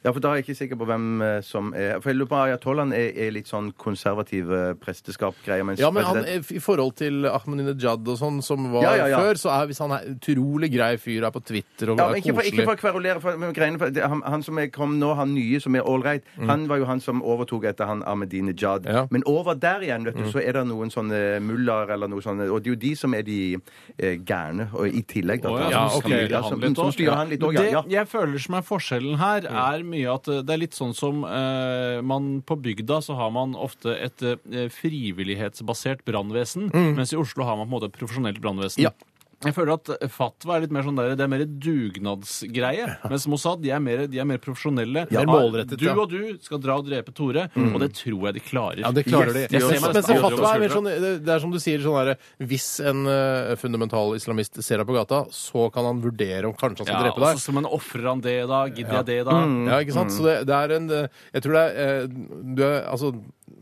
Speaker 4: Ja, for da er jeg ikke sikker på hvem eh, som er For jeg lurer på Arja Tolland er, er litt sånn konservative presteskap-greier. mens
Speaker 2: Ja, men han,
Speaker 4: president-
Speaker 2: I forhold til Ahmadinejad og sånn, som var
Speaker 4: Ja, ja, ja.
Speaker 2: før, så er hvis han er utrolig grei fyr, er på Twitter og
Speaker 4: ja,
Speaker 2: er
Speaker 4: men ikke, for, ikke
Speaker 2: koselig
Speaker 4: for å kverulere, for, men greiene for, det, han, han som er, kom nå, han nye som er all right, han var jo han som overtok etter han Ahmadinejad.
Speaker 2: Ja.
Speaker 4: Men over der igjen, vet du, så er det noen sånne mullaer eller noe sånt, og det er jo de som er de eh, gærne, og i tillegg da.
Speaker 3: Å, ja,
Speaker 2: Ja,
Speaker 3: som
Speaker 2: ok.
Speaker 3: styrer
Speaker 4: Ja,
Speaker 3: han
Speaker 4: som-
Speaker 3: litt
Speaker 4: som
Speaker 3: også.
Speaker 4: styrer han litt også, ja,
Speaker 3: Det
Speaker 4: ja.
Speaker 3: Jeg føler som er forskjellen her, er mye at eh, det er litt sånn som eh, man på bygda så har man ofte et eh, frivillighetsbasert brannvesen, mens i Oslo har man på en måte et profesjonelt brannvesen.
Speaker 2: Mm. Ja.
Speaker 3: Jeg føler at Fatwa er litt mer sånn der, det er mer dugnadsgreie, mens Mossad de er mer, de er mer profesjonelle.
Speaker 2: Ja, mer målrettet,
Speaker 3: du
Speaker 2: ja. Mm.
Speaker 3: og du skal dra og drepe Tore, og det tror jeg de klarer.
Speaker 2: Ja, det klarer
Speaker 4: Yes,
Speaker 2: de.
Speaker 3: jeg ser
Speaker 2: Mens-
Speaker 3: meg
Speaker 2: mens
Speaker 3: nesten
Speaker 2: fatwa
Speaker 3: over
Speaker 2: er mer sånn,
Speaker 3: skuldra.
Speaker 2: det det er som du sier, sånn her, hvis en eh, fundamental islamist ser deg på gata, så kan han vurdere om kanskje han skal
Speaker 3: ja,
Speaker 2: drepe deg.
Speaker 3: og så skal man ofre han det da, gidder jeg det da?
Speaker 2: Ja, Mm. ikke sant? Så det, det er en eh, Jeg tror det er eh, du, er, altså,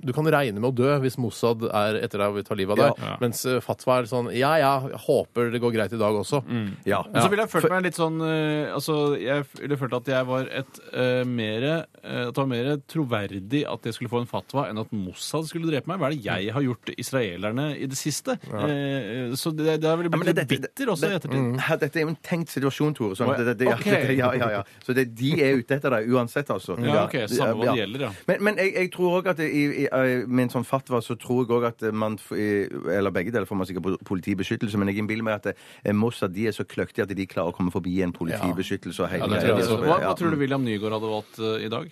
Speaker 2: du kan regne med å dø hvis Mossad er etter deg og vil ta livet av deg.
Speaker 3: Ja.
Speaker 2: Mens eh, Fatwa er sånn Ja, ja, jeg håper det går greit i dag også.
Speaker 3: Mm.
Speaker 4: Ja.
Speaker 3: Men så ville jeg følt meg litt sånn eh, Altså, jeg f- ville følt at jeg var et eh, mere eh, At det var mer troverdig at jeg skulle få en fatwa enn at Mossad skulle drepe meg. Hva er det jeg har gjort israelerne i det siste? Eh, så det, det har vel
Speaker 4: Ja, men
Speaker 3: blitt
Speaker 4: det-
Speaker 3: litt
Speaker 4: det-
Speaker 3: bitter også i
Speaker 4: det- mm.
Speaker 3: ettertid.
Speaker 4: Ja, dette er jo en tenkt situasjon, Tore. Sånn. at Det, det, det,
Speaker 3: Ok.
Speaker 4: det, (laughs) ja, ja, ja. Så det, de er ute etter deg uansett, altså.
Speaker 3: Ja, ok, samme hva det gjelder, ja.
Speaker 4: Men, men jeg, jeg tror også at i, i, i- med en sånn fatwa så tror jeg òg at man f- i- Eller begge deler får man sikkert po- politibeskyttelse, men jeg innbiller meg at eh, Mossad de er så kløktige at de klarer å komme forbi en politibeskyttelse og hele
Speaker 2: det
Speaker 4: greia.
Speaker 2: tror jeg
Speaker 4: Så,
Speaker 2: også.
Speaker 3: Hva,
Speaker 4: ja. Mm.
Speaker 3: hva tror du William Nygaard hadde valgt eh, i dag?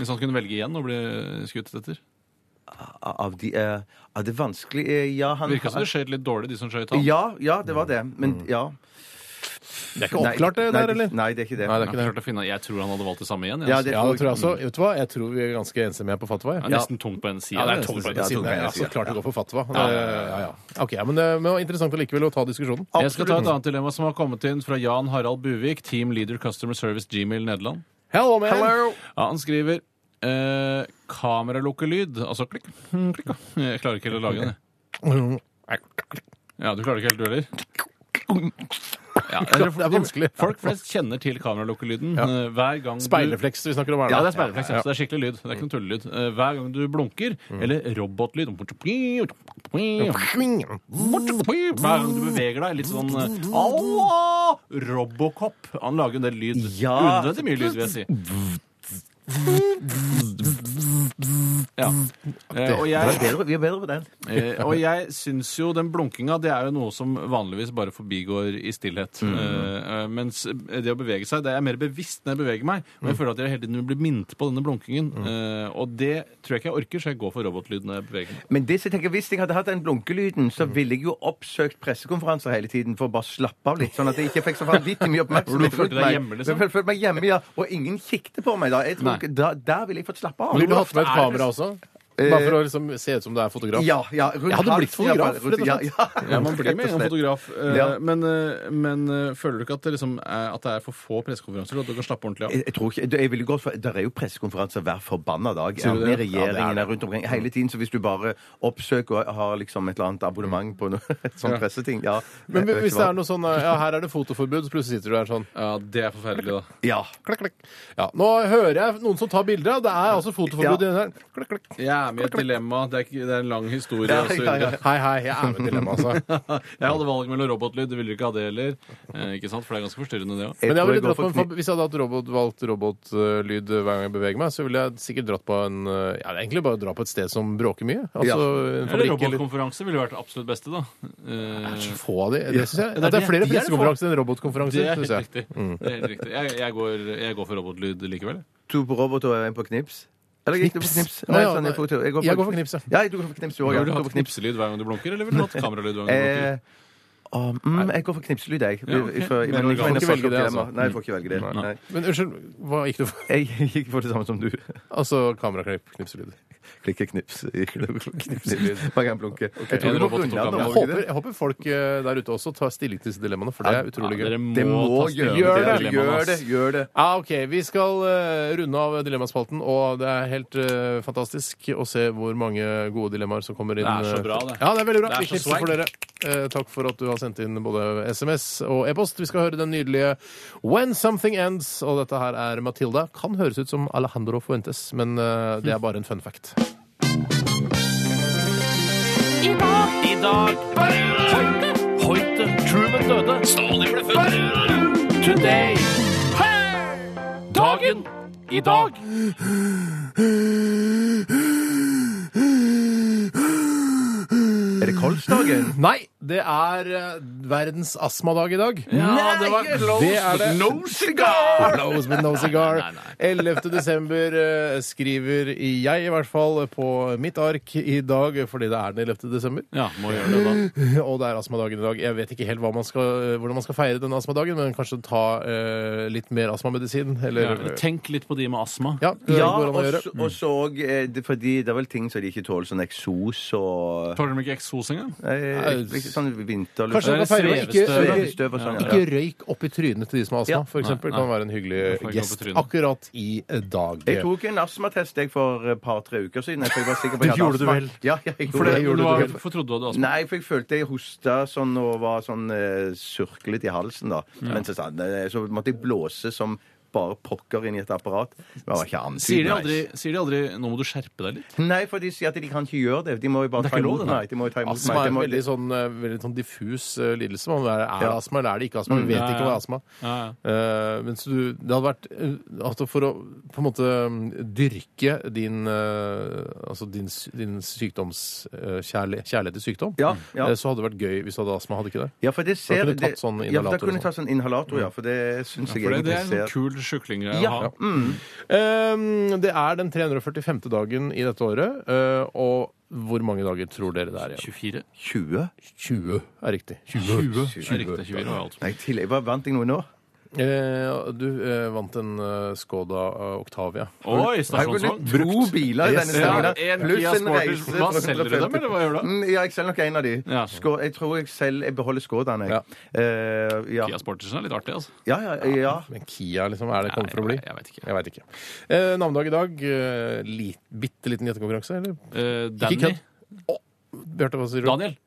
Speaker 3: Hvis han kunne velge igjen og bli skutt etter?
Speaker 4: Av de eh, av det vanskelige eh, Ja, han
Speaker 3: Virka som det Mm. skjøt litt dårlig, de som skjøt han.
Speaker 4: ja, ja, det var det. Men ja.
Speaker 2: Det er ikke oppklart, det
Speaker 4: nei,
Speaker 2: der, eller?
Speaker 4: Nei, det er ikke det.
Speaker 2: Nei, det er
Speaker 3: Jeg,
Speaker 2: ikke det.
Speaker 3: klarte å finne, jeg tror han hadde valgt det samme igjen. jeg,
Speaker 4: Ja,
Speaker 3: altså.
Speaker 4: det-
Speaker 2: Ja, det tror jeg også. Vet du hva? Jeg tror vi er ganske enstemmige på Fatwa. jeg.
Speaker 3: Det er nesten tungt på en side. det er tungt på en
Speaker 4: ja,
Speaker 3: side.
Speaker 4: tungt på en
Speaker 2: Ja, så
Speaker 4: side.
Speaker 2: klart det går for Fatwa. Det- Ja, ja. Ok, ja, men det men det var interessant allikevel å ta diskusjonen.
Speaker 3: Jeg skal ta et annet dilemma som har kommet inn fra Jan Harald Buvik, Team Leader Customer Service Gmail Nederland.
Speaker 2: Hello, man!
Speaker 3: Ja, han skriver eh, kameralukkelyd Altså klikk, hmm, klikk, da. Jeg klarer ikke helt å lage den. jeg. Ja, du klarer ikke helt, du heller? Ja, jeg tror
Speaker 2: Det er vanskelig.
Speaker 3: Folk flest kjenner til kameralukkelyden. eh, Hver gang du-
Speaker 2: Speilrefleks vi snakker om her nå.
Speaker 3: Ja, det er speilrefleks. ja. Så det er skikkelig lyd. Det er ikke noe tullelyd. Eh, Hver gang du blunker, eller robotlyd
Speaker 2: Mm.
Speaker 3: Hver gang du beveger deg, litt sånn eh, «Au!» Robocop. Han lager en del lyd.
Speaker 4: Ja.
Speaker 3: Unødvendig mye lyd, vil jeg si. Ja. Eh, Og
Speaker 4: Vi er
Speaker 3: jeg,
Speaker 4: bedre, vi er bedre på den.
Speaker 3: eh, og jeg syns jo den blunkinga, det er jo noe som vanligvis bare forbigår i stillhet. Eh, eh, Mens det å bevege seg, det er jeg mer bevisst når jeg beveger meg. Men jeg føler at jeg hele tiden blir minnet på denne blunkingen. Eh, Og det tror jeg ikke jeg orker, så jeg går for robotlyd når jeg beveger meg.
Speaker 4: Men det som jeg tenker, hvis jeg hadde hatt den blunkelyden, så ville jeg jo oppsøkt pressekonferanser hele tiden for å bare slappe av litt, sånn at jeg ikke fikk så vanvittig mye
Speaker 3: Hvor
Speaker 4: oppmerksomhet.
Speaker 3: du følte deg
Speaker 4: rundt meg.
Speaker 3: hjemme, liksom?
Speaker 4: Jeg følte meg hjemme, ja. Og ingen kikket på meg da. Jeg tror,
Speaker 3: Nei.
Speaker 4: ikke- da der ville jeg fått slappe av.
Speaker 2: Ville du hatt med et
Speaker 3: Hvor ofte er
Speaker 2: kamera også? Bare for å liksom se ut som du er fotograf?
Speaker 4: Eh, Ja, ja. rundt
Speaker 2: Jeg hadde blitt
Speaker 4: halsen, i hvert fall.
Speaker 2: fotograf, rett og slett.
Speaker 4: Ja, ja.
Speaker 3: Ja, man blir med en fotograf. eh,
Speaker 4: Ja.
Speaker 3: Men, eh, men eh, føler du ikke at det, liksom er, at det er for få pressekonferanser, og at du kan slappe ordentlig av?
Speaker 4: Jeg, jeg tror ikke, jeg ville gått for, Der er jo pressekonferanser hver forbanna dag.
Speaker 3: Sier du det?
Speaker 4: Med
Speaker 3: Ja,
Speaker 4: regjeringen
Speaker 3: det er
Speaker 4: er rundt omkring hele tiden. Så hvis du bare oppsøker og har liksom et eller annet abonnement på noe, (laughs) et sånt presseting ja.
Speaker 2: Men
Speaker 4: Jeg vet
Speaker 2: hvis
Speaker 4: ikke
Speaker 2: det
Speaker 4: hva.
Speaker 2: er noe sånn Ja, her er det fotoforbud, så plutselig sitter du der sånn
Speaker 3: Ja, det er forferdelig, da.
Speaker 4: Ja.
Speaker 2: Klikk, klikk. Ja, nå hører jeg noen som tar bilder. og Det er altså fotoforbud i den her. Klikk, klikk.
Speaker 3: Jeg er med i et dilemma. Det er, ikke, det er en lang historie.
Speaker 4: Ja,
Speaker 3: og så
Speaker 4: ja, ja.
Speaker 3: videre.
Speaker 2: Hei, hei, jeg er med i dilemmaet, altså.
Speaker 3: (laughs) Jeg hadde valget mellom robotlyd. Du ville ikke ha det heller. Eh, ikke sant? For det er ganske forstyrrende, det òg.
Speaker 4: Jeg
Speaker 2: Men jeg
Speaker 4: tror
Speaker 2: ville
Speaker 4: går
Speaker 2: dratt på en,
Speaker 4: for kni-
Speaker 2: fab- hvis jeg hadde hatt robot, valgt robotlyd hver gang jeg beveger meg, så ville jeg sikkert dratt på en eh, Ja, det er egentlig bare å dra på et sted som bråker mye. Altså en
Speaker 3: Eller
Speaker 2: fabrikk eller
Speaker 3: robotkonferanse ville vært det absolutt beste, da. Eh,
Speaker 2: Så få av de. Det, synes jeg,
Speaker 3: det er
Speaker 2: at det er flere
Speaker 3: det- de er det
Speaker 2: pressekonferanser enn
Speaker 3: det
Speaker 2: robotkonferanser, syns
Speaker 3: er helt
Speaker 2: jeg.
Speaker 3: riktig. Det er helt riktig. Jeg, jeg, går, jeg går for robotlyd likevel.
Speaker 4: To på robot og en på knips? Eller gikk du på
Speaker 2: Knips?
Speaker 4: knips?
Speaker 2: Å,
Speaker 4: Nei,
Speaker 2: ja,
Speaker 4: sånn, jeg,
Speaker 2: nei.
Speaker 4: tror-
Speaker 2: Jeg går for knips, ja.
Speaker 4: Ja, jeg går for knips du også, ja.
Speaker 3: Vil du
Speaker 4: Jeg
Speaker 3: ha
Speaker 4: går for knips.
Speaker 3: knipselyd hver gang du blunker, eller vil
Speaker 4: (laughs)
Speaker 3: du ha kameralyd hver gang du blunker?
Speaker 4: Eh, å, mm, jeg går for knipselyd, jeg.
Speaker 3: Ja, ok.
Speaker 4: Jeg
Speaker 3: Men
Speaker 4: får- men jeg
Speaker 3: du kan
Speaker 4: mener
Speaker 2: ikke
Speaker 4: folk
Speaker 2: velge det,
Speaker 4: opplever-
Speaker 2: altså.
Speaker 4: Nei, jeg får ikke velge det. Nei.
Speaker 2: Men unnskyld, hva gikk du for?
Speaker 4: Jeg gikk for det samme som du.
Speaker 2: Altså kameraklipp, knipselyd.
Speaker 4: Klikke knips. Knipselyd. Hver gang blunke. Jeg tror
Speaker 3: En
Speaker 4: du må
Speaker 3: robot
Speaker 4: runde
Speaker 3: tok
Speaker 4: av,
Speaker 3: av
Speaker 4: da,
Speaker 2: Jeg
Speaker 4: må
Speaker 2: håper,
Speaker 4: du ikke det?
Speaker 2: jeg håper folk eh, der ute også tar stilling til disse dilemmaene, for det er utrolig gøy.
Speaker 3: Ja, dere må,
Speaker 4: Det må
Speaker 3: ta stilling
Speaker 4: gjøre
Speaker 3: til
Speaker 4: det.
Speaker 3: dilemmaet,
Speaker 4: Gjør
Speaker 3: ass.
Speaker 4: det. Gjør det.
Speaker 2: Ja, Ah, ok. Vi skal eh, runde av dilemmaspalten, og det er helt eh, fantastisk å se hvor mange gode dilemmaer som kommer inn.
Speaker 3: Det er så
Speaker 2: eh.
Speaker 3: bra, det.
Speaker 2: Ja, det er veldig bra.
Speaker 3: Det er
Speaker 2: Vi
Speaker 3: så
Speaker 2: knipser for
Speaker 3: swag.
Speaker 2: dere. Eh, takk for at du har sendt inn både SMS og e-post. Vi skal høre den nydelige When Something Ends, og dette her er Matilda. Kan høres ut som Alejandro Fuentes, men eh, det er bare en fun fact.
Speaker 3: I dag Hoite, Hoite, Truman døde. Stalin ble født. Today. Dagen. I dag.
Speaker 4: Er det kolsdagen?
Speaker 2: Nei, det er eh, verdens astmadag i dag.
Speaker 3: Ja, det var close.
Speaker 2: Det er det.
Speaker 3: No cigar!
Speaker 2: Close with no cigar. 11. desember eh, skriver jeg i hvert fall på mitt ark i dag, fordi det er den 11. desember. (laughs)
Speaker 3: Ja, må gjøre det, da.
Speaker 2: Og det er astmadagen i dag. Jeg vet ikke helt hva man skal, eh, hvordan man skal feire denne astmadagen, men kanskje ta eh, litt mer astmamedisin, eller
Speaker 3: Ja, Tenk litt på de med astma.
Speaker 2: Ja, det
Speaker 4: Ja,
Speaker 2: går an å
Speaker 4: og
Speaker 2: gjøre.
Speaker 4: så- og så òg Fordi det er vel ting som de ikke tåler, sånn eksos og
Speaker 3: Tåler de ikke eksos engang?
Speaker 4: eh, liksom Sånn vinterluft
Speaker 2: Kanskje man kan feire med ikke,
Speaker 3: Svevestøv.
Speaker 4: Svevestøv og sånn. ja.
Speaker 2: ikke røyk opp i trynet til de som har astma,
Speaker 4: Ja.
Speaker 2: for eksempel.
Speaker 3: Nei,
Speaker 2: Kan
Speaker 3: nei.
Speaker 2: være en
Speaker 3: får
Speaker 2: hyggelig
Speaker 3: ikke opp i
Speaker 2: gest
Speaker 3: trynet.
Speaker 2: akkurat i dag.
Speaker 4: Jeg tok en astmatest jeg for et par-tre uker siden. For jeg var sikker på at jeg hadde
Speaker 2: Gjorde du
Speaker 4: astma.
Speaker 2: vel?
Speaker 4: Ja, ja, jeg gjorde
Speaker 3: For det,
Speaker 4: det.
Speaker 2: gjorde
Speaker 3: du
Speaker 2: du
Speaker 3: var,
Speaker 2: vel.
Speaker 3: for trodde du hadde astma?
Speaker 4: Nei, for jeg følte jeg hosta sånn og var sånn eh, surklet i halsen, da. Men så, sa han, eh, så måtte jeg blåse som bare pokker inn i et apparat. Det var ikke annet.
Speaker 3: Sier de, aldri, sier de aldri 'nå må du skjerpe deg litt'?
Speaker 4: Nei, for de sier at de kan ikke gjøre det. De må jo bare
Speaker 3: Det er
Speaker 4: ta
Speaker 3: ikke lov,
Speaker 4: imot
Speaker 3: det,
Speaker 4: meg.
Speaker 3: nei.
Speaker 4: De må jo ta imot
Speaker 2: Astma
Speaker 4: meg.
Speaker 2: er
Speaker 4: De
Speaker 2: en
Speaker 4: må,
Speaker 2: veldig sånn, eh, veldig sånn diffus eh, lidelse. Man er er det
Speaker 4: Ja.
Speaker 2: astma eller er det ikke
Speaker 3: Mm.
Speaker 2: astma? Vi vet ikke hva er astma.
Speaker 3: Ja, ja.
Speaker 2: Eh, mens du, det hadde vært eh, altså For å på en måte mm, dyrke din, eh, altså din, s- din sykdoms eh, kjærli- kjærlighet til sykdom,
Speaker 4: Ja, ja.
Speaker 2: eh, så hadde det vært gøy hvis du hadde astma. Hadde ikke det?
Speaker 4: ja, for det
Speaker 2: Da
Speaker 4: ser
Speaker 2: kunne du tatt
Speaker 4: det-
Speaker 2: sånn
Speaker 4: Ja, for da
Speaker 2: inhalator
Speaker 4: kunne
Speaker 2: og
Speaker 4: jeg tatt sånn inhalator, ja. For det syns jeg
Speaker 3: For det, det er
Speaker 4: egentlig
Speaker 3: en
Speaker 4: ser
Speaker 3: kul syklinggreie å
Speaker 4: Ja. Mm.
Speaker 3: ha.
Speaker 2: Eh, det er den 345. dagen i dette året, eh, og hvor mange dager tror dere det er igjen?
Speaker 3: 24?
Speaker 4: 20?
Speaker 2: 20 er riktig.
Speaker 3: 20. Ja, riktig, 24 var alt.
Speaker 4: Nei, til, hva vant jeg noe nå?
Speaker 2: Eh, du eh, vant en eh, Skoda eh, Octavia.
Speaker 3: Oi,
Speaker 4: Jeg har gått
Speaker 3: stasjonsvogn.
Speaker 4: litt to biler i denne sesongen.
Speaker 3: Ja,
Speaker 4: da.
Speaker 3: en
Speaker 4: Pluss
Speaker 3: Kia
Speaker 4: en
Speaker 3: Sportage.
Speaker 4: reise
Speaker 3: Hva
Speaker 4: fra
Speaker 3: selger du dem,
Speaker 4: 150.
Speaker 3: eller hva gjør du?
Speaker 4: Mm, Ja, jeg selger nok en av de.
Speaker 3: Ja.
Speaker 4: Skå- jeg tror jeg selv jeg beholder Skådan, jeg.
Speaker 2: Ja.
Speaker 4: Eh, ja.
Speaker 3: Kia Sportagen er litt artig, altså.
Speaker 4: ja, ja, ja.
Speaker 2: Men Kia, liksom, er det kommet for å bli?
Speaker 3: Nei, jeg vet ikke.
Speaker 2: Jeg veit ikke. Eh, navnedag i dag. Eh, li, bitte liten gjettekonkurranse, eller?
Speaker 3: Eh,
Speaker 2: Ikke
Speaker 3: Danny.
Speaker 2: kødd. Å, Bjarte, hva sier du?
Speaker 3: Daniel.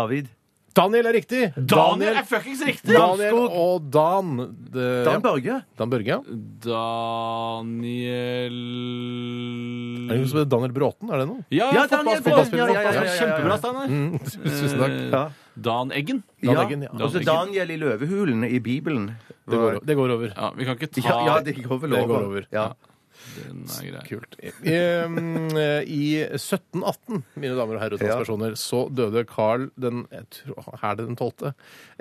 Speaker 4: David.
Speaker 2: Daniel er riktig!
Speaker 3: Daniel er fuckings riktig!
Speaker 2: Daniel og Dan. Det-
Speaker 4: Dan Børge.
Speaker 2: Dan Børge, ja. Er det
Speaker 3: Daniel
Speaker 2: noe som heter Daniel Bråten? Er det noe? Mm,
Speaker 3: Ja,
Speaker 4: Ja,
Speaker 3: fotballspiller.
Speaker 4: Daniel Bråten, ja, ja, ja, ja, ja, ja.
Speaker 3: Kjempebra, Steinar.
Speaker 2: (laughs) Tusen takk.
Speaker 3: Eh,
Speaker 4: Ja.
Speaker 3: Dan Eggen.
Speaker 2: Dan
Speaker 4: Ja.
Speaker 2: Eggen, ja.
Speaker 4: Og så Daniel i løvehulen i Bibelen.
Speaker 2: Det går, det går over.
Speaker 3: Ja, vi kan ikke ta
Speaker 4: Ja, ja, det går vel
Speaker 2: Det
Speaker 4: over.
Speaker 2: går over.
Speaker 4: Ja.
Speaker 3: den er grei.
Speaker 2: Kult. Ehm, eh, I 1718, mine damer og herrer, og transpersoner, så døde Carl den jeg tror- Er det den tolvte?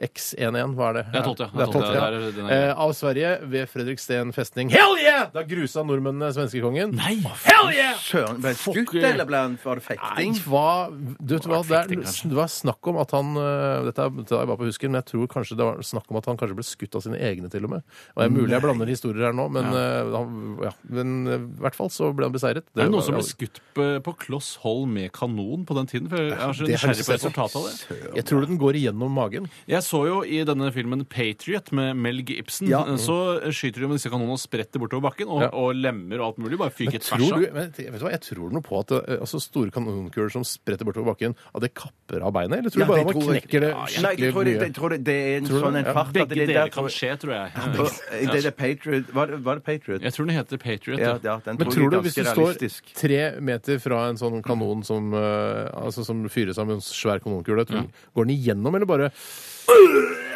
Speaker 2: X11, hva er det?
Speaker 3: Det er tolvte, ja.
Speaker 2: Det er tolvte, ja.
Speaker 3: Det er- det er-
Speaker 2: Eh, Av Sverige, ved Fredriksten festning. Hell yeah! Da grusa nordmennene svenskekongen.
Speaker 3: Nei!
Speaker 2: Hell yeah!
Speaker 4: Søren, ble han skutt,
Speaker 3: Fuck, eh.
Speaker 4: eller ble han, var det
Speaker 2: Nei,
Speaker 4: fekting?
Speaker 2: hva, du vet hva, det, er,
Speaker 3: Fekting, kanskje.
Speaker 2: det var snakk om at han eh, Dette er, dette er jeg bare på husken, men jeg tror kanskje det var snakk om at han kanskje ble skutt av sine egne, til og med. Og
Speaker 3: Mm.
Speaker 2: det er mulig jeg blander historier her nå, men eh, han- ja, men, eh, i hvert fall så ble han beseiret.
Speaker 3: Det er
Speaker 2: var-
Speaker 3: noen som ble skutt på, på kloss hold med kanon på den tiden. For jeg er så
Speaker 2: Det er
Speaker 3: nysgjerrig på
Speaker 2: helt
Speaker 3: resultatet av det.
Speaker 2: Jeg tror den går igjennom magen.
Speaker 3: Jeg så jo i denne filmen Patriot med Mel Gibson, så skyter de med disse kanonene og spretter bortover bakken, og,
Speaker 2: Ja.
Speaker 3: og lemmer og alt mulig. Bare fyker tvers
Speaker 2: Tror
Speaker 3: av.
Speaker 2: du, men, vet du hva, jeg tror noe på at eh, altså, store kanonkuler som spretter bortover bakken, at det kapper av beinet? Eller tror
Speaker 4: Ja,
Speaker 2: du bare
Speaker 4: det
Speaker 2: at man
Speaker 4: tror jeg.
Speaker 2: knekker det
Speaker 4: Nei, jeg
Speaker 2: skikkelig
Speaker 4: tror det,
Speaker 2: mye?
Speaker 4: jeg tror det, det er en
Speaker 2: Tror du
Speaker 4: sånn
Speaker 2: det?
Speaker 4: en
Speaker 2: Ja.
Speaker 4: fart at
Speaker 3: Begge
Speaker 4: det
Speaker 3: deler
Speaker 4: der
Speaker 3: kan skje, tror jeg.
Speaker 4: Og, eh, Det er Patriot. Var det, var det Patriot?
Speaker 3: Jeg tror den heter Patriot.
Speaker 4: Ja,
Speaker 3: Ja,
Speaker 4: ja, den
Speaker 2: Men
Speaker 4: tror
Speaker 2: tror
Speaker 4: jeg
Speaker 2: du
Speaker 4: er
Speaker 2: hvis du
Speaker 4: ganske
Speaker 2: står
Speaker 4: realistisk.
Speaker 2: tre meter fra en sånn kanon som, eh, altså, som fyres av med en svær kanonkule, tror du- går den igjennom, eller bare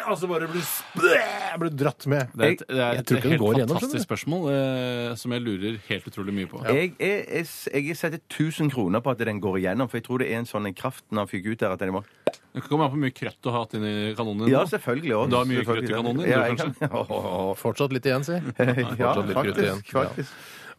Speaker 2: Altså bare blir, sp- blir dratt med?
Speaker 3: Det er et, det er
Speaker 2: jeg
Speaker 3: et
Speaker 2: tror ikke den
Speaker 3: helt
Speaker 2: går igjennom. (laughs)
Speaker 3: fantastisk spørsmål eh, som jeg lurer helt utrolig mye på.
Speaker 4: Jeg, jeg, jeg, jeg setter 1000 kroner på at den går igjennom, for jeg tror det er en sånn en kraft når han fyker ut der at den må
Speaker 3: Det kommer an på hvor mye krøtt du har hatt inni kanonen din.
Speaker 4: Ja,
Speaker 3: nå.
Speaker 4: selvfølgelig. Også.
Speaker 3: Du har mye
Speaker 4: Selvfølgelig.
Speaker 3: krøtt i kanonen din, du,
Speaker 4: Ja, jeg
Speaker 3: kanskje?
Speaker 4: kan- Åh,
Speaker 2: Fortsatt litt igjen, si.
Speaker 4: Ja,
Speaker 2: Fortsatt litt krutt igjen.
Speaker 4: faktisk. faktisk.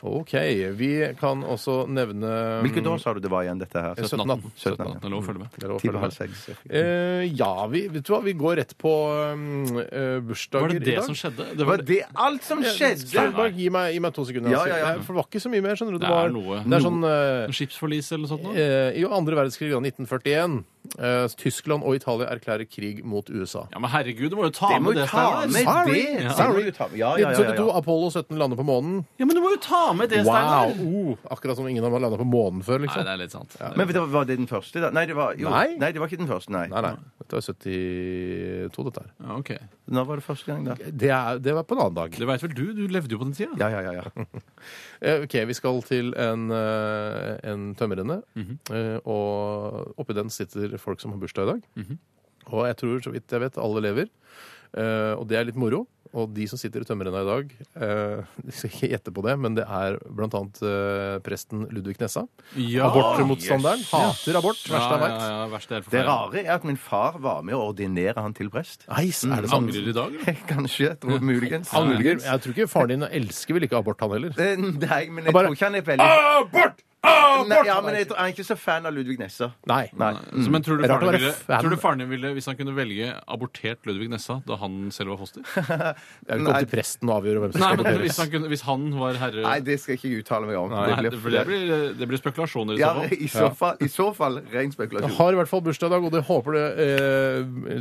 Speaker 2: OK. Vi kan også nevne mm,
Speaker 4: Hvilket
Speaker 2: Um,
Speaker 4: år sa du det var igjen, dette her?
Speaker 2: 1718.
Speaker 4: 17,
Speaker 3: Det er lov å følge med.
Speaker 2: Det er lov å
Speaker 4: Ti på
Speaker 2: følge
Speaker 4: halv
Speaker 2: med.
Speaker 4: seks.
Speaker 2: Eh, ja, vi, vet du hva, vi går rett på um, eh, bursdager
Speaker 3: Var det
Speaker 2: i
Speaker 3: det
Speaker 2: dag.
Speaker 3: som skjedde? Det
Speaker 4: Var
Speaker 3: var det.
Speaker 4: det alt som
Speaker 2: Skjedde?
Speaker 4: skjedde?
Speaker 2: Bare gi meg, gi meg to sekunder.
Speaker 4: Ja,
Speaker 2: altså.
Speaker 4: ja, ja.
Speaker 2: Eh, For det var ikke så mye mer, skjønner du.
Speaker 3: Det
Speaker 2: var,
Speaker 3: er noe.
Speaker 2: det er sånn eh,
Speaker 3: Skipsforlis eller noe sånt? nå?
Speaker 2: eh, I andre verdenskrig, da, 1941, Eh, Tyskland og Italia erklærer krig mot USA.
Speaker 3: Ja, men herregud, du må jo ta
Speaker 4: Det må
Speaker 3: med
Speaker 4: jo
Speaker 3: det. altså.
Speaker 4: ta
Speaker 3: Steinar.
Speaker 4: med
Speaker 2: Sorry.
Speaker 4: det! det!
Speaker 2: Sorry.
Speaker 4: må du ta med. Ja, ja, ja,
Speaker 2: 1972
Speaker 4: ja.
Speaker 2: Apollo 17 lander på månen.
Speaker 3: Ja, men du må jo ta med det, Steinar.
Speaker 2: Wow! Oh, akkurat som ingen har landa på månen før,
Speaker 3: Nei,
Speaker 2: liksom.
Speaker 3: det er litt sant.
Speaker 4: Men vet du, var det den første, da? Nei, det var, jo,
Speaker 2: Nei.
Speaker 4: nei. det var ikke den første, nei.
Speaker 2: Nei, nei. Dette er 72, dette her.
Speaker 3: Ja, ok.
Speaker 4: Når var det første gang, da?
Speaker 2: Det, er, det var på en annen dag.
Speaker 3: Det veit vel du? Du levde jo på den tida.
Speaker 4: Ja, ja, ja. ja.
Speaker 2: Eh, OK, vi skal til en, eh, en tømmerrenne.
Speaker 3: Mhm.
Speaker 2: Eh, Og oppi den sitter folk som har bursdag i dag.
Speaker 3: Mhm.
Speaker 2: Og jeg tror, så vidt jeg vet, alle lever. Eh, Og det er litt moro. Og de som sitter i tømmerrenna i dag, eh, (laughs) jeg skal ikke gjette på det, men det er blant annet eh, presten Ludvig Nessa.
Speaker 3: Ja.
Speaker 2: Abortmotstanderen. Hater abort.
Speaker 3: Ja,
Speaker 2: Verste jeg
Speaker 3: ja,
Speaker 2: veit.
Speaker 3: ja, ja, verste er helt
Speaker 4: Det
Speaker 3: forferdelig.
Speaker 4: rare er at min far var med å ordinere han til prest.
Speaker 2: Nei, er det sant?
Speaker 3: Mm. Angrer i dag? eller?
Speaker 4: (laughs) Kanskje. jeg Tror, muligens.
Speaker 2: Angrer. Jeg tror ikke faren din elsker vel ikke abort, han heller.
Speaker 4: Eh, Nei, men jeg
Speaker 2: Bare-
Speaker 4: tror ikke han er veldig
Speaker 6: Abort! Abort!
Speaker 3: Ah,
Speaker 4: Nei, ja, men jeg tror, han er ikke så fan av Ludvig Nessa.
Speaker 2: Nei.
Speaker 4: Nei.
Speaker 3: Så, men tror du,
Speaker 2: Det er rart å
Speaker 3: faren
Speaker 2: være
Speaker 3: ville,
Speaker 2: fan.
Speaker 3: tror du faren din ville, hvis han kunne velge, abortert Ludvig Nessa da han selv var foster?
Speaker 2: Jeg vil ikke opp til presten og avgjøre hvem som
Speaker 3: Nei,
Speaker 2: skal
Speaker 3: men hvis
Speaker 2: aborteres.
Speaker 3: han, kunne, hvis han var herre
Speaker 4: Nei, det skal jeg ikke uttale meg om.
Speaker 3: Nei, det, blir, det, blir, det blir spekulasjoner i
Speaker 4: ja,
Speaker 3: så fall.
Speaker 4: i så fall, i så fall ren
Speaker 2: Jeg
Speaker 4: spekulasjon.
Speaker 2: har i hvert fall bursdag i dag, og det håper det eh,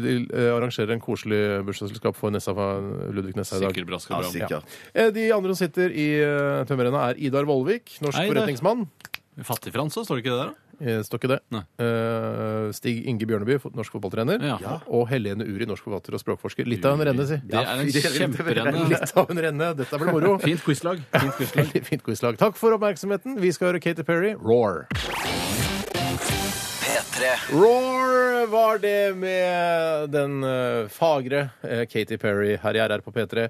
Speaker 2: de eh, arrangerer en koselig bursdagsselskap for Nessa, for Ludvig Nessa i dag.
Speaker 3: Sikkert brasker bra.
Speaker 4: Sikkert.
Speaker 2: Eh, De andre som sitter i eh, tømmerrenna, er Idar Vollvik, norsk
Speaker 3: Hei, Idar.
Speaker 2: forretningsmann.
Speaker 3: Fattigfransa, står det ikke det der? da?
Speaker 2: Eh, Står ikke det.
Speaker 3: Nei.
Speaker 2: Eh, Stig Inge Bjørneby, fot- norsk fotballtrener.
Speaker 3: Ja.
Speaker 2: Og Helene Uri, norsk forfatter og språkforsker. Litt av en renne, si.
Speaker 3: Det er en
Speaker 2: (laughs)
Speaker 3: kjemperenne.
Speaker 2: Litt av en renne. Dette blir moro.
Speaker 3: (laughs) Fint quizlag. Fint quizlag.
Speaker 2: Veldig fint quizlag. Takk for oppmerksomheten. Vi skal høre Katy Perry, Roar.
Speaker 1: P3
Speaker 2: Roar var det med den eh, fagre eh, Katy Perry her i RR på P3.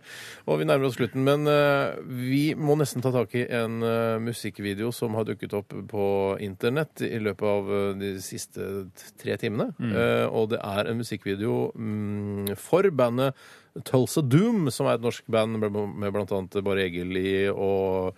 Speaker 2: Og vi nærmer oss slutten, men eh, vi må nesten ta tak i en eh, musikkvideo som har dukket opp på internett i løpet av eh, de siste t- tre timene. Eh, og det er en musikkvideo mm, for bandet Tulsa Doom, som er et norsk band med med blant annet Bare Egil i og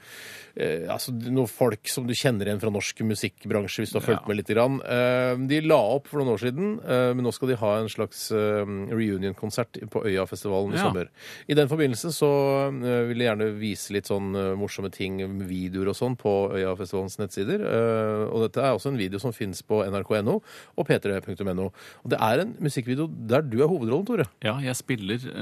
Speaker 2: eh, altså, noen folk som du kjenner igjen fra norsk musikkbransje, hvis du har fulgt med litt. Grann. Eh, de la opp for noen år siden, eh, men nå skal de ha en slags eh, reunion-konsert på Øyafestivalen i
Speaker 3: Ja.
Speaker 2: sommer. I den forbindelse så eh, vil jeg gjerne vise litt sånn eh, morsomme ting, videoer og sånn, på Øyafestivalens nettsider. Eh, og dette er også en video som fins på nrk.no og p3.no. Og det er en musikkvideo der du er hovedrollen, Tore.
Speaker 3: Ja, jeg spiller eh,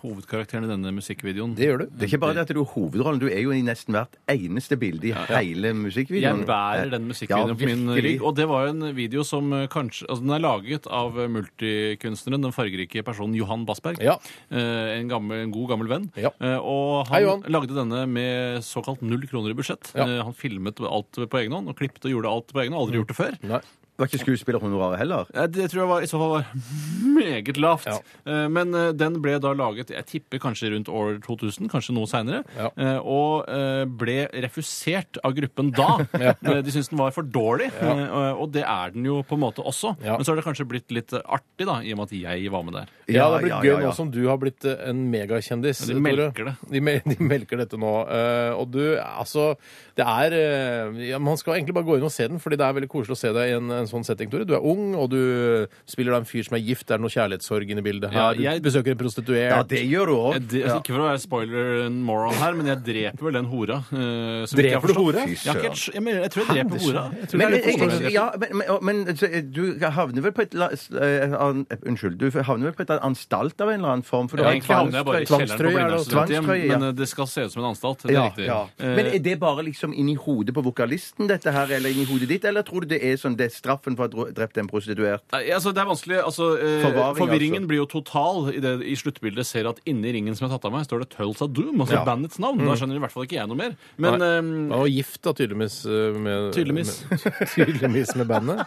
Speaker 3: hovedkarakteren i denne musikkvideoen.
Speaker 2: Det gjør du.
Speaker 4: Det er ikke bare det at du er hovedrollen, du er jo i nesten hvert eneste bilde i hele musikkvideoen.
Speaker 3: Jeg bærer den musikkvideoen på min
Speaker 4: virkelig.
Speaker 3: rygg. Og det var jo en video som eh, kanskje Altså, den er laget av eh, multikunstneren, den fargerike personen Johan Bassberg.
Speaker 2: Ja.
Speaker 3: Eh, En, gammel, en god, gammel venn.
Speaker 2: Ja.
Speaker 3: Eh, Og han
Speaker 2: Hei, Johan.
Speaker 3: lagde denne med såkalt null kroner i budsjett.
Speaker 2: Ja. Mm.
Speaker 3: Eh, Han filmet alt på egen hånd, og klippet og gjorde alt på egen hånd. Aldri gjort det før.
Speaker 2: Nei.
Speaker 4: Det Eh, var ikke skuespillerhonoraret heller.
Speaker 3: Eh, Det tror jeg var, i så fall var (laughs) meget lavt. Eh, Men eh, den ble da laget, jeg tipper kanskje rundt år 2000, kanskje noe seinere,
Speaker 2: Ja.
Speaker 3: og eh, ble refusert av gruppen (laughs) da. Eh, De syntes den var for dårlig, eh, og- og det er den jo på en måte også.
Speaker 2: Ja.
Speaker 3: Men så har det kanskje blitt litt eh, artig, da, i og med at jeg var med der.
Speaker 2: Ja, det blir
Speaker 4: ja,
Speaker 2: gøy
Speaker 4: ja,
Speaker 2: nå
Speaker 4: ja.
Speaker 2: som du har blitt eh, en megakjendis.
Speaker 3: Ja, de
Speaker 2: Tore.
Speaker 3: melker det.
Speaker 2: De, mel de melker dette nå. Eh, og du, altså Det er eh, ja, Man skal egentlig bare gå inn og se den, fordi det er veldig koselig å se deg i en, en sånn setting, Tore. Du er ung, og du spiller da en fyr som er gift. Det er noe kjærlighetssorg inne i bildet
Speaker 3: Ja,
Speaker 2: her. Du
Speaker 3: jeg-
Speaker 2: besøker en prostituert.
Speaker 4: Ja, det gjør du
Speaker 3: Jeg,
Speaker 4: òg.
Speaker 3: dre- altså, ikke for å være spoiler and moron her, men jeg dreper vel den hora. eh, som
Speaker 2: Dreper
Speaker 3: ikke jeg har
Speaker 2: du
Speaker 3: forstått.
Speaker 2: hora?
Speaker 4: Fy
Speaker 3: Jeg, har ikke helt skj- jeg, mener, jeg tror jeg dreper hora. Jeg tror
Speaker 4: Men,
Speaker 3: det er litt
Speaker 4: jeg-
Speaker 3: forståelig.
Speaker 4: jeg- ja, men, men, men så, eh, du havner vel på et la- s- eh, an, eh, Unnskyld. Du havner vel på et anstalt av en eller annen form? For du
Speaker 3: Ja,
Speaker 4: har
Speaker 3: Egentlig havner jeg bare i kjelleren på
Speaker 2: tvangstrøye er det
Speaker 3: Blindern
Speaker 2: også.
Speaker 3: studenthjem,
Speaker 4: Tvangstrøye, ja.
Speaker 3: men eh, det skal se ut som en anstalt. Det er
Speaker 4: Ja,
Speaker 3: riktig.
Speaker 4: ja.
Speaker 3: Eh,
Speaker 4: Men er det bare liksom inni hodet på vokalisten, dette her, eller inni hodet ditt? Eller tror du det er sånn det er straffen for å ha dro- drept en prostituert?
Speaker 3: Nei, altså, det er vanskelig. Altså, eh,
Speaker 4: Forvaring,
Speaker 3: forvirringen
Speaker 4: altså.
Speaker 3: blir jo total i det i sluttbildet ser at inni ringen som jeg har tatt av meg, står det Tulsa Doom, altså
Speaker 4: Ja. Mm.
Speaker 3: bandets navn. Da skjønner i hvert fall ikke jeg noe mer. Men
Speaker 2: Han
Speaker 3: eh,
Speaker 2: var gift, da, tydeligvis eh, med
Speaker 3: Tydeligvis.
Speaker 2: Med, (laughs) tydeligvis med bandet.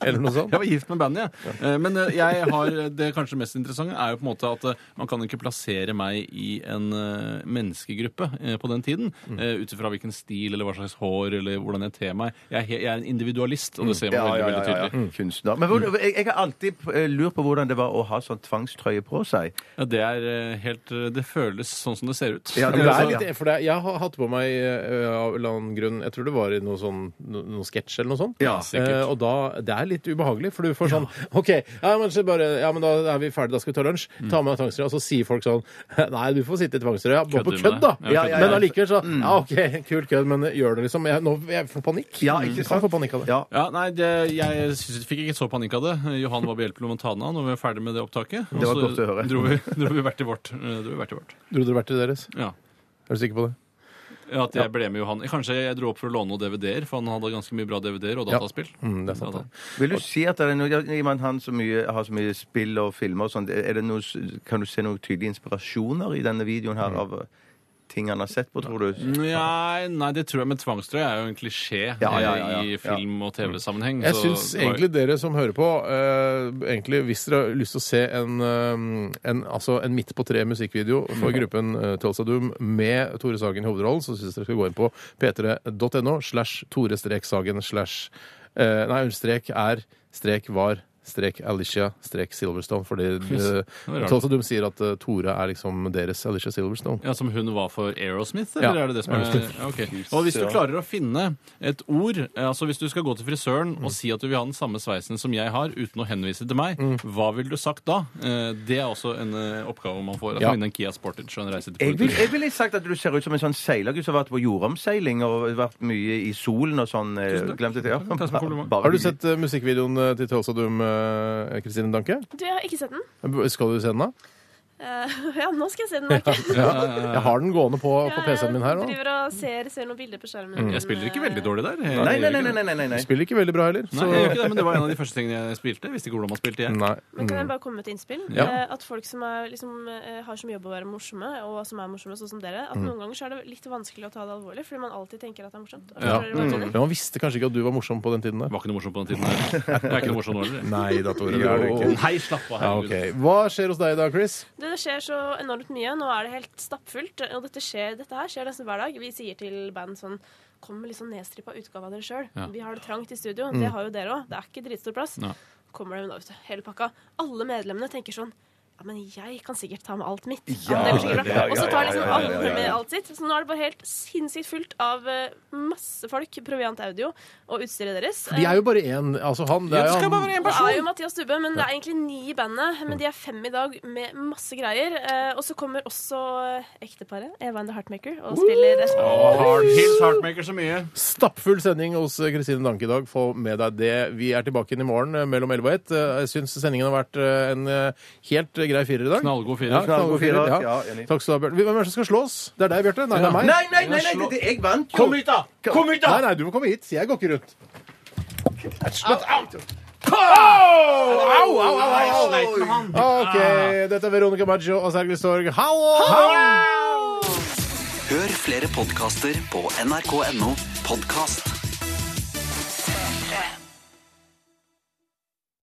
Speaker 2: Eller noe sånt.
Speaker 3: jeg var gift med bandet, jeg. Eh, Men eh, jeg har det kanskje mest interessante er jo på en måte at eh, man kan ikke plassere meg i en eh, menneskegruppe eh, på den tiden.
Speaker 4: Mm.
Speaker 3: eh, Ut ifra hvilken stil eller hva slags hår eller hvordan jeg ter meg. Jeg er, he- jeg er en individualist, og det ser man veldig, veldig tydelig.
Speaker 4: Mm. Kunstner. Men hvor, jeg, jeg har alltid eh, lurt på hvordan det var å ha sånn tvangstrøye på seg.
Speaker 3: Ja, det er eh, helt eh, Det føles sånn som det ser ut.
Speaker 4: Ja,
Speaker 2: Ja, men det er
Speaker 4: altså-
Speaker 2: litt, for det er, jeg har hatt på meg ø, av en eller annen grunn Jeg tror det var i noe sånn, no, noen sketsj eller noe sånt.
Speaker 4: Ja,
Speaker 3: sikkert.
Speaker 2: Eh, og da, Det er litt ubehagelig, for du får sånn OK, ja, men, så bare, ja, men da er vi ferdige, da skal vi ta lunsj. Ta med deg tvangstrøya. Og så sier folk sånn (laughs) Nei, du får sitte i tvangstrøya. Bare på
Speaker 3: Kødder du
Speaker 2: kødd,
Speaker 3: med
Speaker 2: da.
Speaker 3: det? Ja,
Speaker 4: kødder
Speaker 2: Men
Speaker 4: med
Speaker 2: allikevel så Ja, OK, kult kødd, men gjør det, liksom. Jeg, nå, jeg får panikk.
Speaker 4: Ja, ikke
Speaker 2: Jeg kan
Speaker 4: sant?
Speaker 2: få panikk av det.
Speaker 4: Ja.
Speaker 3: (laughs) Ja, nei, det, eh, jeg synes, fikk ikke så panikk av det. Johan var behjelpelig med å ta den av når vi var ferdig med det opptaket. Og
Speaker 4: Det var
Speaker 3: så
Speaker 4: godt å høre.
Speaker 3: Dro vi, (laughs) dro vi hvert til vårt. Eh, Dro vi hvert til vårt.
Speaker 2: Dro dere hvert til deres?
Speaker 3: Ja.
Speaker 2: Er du sikker på det?
Speaker 3: Ja, At jeg ble med Johan. Kanskje jeg dro opp for å låne noen DVD-er, for han hadde ganske mye bra DVD-er og
Speaker 2: Ja.
Speaker 3: dataspill.
Speaker 2: Mm, det er sant,
Speaker 3: Ja, da.
Speaker 2: det.
Speaker 4: Vil du si at det er noe, i og med at han så mye, har så mye spill og filmer og sånn, er det noe, kan du se noen tydelige inspirasjoner i denne videoen her av ting han har sett på, tror du?
Speaker 3: Nei, nei, det tror jeg med tvangstrøye er jo en klisjé
Speaker 4: Ja, ja, ja, ja.
Speaker 3: eh, i film- og TV-sammenheng.
Speaker 2: Jeg
Speaker 3: så
Speaker 2: syns
Speaker 3: det var-
Speaker 2: egentlig dere som hører på, eh, egentlig hvis dere har lyst til å se en, eh, en, altså en midt på tre musikkvideo
Speaker 3: (laughs)
Speaker 2: for gruppen uh, Tulsa Doom med Tore Sagen i hovedrollen, så syns jeg dere skal gå inn på p3.no slash Tore-sagen slash eh, Nei, hun strek er strek var strek Alicia strek Silverstone, fordi
Speaker 3: (laughs) var
Speaker 2: uh,
Speaker 3: rart.
Speaker 2: Tulsa Doom sier at eh, Tore er liksom deres Alicia Silverstone.
Speaker 3: Ja, Som hun var for Aerosmith? Eller
Speaker 2: Ja,
Speaker 3: er det det som er
Speaker 2: Aerosmith.
Speaker 3: Ja, ok. Og hvis du klarer å finne et ord eh, altså Hvis du skal gå til frisøren og si at du vil ha den samme sveisen som jeg har, uten å henvise til meg,
Speaker 4: Mm.
Speaker 3: hva ville du sagt da? Eh, Det er også en eh, oppgave man får. At
Speaker 2: Ja.
Speaker 3: man vinner en Kia Sportage og en reise til
Speaker 4: Jeg vil-
Speaker 3: Portugal.
Speaker 4: jeg ville sagt at du ser ut som en sånn seilergutt som har vært på jordomseiling og vært mye i solen og sånn. eh, Glemte det? Ja.
Speaker 3: Tusen takk. Takk for kompliment.
Speaker 4: Bare
Speaker 2: Har du
Speaker 4: mye.
Speaker 2: sett eh, musikkvideoen eh, til Tulsa Doom, eh, Kristine Danke?
Speaker 8: Du, jeg har ikke sett den.
Speaker 2: Skal du se den, da?
Speaker 8: Eh, ja, nå skal jeg se den. Mark.
Speaker 2: Jeg har den gående på, på PC-en min her
Speaker 8: Jeg
Speaker 2: nå.
Speaker 8: driver og ser, ser noen bilder på skjermen.
Speaker 3: Jeg spiller ikke veldig dårlig der. Jeg
Speaker 4: Nei,
Speaker 3: gjør
Speaker 4: nei,
Speaker 3: ikke
Speaker 4: nei,
Speaker 3: det.
Speaker 4: nei, nei, nei, nei.
Speaker 2: Spiller ikke veldig bra heller.
Speaker 3: Nei, jeg gjør ikke det, men det var en av de første tingene jeg spilte. Jeg visste ikke hvordan man spilte, jeg.
Speaker 2: Nei. Mm.
Speaker 8: Men kan jeg bare komme med et innspill?
Speaker 2: Ja.
Speaker 8: Eh, At folk som er, liksom, eh, har som jobb å være morsomme, og som er morsomme sånn som dere, at noen ganger så er det litt vanskelig å ta det alvorlig, fordi man alltid tenker at det er morsomt. Og
Speaker 3: Ja.
Speaker 8: så er det bare sånn.
Speaker 2: Men man visste kanskje ikke at du var morsom på den tiden
Speaker 3: Det
Speaker 2: der.
Speaker 3: var ikke noe morsomt på den tiden. her. Jeg er ikke noe morsom nå heller.
Speaker 2: Nei da, Tore.
Speaker 4: det er du ikke.
Speaker 3: Nei, slapp av.
Speaker 2: Ja,
Speaker 3: herregud.
Speaker 2: ok. Hva skjer hos deg i dag, Chris?
Speaker 8: Det det skjer så enormt mye. Nå er det helt stappfullt. Og dette, skjer, dette her skjer nesten hver dag. Vi sier til band sånn Kom med litt sånn nedstrippa utgave av dere sjøl.
Speaker 3: Ja.
Speaker 8: Vi har det trangt i studio.
Speaker 4: Mm.
Speaker 8: Det har jo dere òg. Det er ikke dritstor plass.
Speaker 3: Nei.
Speaker 8: Kommer dere med da, vet du. Hele pakka. Alle medlemmene tenker sånn ja, men jeg kan sikkert ta med alt mitt.
Speaker 4: Ja,
Speaker 8: det blir sikkert
Speaker 4: det-
Speaker 8: bra.
Speaker 4: ja, ja,
Speaker 8: Og så tar
Speaker 4: ja,
Speaker 8: liksom
Speaker 4: ja, ja, ja,
Speaker 8: alle
Speaker 4: ja.
Speaker 8: med alt sitt. Så nå er det bare helt sinnssykt fullt av eh, masse folk, proviant audio og utstyret deres.
Speaker 2: Vi er jo bare én. Altså, han det er jo han-
Speaker 8: Det er jo Mathias Dubbe, men det er egentlig ni i bandet. Men de er fem i dag med masse greier. Eh, og så kommer også eh, ekteparet Evander Heartmaker og spiller
Speaker 3: Hard Hills Heartmaker så mye.
Speaker 2: stappfull sending hos Kristine Danke i dag. Få med deg det. Vi er tilbake inn i morgen eh, mellom 11 og 1. Eh, Jeg syns sendingen har vært eh, en eh, helt eh, grei firer i dag.
Speaker 3: Knallgod firer.
Speaker 2: Ja, knallgod
Speaker 4: Knallgod firer,
Speaker 2: firer,
Speaker 4: ja,
Speaker 2: ja.
Speaker 4: enig.
Speaker 2: Takk skal du ha, Bjarte. Hvem er det som skal slås? Det er deg, Bjarte. Nei, det er meg.
Speaker 4: Nei, nei, nei, nei, det, jeg vant jo!
Speaker 3: hit, da! Kom hit,
Speaker 2: Nei, nei, du må komme hit. Jeg går ikke rundt. Au, au, au, au, au! OK. Dette er Veronica Maggio og Sergel Storg. Hallo! Hallo!
Speaker 1: Hør flere podkaster på nrk.no podkast.